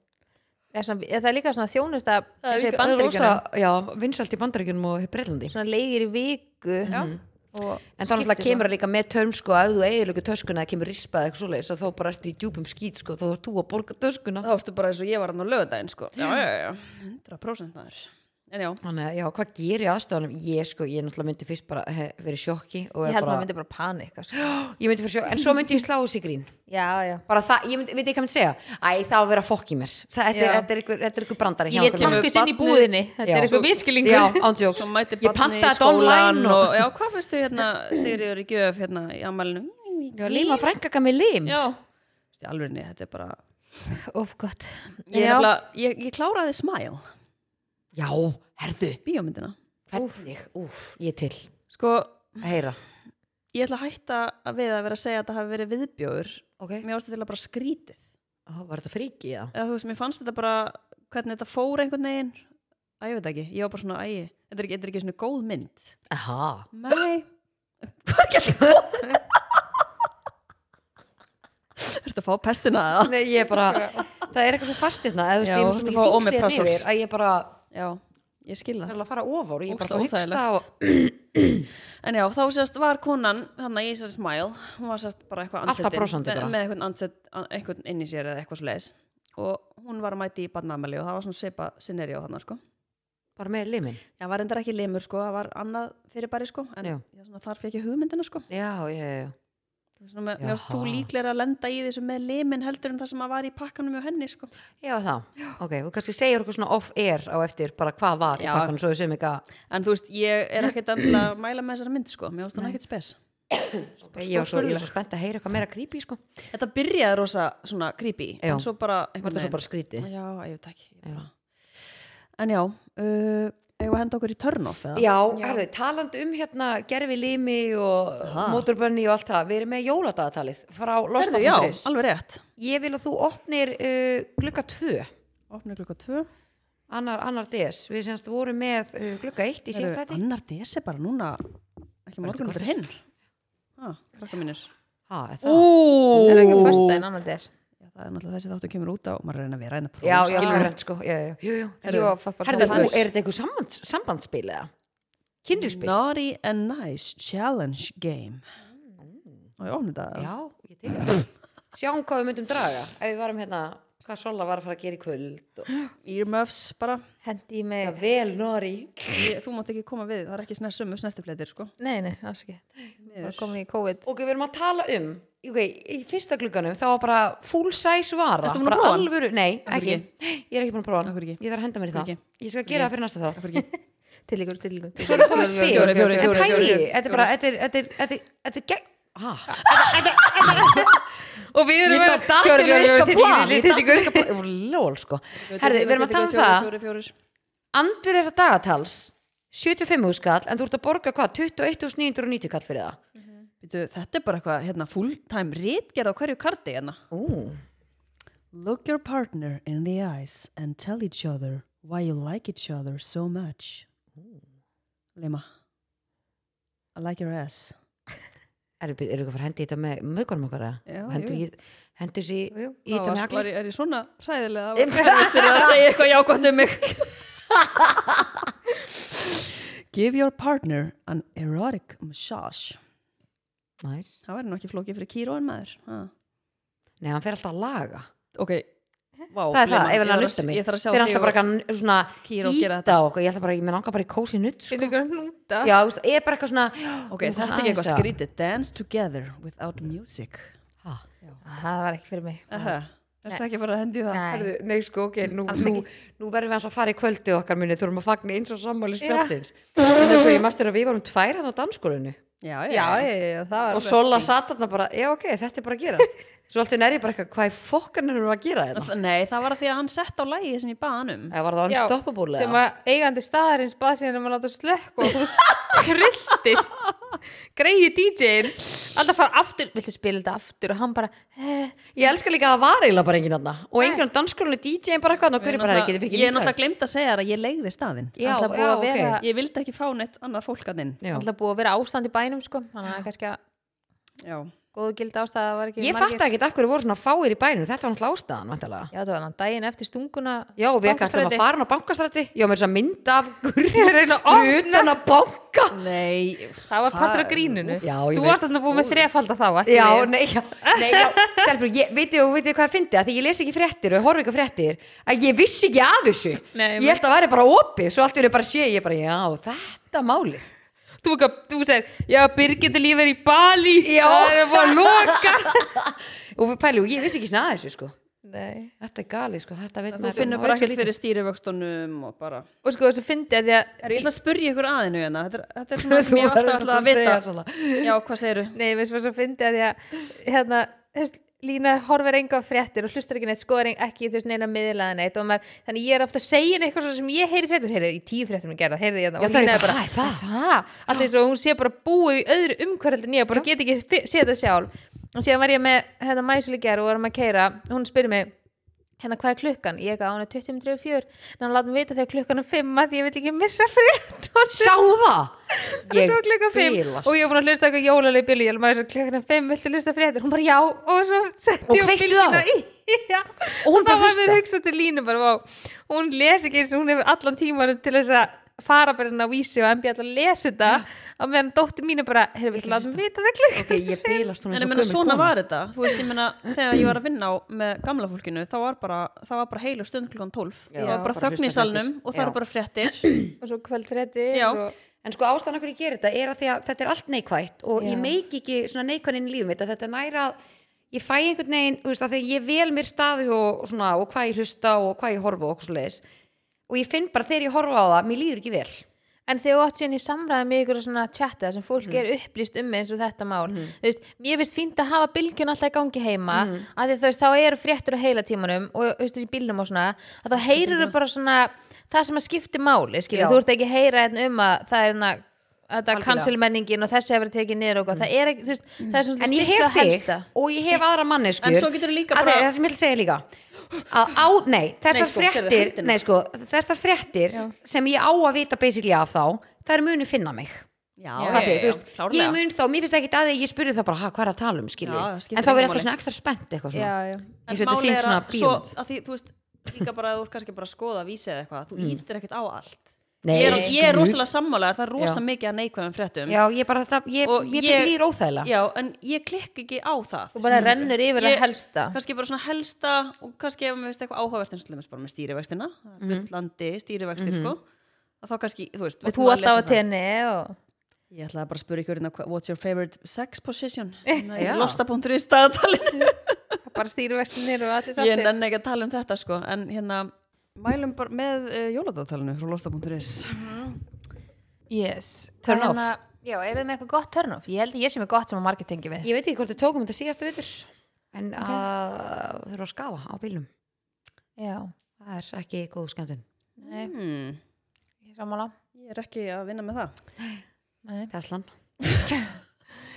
[SPEAKER 2] Er sam- er það líka svona þjónust að
[SPEAKER 3] Það
[SPEAKER 2] þessi
[SPEAKER 3] er rosa,
[SPEAKER 2] bandaríkjunum,
[SPEAKER 3] já, vinsalt í bandaríkjunum og Breitlandi
[SPEAKER 2] svona leigir í viku Mm.
[SPEAKER 1] Já.
[SPEAKER 2] og
[SPEAKER 3] En þannig að
[SPEAKER 2] skiptir
[SPEAKER 3] kemur það líka með törm sko ef þú eiginlegu töskuna eða kemur rispað eitthvað svoleiðis að þá bara ertu í djúpum skýt sko þá þú þú að borga töskuna
[SPEAKER 1] þá ertu bara eins og ég var hann á lögudaginn sko já, já, já, 100% maður en já,
[SPEAKER 3] Þannig að já, hvað gerir ég aðstafanum? Ég sko, ég náttúrulega myndi fyrst bara he, verið í sjokki og
[SPEAKER 2] Ég
[SPEAKER 3] vera
[SPEAKER 2] held maður
[SPEAKER 3] bara,
[SPEAKER 2] myndi bara panika sko.
[SPEAKER 3] ég myndi fyrir sjokki, en svo myndi ég slá þessi grín
[SPEAKER 2] Já, já
[SPEAKER 3] bara það, ég myndi, veit ég hvað myndi segja Æ, það á að vera fokk í mér það, þetta,
[SPEAKER 2] Já.
[SPEAKER 3] er, þetta, er ykkur, þetta er ykkur brandari
[SPEAKER 2] Ég let
[SPEAKER 1] kemur
[SPEAKER 2] pakkus inn í
[SPEAKER 1] barnið-
[SPEAKER 2] búðinni Þetta
[SPEAKER 3] Já.
[SPEAKER 2] er eitthvað
[SPEAKER 3] Já,
[SPEAKER 2] miskilingur
[SPEAKER 3] ándjóks
[SPEAKER 1] svo mæti
[SPEAKER 3] Ég
[SPEAKER 1] barnið
[SPEAKER 3] pantaði
[SPEAKER 1] í
[SPEAKER 3] þetta
[SPEAKER 1] skólan
[SPEAKER 3] online og,
[SPEAKER 1] og já, hvað finnst þið hérna Sigriður í gjöf hérna í ammælinu
[SPEAKER 3] og já, líma frænka gaf mig lim
[SPEAKER 1] já, Þú veist, í alveg þetta er bara
[SPEAKER 2] Óf, gott
[SPEAKER 1] ég, er
[SPEAKER 2] Já.
[SPEAKER 1] nefnilega, ég, ég kláraði Smile,
[SPEAKER 3] Já, herðu,
[SPEAKER 1] bíómyndina
[SPEAKER 3] hvernig, úf, ég til
[SPEAKER 1] sko,
[SPEAKER 3] að heyra
[SPEAKER 1] ég ætla að hætta að við að vera að segja að þetta hafi verið viðbjóður
[SPEAKER 3] Ok,
[SPEAKER 1] mér ástu til að bara skrítið
[SPEAKER 3] Ó, var þetta fríki, já
[SPEAKER 1] eða þú veist, mér fannst þetta bara hvernig þetta fór einhvern veginn að ég veit ekki, ég var bara svona, æ, þetta er ekki, þetta er ekki svona góð mynd
[SPEAKER 3] Aha,
[SPEAKER 1] nei, hvað gerði góð Ertu að fá pestina eða?
[SPEAKER 3] Nei, ég bara, það er eitthvað svo fast hérna eða þú veist,
[SPEAKER 1] Já,
[SPEAKER 3] ég er
[SPEAKER 1] þú
[SPEAKER 3] með svo
[SPEAKER 1] fá
[SPEAKER 3] mikið þingst
[SPEAKER 1] omeprazol.
[SPEAKER 3] hérna yfir að ég bara,
[SPEAKER 1] Já, ég skil
[SPEAKER 3] það
[SPEAKER 1] það
[SPEAKER 3] er að fara ofar og ég bara
[SPEAKER 1] Ógeðslega
[SPEAKER 3] fór að
[SPEAKER 1] óþægilegt.
[SPEAKER 3] hugsa og
[SPEAKER 1] En já, þá sérst var konan, hann að ég sérst smile hún var sérst bara eitthvað
[SPEAKER 3] Alltaf brosandi
[SPEAKER 1] með,
[SPEAKER 3] bara.
[SPEAKER 1] með eitthvað ansett, einhvern inn í sér eða eitthvað svo leiðis og hún var að mæti í barnamæli og það var svona sepa sinneri á hann sko
[SPEAKER 3] bara með limin
[SPEAKER 1] Já, var endar ekki limur sko, það var annað fyrirbæri sko, en
[SPEAKER 3] Já.
[SPEAKER 1] ég, svona, þar fekk ég hugmyndina sko.
[SPEAKER 3] Já, já, já, já
[SPEAKER 1] Svona, með, mér varst þú
[SPEAKER 3] Jaha.
[SPEAKER 1] líklega að lenda í þessu með limin heldur en það sem að var í pakkanum hjá henni sko.
[SPEAKER 3] Já, það. Ok, þú kannski segir okkur svona off-air á eftir bara hvað var í
[SPEAKER 1] Já.
[SPEAKER 3] pakkanum svo við segjum ekki að
[SPEAKER 1] En þú veist, ég er ekkert endilega að mæla með þessari mynd sko, mér varst það ekkert spes.
[SPEAKER 3] ég var svo, ég var svo spennt að heyra eitthvað meira creepy, sko.
[SPEAKER 1] Þetta byrjaði rosa svona creepy,
[SPEAKER 3] Já.
[SPEAKER 1] en svo bara
[SPEAKER 3] Var
[SPEAKER 1] einhvern
[SPEAKER 3] það svo bara skrítið?
[SPEAKER 1] Já, ég veit ekki. Ég bara... En já, uh, eigum við að henda okkur í turn-off eða?
[SPEAKER 3] Já, herðu, talandi um hérna gerfi limi og
[SPEAKER 1] Ha.
[SPEAKER 3] mótorbönni og allt það, við erum með jóladagatalið frá
[SPEAKER 1] Herðu, já,
[SPEAKER 3] losna.is.
[SPEAKER 1] alveg rétt.
[SPEAKER 3] Ég vil að þú opnir uh, glukka 2,
[SPEAKER 1] Opna klukka tvö.
[SPEAKER 3] annar, annar DS, við semst vorum með uh, glukka 1 í síðast
[SPEAKER 1] Herðu,
[SPEAKER 3] þetta.
[SPEAKER 1] Annar desi bara núna, ekki morgun undir hinn. Ha, krakka mínir.
[SPEAKER 3] Ha, er það?
[SPEAKER 1] Ú,
[SPEAKER 2] Er það ekki fyrst en annan des
[SPEAKER 1] Já, það er náttúrulega þessi þáttu kemur út á og maður er að reyna að vera hérna einnig
[SPEAKER 3] Já, já,
[SPEAKER 2] skilur.
[SPEAKER 3] skilur sko, já, já, jú, jú.
[SPEAKER 2] Jú, fólk bara
[SPEAKER 3] Herðu,
[SPEAKER 2] svona
[SPEAKER 3] ú,
[SPEAKER 2] fannst.
[SPEAKER 3] er þetta eitthvað sambands, sambandspil eða? Kynlífspil?
[SPEAKER 1] Naughty and Nice Challenge Game og ég ofni þetta
[SPEAKER 3] Já, ég tek það. Sjáum hvað við myndum draga, ef við varum hérna, hvað Sola var að fara að gera í kvöld. Og...
[SPEAKER 1] Earmuffs bara,
[SPEAKER 2] Hendi í mig
[SPEAKER 3] Vel, Nóri.
[SPEAKER 1] ég, þú mátt ekki koma við það er ekki snert sumu snertifleitir sko
[SPEAKER 2] Nei, nei, alls ekki Það kom í COVID
[SPEAKER 3] Ok, við erum að tala um, ok, í fyrsta glugganum þá var bara full size vara.
[SPEAKER 1] Ertu búin að
[SPEAKER 3] Bara
[SPEAKER 1] prófa hann?
[SPEAKER 3] Alvöru, nei,
[SPEAKER 1] Af hverju
[SPEAKER 3] ekki. Ég er ekki búin að prófa
[SPEAKER 1] Af hverju
[SPEAKER 3] hann.
[SPEAKER 1] ekki?
[SPEAKER 3] Ég þarf að henda mér í
[SPEAKER 1] Af
[SPEAKER 3] það.
[SPEAKER 1] hverju
[SPEAKER 3] Ég skal gera það fyrir næsta þátt.
[SPEAKER 2] Til ykkur, til ykkur
[SPEAKER 3] Svo erum komast
[SPEAKER 1] Fjórir,
[SPEAKER 3] fyrir.
[SPEAKER 1] fjórir, fjórir,
[SPEAKER 3] En
[SPEAKER 1] fjórir,
[SPEAKER 3] pæli,
[SPEAKER 1] fjórir.
[SPEAKER 3] þetta er bara, þetta er, þetta er, þetta er, þetta er gegn... Ha? Ah.
[SPEAKER 2] Og við erum
[SPEAKER 3] Ég svo datt
[SPEAKER 2] Fjórir,
[SPEAKER 3] yfir
[SPEAKER 2] fjórir,
[SPEAKER 3] eitthvað
[SPEAKER 2] fjórir,
[SPEAKER 3] plan,
[SPEAKER 2] til
[SPEAKER 3] ég
[SPEAKER 2] ykkur, til
[SPEAKER 3] datt
[SPEAKER 2] ykkur.
[SPEAKER 3] yfir eitthvað plan. Lól, sko. Herðu, við erum að tala um það.
[SPEAKER 1] fjóri, fjóri, fjóri.
[SPEAKER 3] andfyrir þessa dagatals 75 skall en þú ert að borga hvað, 21.990 kall fyrir það
[SPEAKER 1] Býtu, þetta er bara eitthvað hérna, fulltime rítgerð á hverju karti hérna.
[SPEAKER 3] Ú,
[SPEAKER 1] Look your partner in the eyes and tell each other why you like each other so much. Lema. I like your ass.
[SPEAKER 3] eru eru eitthvað að fara að hendi þetta með mögunum okkar eða?
[SPEAKER 1] Já,
[SPEAKER 3] Og hendur
[SPEAKER 1] jú.
[SPEAKER 3] í- hendur sér í
[SPEAKER 1] Jú,
[SPEAKER 3] í þetta
[SPEAKER 1] var,
[SPEAKER 3] með
[SPEAKER 1] var,
[SPEAKER 3] hagli
[SPEAKER 1] er ég svona hræðilega Það var erfitt fyrir að segja eitthvað jákvæmt um mig Give your partner an erotic massage
[SPEAKER 3] Næs.
[SPEAKER 1] Það væri nú ekki flókið fyrir Kíró en maður ha.
[SPEAKER 3] Nei, hann fer alltaf að laga
[SPEAKER 1] Ok, vá
[SPEAKER 3] Það er
[SPEAKER 1] Gleymar,
[SPEAKER 3] það, ef
[SPEAKER 1] ég
[SPEAKER 3] hann að
[SPEAKER 1] þarf
[SPEAKER 3] nutta mig
[SPEAKER 1] Ég þarf að sjá
[SPEAKER 3] Fer alltaf bara eitthvað svona
[SPEAKER 1] Kýra og gera
[SPEAKER 3] íta okkur Ég ætla bara, ég með langar bara í kósi nutt sko.
[SPEAKER 2] Finnir ykkur að núta
[SPEAKER 3] Já, þú veist, ég er bara eitthvað svona
[SPEAKER 1] Ok, þetta er ekki eitthvað skrítið Dance together without music
[SPEAKER 3] skrít
[SPEAKER 2] Það var ekki fyrir mig
[SPEAKER 1] Aha, Er það ekki bara að hendi í það?
[SPEAKER 2] Nei,
[SPEAKER 3] Nei, sko, ok, nú,
[SPEAKER 2] Alls
[SPEAKER 3] nú,
[SPEAKER 2] ekki.
[SPEAKER 3] nú verðum við hans að fara í kvöldið okkar muni Þú erum að fagna eins og sammáli spjálsins Ég mastur að við vorum tvær hann á danskólinu
[SPEAKER 1] Já,
[SPEAKER 2] já, já, já, það var
[SPEAKER 3] Og Sola satt hann bara, já ok, þetta er bara að gerast Svo alltaf er ég bara eitthvað, hvað er fokkan erum við að gera þetta?
[SPEAKER 1] Nei, það var að því að hann sett á lægi sem ég baði hann um
[SPEAKER 3] Eða var það
[SPEAKER 2] Já,
[SPEAKER 3] unstoppable
[SPEAKER 2] sem
[SPEAKER 3] eða?
[SPEAKER 2] að eigandi staðarins bað síðan um að láta slökk og þú krilltist greiði DJ-in alltaf fara aftur, viltu spila þetta aftur og hann bara, eh,
[SPEAKER 3] Ég elska líka að það var eiginlega bara enginn aðna Og enginn á danskólinu DJ-in bara eitthvað Og
[SPEAKER 1] Ég
[SPEAKER 3] hverju bara,
[SPEAKER 1] náttúrulega-
[SPEAKER 3] "Heyrðu, getum við ekki
[SPEAKER 1] Ég er
[SPEAKER 3] nýtt
[SPEAKER 1] náttúrulega glemt að segja þér að ég leiði staðinn
[SPEAKER 3] Já,
[SPEAKER 2] Alltaf búið
[SPEAKER 3] já,
[SPEAKER 2] að vera-
[SPEAKER 3] ok
[SPEAKER 1] Ég vildi ekki fá neitt annað fólk að þinn
[SPEAKER 3] Já.
[SPEAKER 2] alltaf búið að vera ástand í bænum sko, þannig að það er kannski að
[SPEAKER 1] Já,
[SPEAKER 2] góðu gild ástæða var ekki
[SPEAKER 3] Ég
[SPEAKER 2] margir.
[SPEAKER 3] fatt ekki að hverju voru svona fáir í bænum Þetta var náttúrulega ástæðan, vantilega
[SPEAKER 2] Já, það var hann daginn eftir stunguna
[SPEAKER 3] Já, og við ekki ætlum að
[SPEAKER 2] Bankastræti.
[SPEAKER 3] fara hann á bankastræti Já, mér er þess að mynda af
[SPEAKER 2] Ég reyna að opna.
[SPEAKER 3] grunn utan að banka
[SPEAKER 1] nei
[SPEAKER 2] Það var partur af
[SPEAKER 1] Hva-
[SPEAKER 2] gríninu
[SPEAKER 3] Já, ég
[SPEAKER 2] Þú
[SPEAKER 3] veit.
[SPEAKER 2] varst þarna búið með þrefalda þá ekki
[SPEAKER 3] Já,
[SPEAKER 2] við.
[SPEAKER 3] nei, já, nei, já Stelbrú, ég, veitir þú veitir hvað er fyndið að því ég les ekki fréttir og horf ekki á fréttir að ég vissi ekki af þessu
[SPEAKER 2] Nei,
[SPEAKER 3] Ég held að væri bara opið, svo allt verið bara sé ég bara, já, þetta málið
[SPEAKER 2] Þú, ekki- þú segir, já, Birgit er lífið í Bali Já Það er búið að loka
[SPEAKER 3] Og við pælum, ég vissi ekki svona að þessu, sko
[SPEAKER 2] Nei
[SPEAKER 3] Þetta er galið, sko, þetta veit
[SPEAKER 1] Þú
[SPEAKER 3] maður
[SPEAKER 1] finnur
[SPEAKER 3] maður
[SPEAKER 1] bara
[SPEAKER 3] veit svo
[SPEAKER 1] ekkert
[SPEAKER 3] lítið.
[SPEAKER 1] fyrir stýrivöxtunum og bara
[SPEAKER 2] Og sko þess að fyndi að því að
[SPEAKER 1] Er ég ætla að spurja ykkur aðinu hérna Þetta er, þetta er svona sem
[SPEAKER 3] Þú
[SPEAKER 1] ég hef
[SPEAKER 3] verður
[SPEAKER 1] alltaf
[SPEAKER 3] svolítið
[SPEAKER 1] alltaf að
[SPEAKER 3] að
[SPEAKER 1] vita
[SPEAKER 3] segja svona
[SPEAKER 1] Já, hvað segiru?
[SPEAKER 2] Nei, við sem svo fyndi að því að hérna, þess, Lína horfir enga á fréttir og hlustar ekki neitt skoðar ekki þú veist neina miðlaða neitt og maður, þannig ég er ofta að segja henni eitthvað svona sem ég heyri í fréttum, heyrði í tíu fréttum ég gerða, heyrði hérna
[SPEAKER 3] Já,
[SPEAKER 2] og
[SPEAKER 3] það er
[SPEAKER 2] Lína
[SPEAKER 3] bara, það er það
[SPEAKER 2] það, alltaf eins og hún sé bara búið í öðru umhverfaldin ég bara get ekki fi- séð það sjálf og síðan var ég með hérna mæsul í gerð og varum að keira hún spyrir mig hérna hvað er klukkan, ég eitthvað, "Á, hún er 20.34 en hann látum vita þegar klukkan er 5 að ég vil ekki missa fréttunum
[SPEAKER 3] Sá það?
[SPEAKER 2] og svo klukkan 5
[SPEAKER 3] bilast.
[SPEAKER 2] og ég var búin að hlusta eitthvað jólalegi bílu ég maður svo klukkan 5 viltu hlusta fréttir hún bara já og svo setti
[SPEAKER 3] Og
[SPEAKER 2] ég á
[SPEAKER 3] kveiktu
[SPEAKER 2] bylgjuna
[SPEAKER 3] á?
[SPEAKER 2] í já
[SPEAKER 3] Og
[SPEAKER 2] þá
[SPEAKER 3] hún bara
[SPEAKER 2] var mér
[SPEAKER 3] hlusta?
[SPEAKER 2] hugsað til línu bara vá hún les ekki eins og hún hefur allan tímanum til þess að fara bara inn á vísi og MBL að lesa þetta á meðan dóttir mín er bara hefur viltu láta mig vita það klukkan
[SPEAKER 3] Ok, ég bílast hún
[SPEAKER 1] En
[SPEAKER 3] eins
[SPEAKER 1] ég
[SPEAKER 3] og
[SPEAKER 1] meina
[SPEAKER 3] gömul
[SPEAKER 1] svona
[SPEAKER 3] kona.
[SPEAKER 1] var þetta Þú veist, ég meina þegar ég var að vinna á með gamla fólkinu þá var bara, það var bara heilu stund klukkan 12
[SPEAKER 3] Já,
[SPEAKER 1] Það var bara
[SPEAKER 3] bara
[SPEAKER 1] þögn í
[SPEAKER 3] hlusta
[SPEAKER 1] salnum
[SPEAKER 3] fréttir.
[SPEAKER 1] og það
[SPEAKER 3] Já.
[SPEAKER 1] eru bara fréttir
[SPEAKER 2] og svo kvöld fréttir
[SPEAKER 1] Já.
[SPEAKER 2] og
[SPEAKER 3] En sko ástæðan af hverju ég gerir þetta er að því að þetta er allt neikvætt og
[SPEAKER 2] Já.
[SPEAKER 3] ég meiki ekki svona neikvænin í lífum mitt að þetta næra ég fæ einhvern veginn, þú veist, að þegar ég vel mér staði og, og svona, og hvað ég hlusta og hvað ég horfa og okkur svo leis og ég finn bara þegar ég horfa á það, mér líður ekki vel
[SPEAKER 2] En þegar þú átt síðan í samræði með ykkur svona chatta sem fólk er upplýst um eins og þetta mál þú veist, mér finnst fínt að hafa bylgjun alltaf í gangi heima mm. að því þú veist, þá eru fréttur á heila tímanum og þú veist, í bílnum og svona að þá heyrir þú bara svona það sem að skipti máli, skilja,
[SPEAKER 3] Já.
[SPEAKER 2] þú ert ekki að heyra einn um að það er hérna að þetta
[SPEAKER 3] Algjörlega.
[SPEAKER 2] kansilmenningin og þessi hefur verið tekið niður og mm. það er ekki, þú veist, það er svona
[SPEAKER 3] en ég
[SPEAKER 2] stikla
[SPEAKER 3] hef
[SPEAKER 2] á
[SPEAKER 3] þig
[SPEAKER 2] helsta.
[SPEAKER 3] og ég hef aðra manneskur
[SPEAKER 1] En svo geturðu líka
[SPEAKER 3] Að
[SPEAKER 1] bara-
[SPEAKER 3] það- það sem ég vil segja líka að á, nei,
[SPEAKER 1] Nei, sko,
[SPEAKER 3] þessar
[SPEAKER 1] sérðu
[SPEAKER 3] fréttir
[SPEAKER 1] hendina.
[SPEAKER 3] nei, sko, þessar fréttir sem ég á að vita basically af þá, það er munu finna mig
[SPEAKER 1] Já,
[SPEAKER 3] Fattu, þú veist, ég
[SPEAKER 1] klárlega.
[SPEAKER 3] mun þá, mér finnst ekki að því að ég spurði það bara, "Ha, hvað er að tala um, skilju
[SPEAKER 1] Já, já, skiptir
[SPEAKER 3] en þá
[SPEAKER 1] engu
[SPEAKER 3] verður eitthvað
[SPEAKER 1] máli.
[SPEAKER 3] svona ekstra spennt eitthvað
[SPEAKER 2] Já,
[SPEAKER 3] svona,
[SPEAKER 2] já.
[SPEAKER 3] eins og þetta
[SPEAKER 1] málið
[SPEAKER 3] sínt svona
[SPEAKER 1] svo,
[SPEAKER 3] bíómynd
[SPEAKER 1] að því, þú veist, líka bara að þú ert kannski bara að skoða vísi eða eitthvað, þú ítir ekkert á allt
[SPEAKER 3] Mm. Nei,
[SPEAKER 1] ég er, ég er
[SPEAKER 3] guð.
[SPEAKER 1] rosalega sammálaður, það er rosa
[SPEAKER 3] Já.
[SPEAKER 1] mikið að neikvæðum fréttum
[SPEAKER 3] já, ég bara, það, ég,
[SPEAKER 1] Og
[SPEAKER 3] ég,
[SPEAKER 1] ég-
[SPEAKER 3] ég líður óþægilega
[SPEAKER 1] Já, en ég klikk ekki á það
[SPEAKER 2] Þú bara
[SPEAKER 1] skilurðu.
[SPEAKER 2] rennur yfir
[SPEAKER 1] Ég-
[SPEAKER 2] að helsta
[SPEAKER 1] kannski bara svona helsta og kannski ef mér veist eitthvað áhugavert eins og til dæmis bara með stýrivextina bullandi stýrivextir sko að þá kannski, þú veist
[SPEAKER 2] og
[SPEAKER 1] maður
[SPEAKER 2] þú
[SPEAKER 1] lesa
[SPEAKER 2] alltaf á
[SPEAKER 1] það.
[SPEAKER 2] tenni og
[SPEAKER 1] Ég ætlaði bara að spyrja ykkur hérna hva- what's your favorite sex position Hérna í
[SPEAKER 3] Já.
[SPEAKER 1] losta.ru í staðatalinu
[SPEAKER 2] bara stýrivextinir og allir
[SPEAKER 1] ég
[SPEAKER 2] sáttir
[SPEAKER 1] nenni ekki að tala um þetta sko en hérna, mælum bara með uh, jóladagatalinu frá losta.ru
[SPEAKER 2] Yes.
[SPEAKER 3] Turn
[SPEAKER 2] Hvað
[SPEAKER 3] off.
[SPEAKER 2] hérna- Já, eru þið með eitthvað gott turn off? Ég held að ég sé með gott sem að margir tengi við.
[SPEAKER 3] ég veit ekki hvort þau tókum þetta síðasta vitur en að þurfa að skafa á bílum
[SPEAKER 2] Já,
[SPEAKER 3] það er ekki góð skemmtun
[SPEAKER 2] nei,
[SPEAKER 1] hmm.
[SPEAKER 2] ég er sammála.
[SPEAKER 1] Ég er ekki að vinna með það.
[SPEAKER 2] Nei.
[SPEAKER 3] Teslan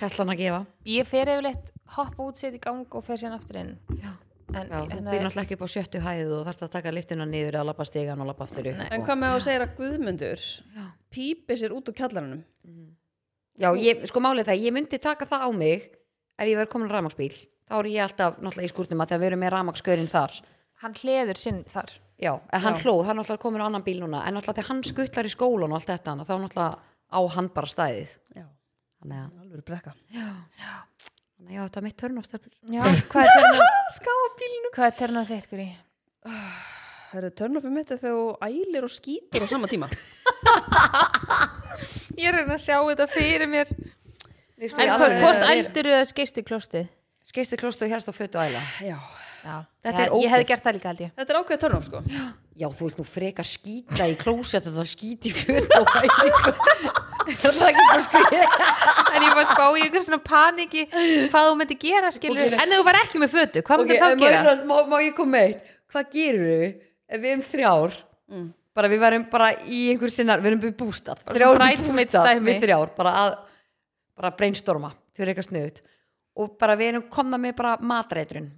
[SPEAKER 3] Teslan að gefa
[SPEAKER 2] Ég fer yfirleitt hoppa út, setja í gang og fer síðan aftur inn.
[SPEAKER 3] Já,
[SPEAKER 2] En, hérna,
[SPEAKER 3] Já, þú
[SPEAKER 2] en-
[SPEAKER 3] býr náttúrulega ekki upp á sjöttu hæðu og þarft að taka liftuna niður að labba stegan og labba aftur upp.
[SPEAKER 1] En
[SPEAKER 3] og-
[SPEAKER 1] hvað með að þú segir að Guðmundur
[SPEAKER 3] Já.
[SPEAKER 1] pípi sér út úr kjallaranum?
[SPEAKER 3] Já, ég, sko málið það, ég myndi taka það á mig ef ég verið komin á rafmagsbíl. Þá er ég alltaf náttúrulega í skúrnum að það verið með rafmagsgörinn þar.
[SPEAKER 2] hann hleður sinn þar.
[SPEAKER 3] Já, en hann hlóð, hann er náttúrulega komin á annan bíl núna, en náttúrulega þegar hann skuttlar í skólan og allt þetta, annað, þá náttúrulega á hann bara stæðið.
[SPEAKER 1] Já,
[SPEAKER 3] Þannig að,
[SPEAKER 1] alveg brekka.
[SPEAKER 3] já, já, þannig að já, þetta var mitt törnofstöfl.
[SPEAKER 2] Já, hvað er törnum,
[SPEAKER 1] Skáða bílnum.
[SPEAKER 2] hvað er törnum þitt, Guri?
[SPEAKER 1] Það eru törnofið mitt er þegar þú ælir og skýtur á sama tíma.
[SPEAKER 2] Ég er að reyna að sjá þetta fyrir mér. En
[SPEAKER 1] ég
[SPEAKER 2] hvort,
[SPEAKER 1] alveg-
[SPEAKER 2] hvort ældur eða skeistu í klóstið?
[SPEAKER 3] Skeisti klóstu hérst á fötu æla.
[SPEAKER 1] Já.
[SPEAKER 2] Já,
[SPEAKER 3] Þetta
[SPEAKER 2] ég,
[SPEAKER 3] er
[SPEAKER 2] ég hefði
[SPEAKER 3] ógeð.
[SPEAKER 2] gert það líka held ég.
[SPEAKER 1] Þetta er ákveðið törnof, sko.
[SPEAKER 3] Já, þú vilt nú frekar skýta í klósett en það skýti fötu og æla. Er það ekki bara skrið?
[SPEAKER 2] En ég var að spá í einhver svona paniki hvað þú myndi gera, skilur
[SPEAKER 3] Ok.
[SPEAKER 2] En ef þú var ekki með fötu, hvað myndir
[SPEAKER 3] en
[SPEAKER 2] þá
[SPEAKER 3] maður
[SPEAKER 2] gera?
[SPEAKER 3] er svona, má, má ég koma með eitt hvað gerur við ef við um þrjár bara við verðum bara í einhver sinnar við erum við bústað,
[SPEAKER 2] Mm. Bara
[SPEAKER 3] þrjár
[SPEAKER 2] bright
[SPEAKER 3] við
[SPEAKER 2] mates
[SPEAKER 3] bústað
[SPEAKER 2] dæmi.
[SPEAKER 3] við þrjár, bara að bara brainstorma, þau eru eitthvað snuðut og bara við erum komna með bara matreitrun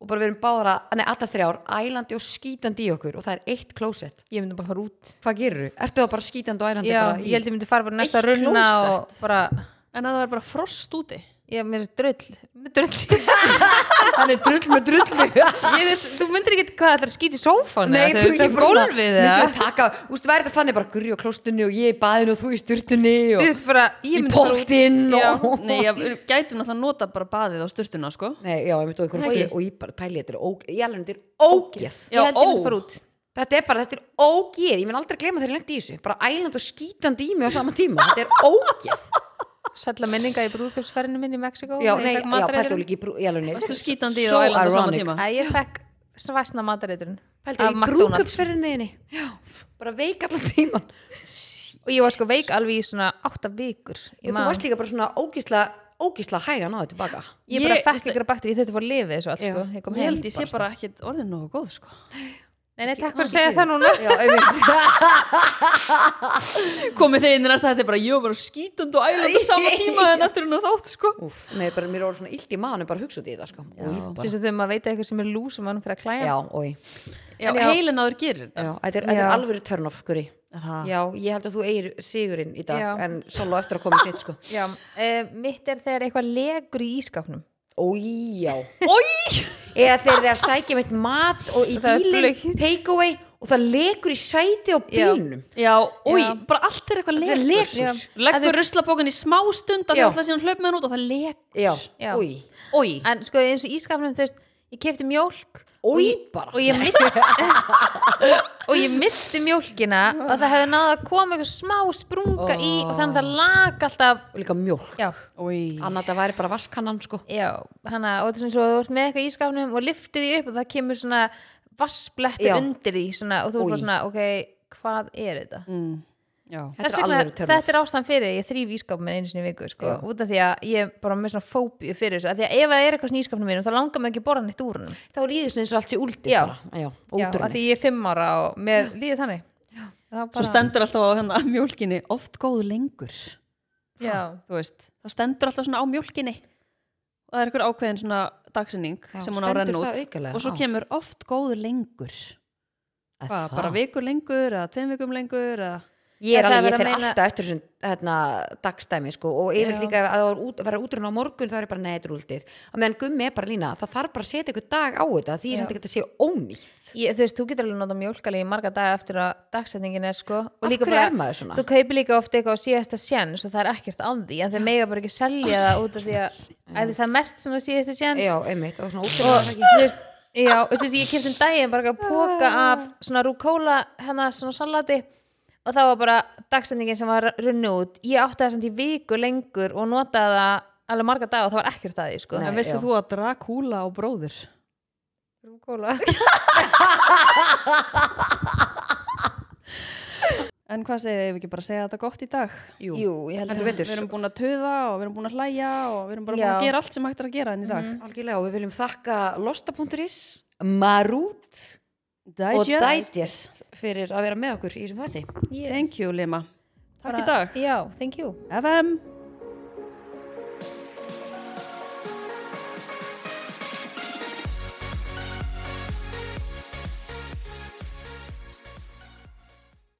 [SPEAKER 3] og bara við erum báðar að, nei alltaf þrjár, ælandi og skítandi í okkur og það er eitt klósett,
[SPEAKER 2] Ég myndi bara fara út
[SPEAKER 3] hvað gerur við? Ertu það bara skítandi og ælandi
[SPEAKER 2] Já,
[SPEAKER 3] bara
[SPEAKER 2] ég held ég myndi fara bara næsta
[SPEAKER 1] Eitt
[SPEAKER 2] runna og
[SPEAKER 1] klósett.
[SPEAKER 2] bara
[SPEAKER 1] En að það er bara frost úti.
[SPEAKER 2] Ég er mér drull Mér drull
[SPEAKER 3] hann er drull með drullu
[SPEAKER 2] ég, veist, Þú myndir ekki hvað ætlar að skýta í sófan
[SPEAKER 3] Nei,
[SPEAKER 2] þú veist,
[SPEAKER 3] ég
[SPEAKER 2] um
[SPEAKER 3] bara svona,
[SPEAKER 2] gólfið
[SPEAKER 3] myndi
[SPEAKER 2] eða
[SPEAKER 3] að taka, úst, verður þannig bara gurri á klóstunni og ég í baðinu og þú í sturtunni
[SPEAKER 2] Þú
[SPEAKER 3] og
[SPEAKER 2] veist bara, ég
[SPEAKER 3] í
[SPEAKER 2] myndi fara út
[SPEAKER 3] pottinn
[SPEAKER 2] Já.
[SPEAKER 3] og
[SPEAKER 1] Nei, ég gætum náttúrulega nota bara baðið á sturtuna, sko.
[SPEAKER 3] Nei, já, ég myndi á einhverjum
[SPEAKER 1] Nei.
[SPEAKER 3] fyrir og ég bara pæli þetta er ógeð, ég alveg þetta er ógeð
[SPEAKER 2] Ég held ég myndi
[SPEAKER 1] ó.
[SPEAKER 2] fara út
[SPEAKER 3] Þetta er bara, þetta er ógeð, ég mun aldrei gleyma þegar ég lendi í þessu, bara ælandi og skítandi í mig á sama tíma, þetta er ógeð
[SPEAKER 2] Sætla minninga í brúðköpsferðinu minni í Mexiko
[SPEAKER 3] Já,
[SPEAKER 2] þegar
[SPEAKER 3] nei,
[SPEAKER 2] ég
[SPEAKER 3] já,
[SPEAKER 2] fekk
[SPEAKER 3] pælti
[SPEAKER 2] matareitrun.
[SPEAKER 3] hún ekki í brú, ég alveg
[SPEAKER 1] Varstu
[SPEAKER 3] neitt
[SPEAKER 1] skítandi í það
[SPEAKER 3] So
[SPEAKER 1] og ælandi á sama
[SPEAKER 3] ironic.
[SPEAKER 1] tíma?
[SPEAKER 2] Æ, ég fekk svæsna matareiturinn
[SPEAKER 3] Pælti hún í brúkupsferinniðinni, já, bara veik allan tíman
[SPEAKER 2] Og ég var sko veik alveg í svona átta vikur
[SPEAKER 3] Og þú varst líka bara svona ógisla, ógisla hægan á þetta tilbaka
[SPEAKER 2] Ég bara
[SPEAKER 1] Ég-
[SPEAKER 2] fekk ykkur baktur, ég þurfti að fara að lifa þessu allt
[SPEAKER 3] Já.
[SPEAKER 2] sko. Ég kom
[SPEAKER 1] Ég
[SPEAKER 2] heim
[SPEAKER 1] held ég sé bara ekki orðin nógu góð, sko.
[SPEAKER 2] Nei, nei, takk fyrir að segja það núna
[SPEAKER 3] Já, einmitt
[SPEAKER 1] Komið þið inn í næsta, þetta er bara, ég var bara skítund og ælandi á sama tíma en eftir hún að þátt, sko.
[SPEAKER 3] Úf, nei, bara mér er orðið svona illt í maðan bara að hugsa út í þetta sko.
[SPEAKER 1] Já.
[SPEAKER 3] Új, bara-
[SPEAKER 2] Syns að þegar maður veit að eitthvað sem er lús og maður fyrir að klæja
[SPEAKER 3] Já, oi.
[SPEAKER 1] Já,
[SPEAKER 2] En já.
[SPEAKER 1] heilin áður gerir þetta.
[SPEAKER 3] Já, þetta er, þetta er
[SPEAKER 2] Já.
[SPEAKER 3] alvöru törnof, Guri
[SPEAKER 1] Það-
[SPEAKER 3] Já, ég held að þú eigir sigurinn í dag
[SPEAKER 2] Já.
[SPEAKER 3] en solo eftir að koma í sitt sko
[SPEAKER 2] Já, uh, mitt er þegar eitthvað legur í ískapnum
[SPEAKER 3] Ói, já
[SPEAKER 1] Oj!
[SPEAKER 3] Eða þegar það er að sækja meitt mat og í
[SPEAKER 2] Það er
[SPEAKER 3] bílinn,
[SPEAKER 2] blautt.
[SPEAKER 3] take away og það lekur í sæti á
[SPEAKER 2] Já.
[SPEAKER 3] bílnum
[SPEAKER 1] Já, oj,
[SPEAKER 2] Já.
[SPEAKER 1] bara allt er eitthvað
[SPEAKER 3] Það er
[SPEAKER 1] lekur.
[SPEAKER 3] lekur.
[SPEAKER 2] Já. Að
[SPEAKER 1] Leggur
[SPEAKER 2] þú-
[SPEAKER 1] ruslapókan í smá stund að
[SPEAKER 3] Já.
[SPEAKER 1] það ætla síðan hlaup með hann út og það lekur.
[SPEAKER 3] Já,
[SPEAKER 2] Já.
[SPEAKER 3] ói
[SPEAKER 1] Oj,
[SPEAKER 2] En sko eins og í ískapnum, þú veist, ég kefti mjólk og
[SPEAKER 3] Ói
[SPEAKER 2] ég,
[SPEAKER 3] bara
[SPEAKER 2] og ég misti og ég misti mjólkina og það hefði náða að koma eitthvað smá sprunga í og þannig að það lag alltaf
[SPEAKER 3] Og líka mjólk
[SPEAKER 2] Já,
[SPEAKER 1] oj.
[SPEAKER 3] Annað það væri bara vaskannan sko
[SPEAKER 2] já, hana, og þetta er svona svo að þú ert með eitthvað í ískapnum og liftir því upp og það kemur svona vassblettur
[SPEAKER 3] Já.
[SPEAKER 2] undir því svona, og þú
[SPEAKER 3] Új.
[SPEAKER 2] er bara svona, ok, hvað er þetta?
[SPEAKER 1] Mm, Já.
[SPEAKER 3] Þetta
[SPEAKER 2] Þess
[SPEAKER 3] er
[SPEAKER 2] vegna,
[SPEAKER 3] alvöru törnof
[SPEAKER 2] þetta er ástæðan fyrir ég þrýf ískapin einu sinni í viku sko, út af því að ég er bara með svona fóbíu fyrir þessu af því að ef það er eitthvað svona í ískapinu mínum þá langar mig ekki að borða neitt úr hennum
[SPEAKER 3] Þá líður svona eins og allt sé úldið
[SPEAKER 2] Já.
[SPEAKER 3] bara Já,
[SPEAKER 2] af
[SPEAKER 3] ótrúni
[SPEAKER 2] því ég er fimm ára og mér líður þannig Það
[SPEAKER 1] Svo
[SPEAKER 2] bara,
[SPEAKER 1] stendur alltaf á hérna mjólkinni, oft góð lengur.
[SPEAKER 2] já,
[SPEAKER 1] Þú veist, það stendur alltaf svona á mjólkinni. Og það er eitthvað ákveðin svona dagsinning
[SPEAKER 3] Já,
[SPEAKER 1] sem hún á að renna
[SPEAKER 3] stendur það
[SPEAKER 1] út.
[SPEAKER 3] aukalega,
[SPEAKER 1] Og svo
[SPEAKER 3] já.
[SPEAKER 1] kemur oft góð lengur.
[SPEAKER 3] Er
[SPEAKER 1] Hvað,
[SPEAKER 3] það?
[SPEAKER 1] bara vikur lengur eða tveim vikum lengur eða...
[SPEAKER 3] Ég er
[SPEAKER 2] En það er
[SPEAKER 3] alveg, ég
[SPEAKER 2] verið
[SPEAKER 3] fer
[SPEAKER 2] að meina-
[SPEAKER 3] alltaf eftir þessum hérna, dagstæmi sko og yfir
[SPEAKER 2] Já.
[SPEAKER 3] líka að það var út, vera útrun á morgun þá er ég bara neður úldið. Að meðan gummi er bara lína, það þarf bara að setja ykkur dag á þetta því ég
[SPEAKER 2] Já.
[SPEAKER 3] samt ekki að þetta sé ónýtt.
[SPEAKER 2] ég, þú veist, þú getur alveg nota mjólkali í marga daga eftir að dagsetningin er sko og
[SPEAKER 3] Af
[SPEAKER 2] líka
[SPEAKER 3] hverju
[SPEAKER 2] bara,
[SPEAKER 3] er maður svona?
[SPEAKER 2] þú kaupir líka oft eitthvað á síðasta sjens og það er ekkert að því en þau mega bara ekki selja það út af því að, að það er mert svona síðasta sjens
[SPEAKER 3] Já, einmitt, og svona
[SPEAKER 2] og
[SPEAKER 3] útrun á það
[SPEAKER 2] þú veist já, veistu, þessi, ég kemst um daginn bara að póka
[SPEAKER 1] Ah.
[SPEAKER 2] af svona rúkóla hennar svona salati og það var bara dagsendingin sem var runni út ég átti það samt í viku lengur og notaði það alveg marga dag og það var ekkert að því sko.
[SPEAKER 3] Nei.
[SPEAKER 1] En vissið
[SPEAKER 3] já.
[SPEAKER 1] þú að Dracula og bróðir?
[SPEAKER 2] rúkóla
[SPEAKER 1] En hvað segir þið, ef við ekki bara segja þetta gott í dag?
[SPEAKER 3] Jú,
[SPEAKER 2] jú, ég held
[SPEAKER 3] heldur
[SPEAKER 2] að
[SPEAKER 1] Við
[SPEAKER 3] betur.
[SPEAKER 1] erum búin að töða og við erum búin að hlæja og við erum bara búin
[SPEAKER 2] Já.
[SPEAKER 1] að gera allt sem
[SPEAKER 3] Mhm.
[SPEAKER 1] hægt er að gera enn í dag.
[SPEAKER 3] Algjörlega, og við viljum þakka losta.is, marút
[SPEAKER 1] Digest.
[SPEAKER 3] og digest fyrir að vera með okkur í þessum þætti
[SPEAKER 2] Yes.
[SPEAKER 1] Thank you, Lima. Takk
[SPEAKER 2] Bara-
[SPEAKER 1] í dag.
[SPEAKER 2] Já, thank you
[SPEAKER 1] FM.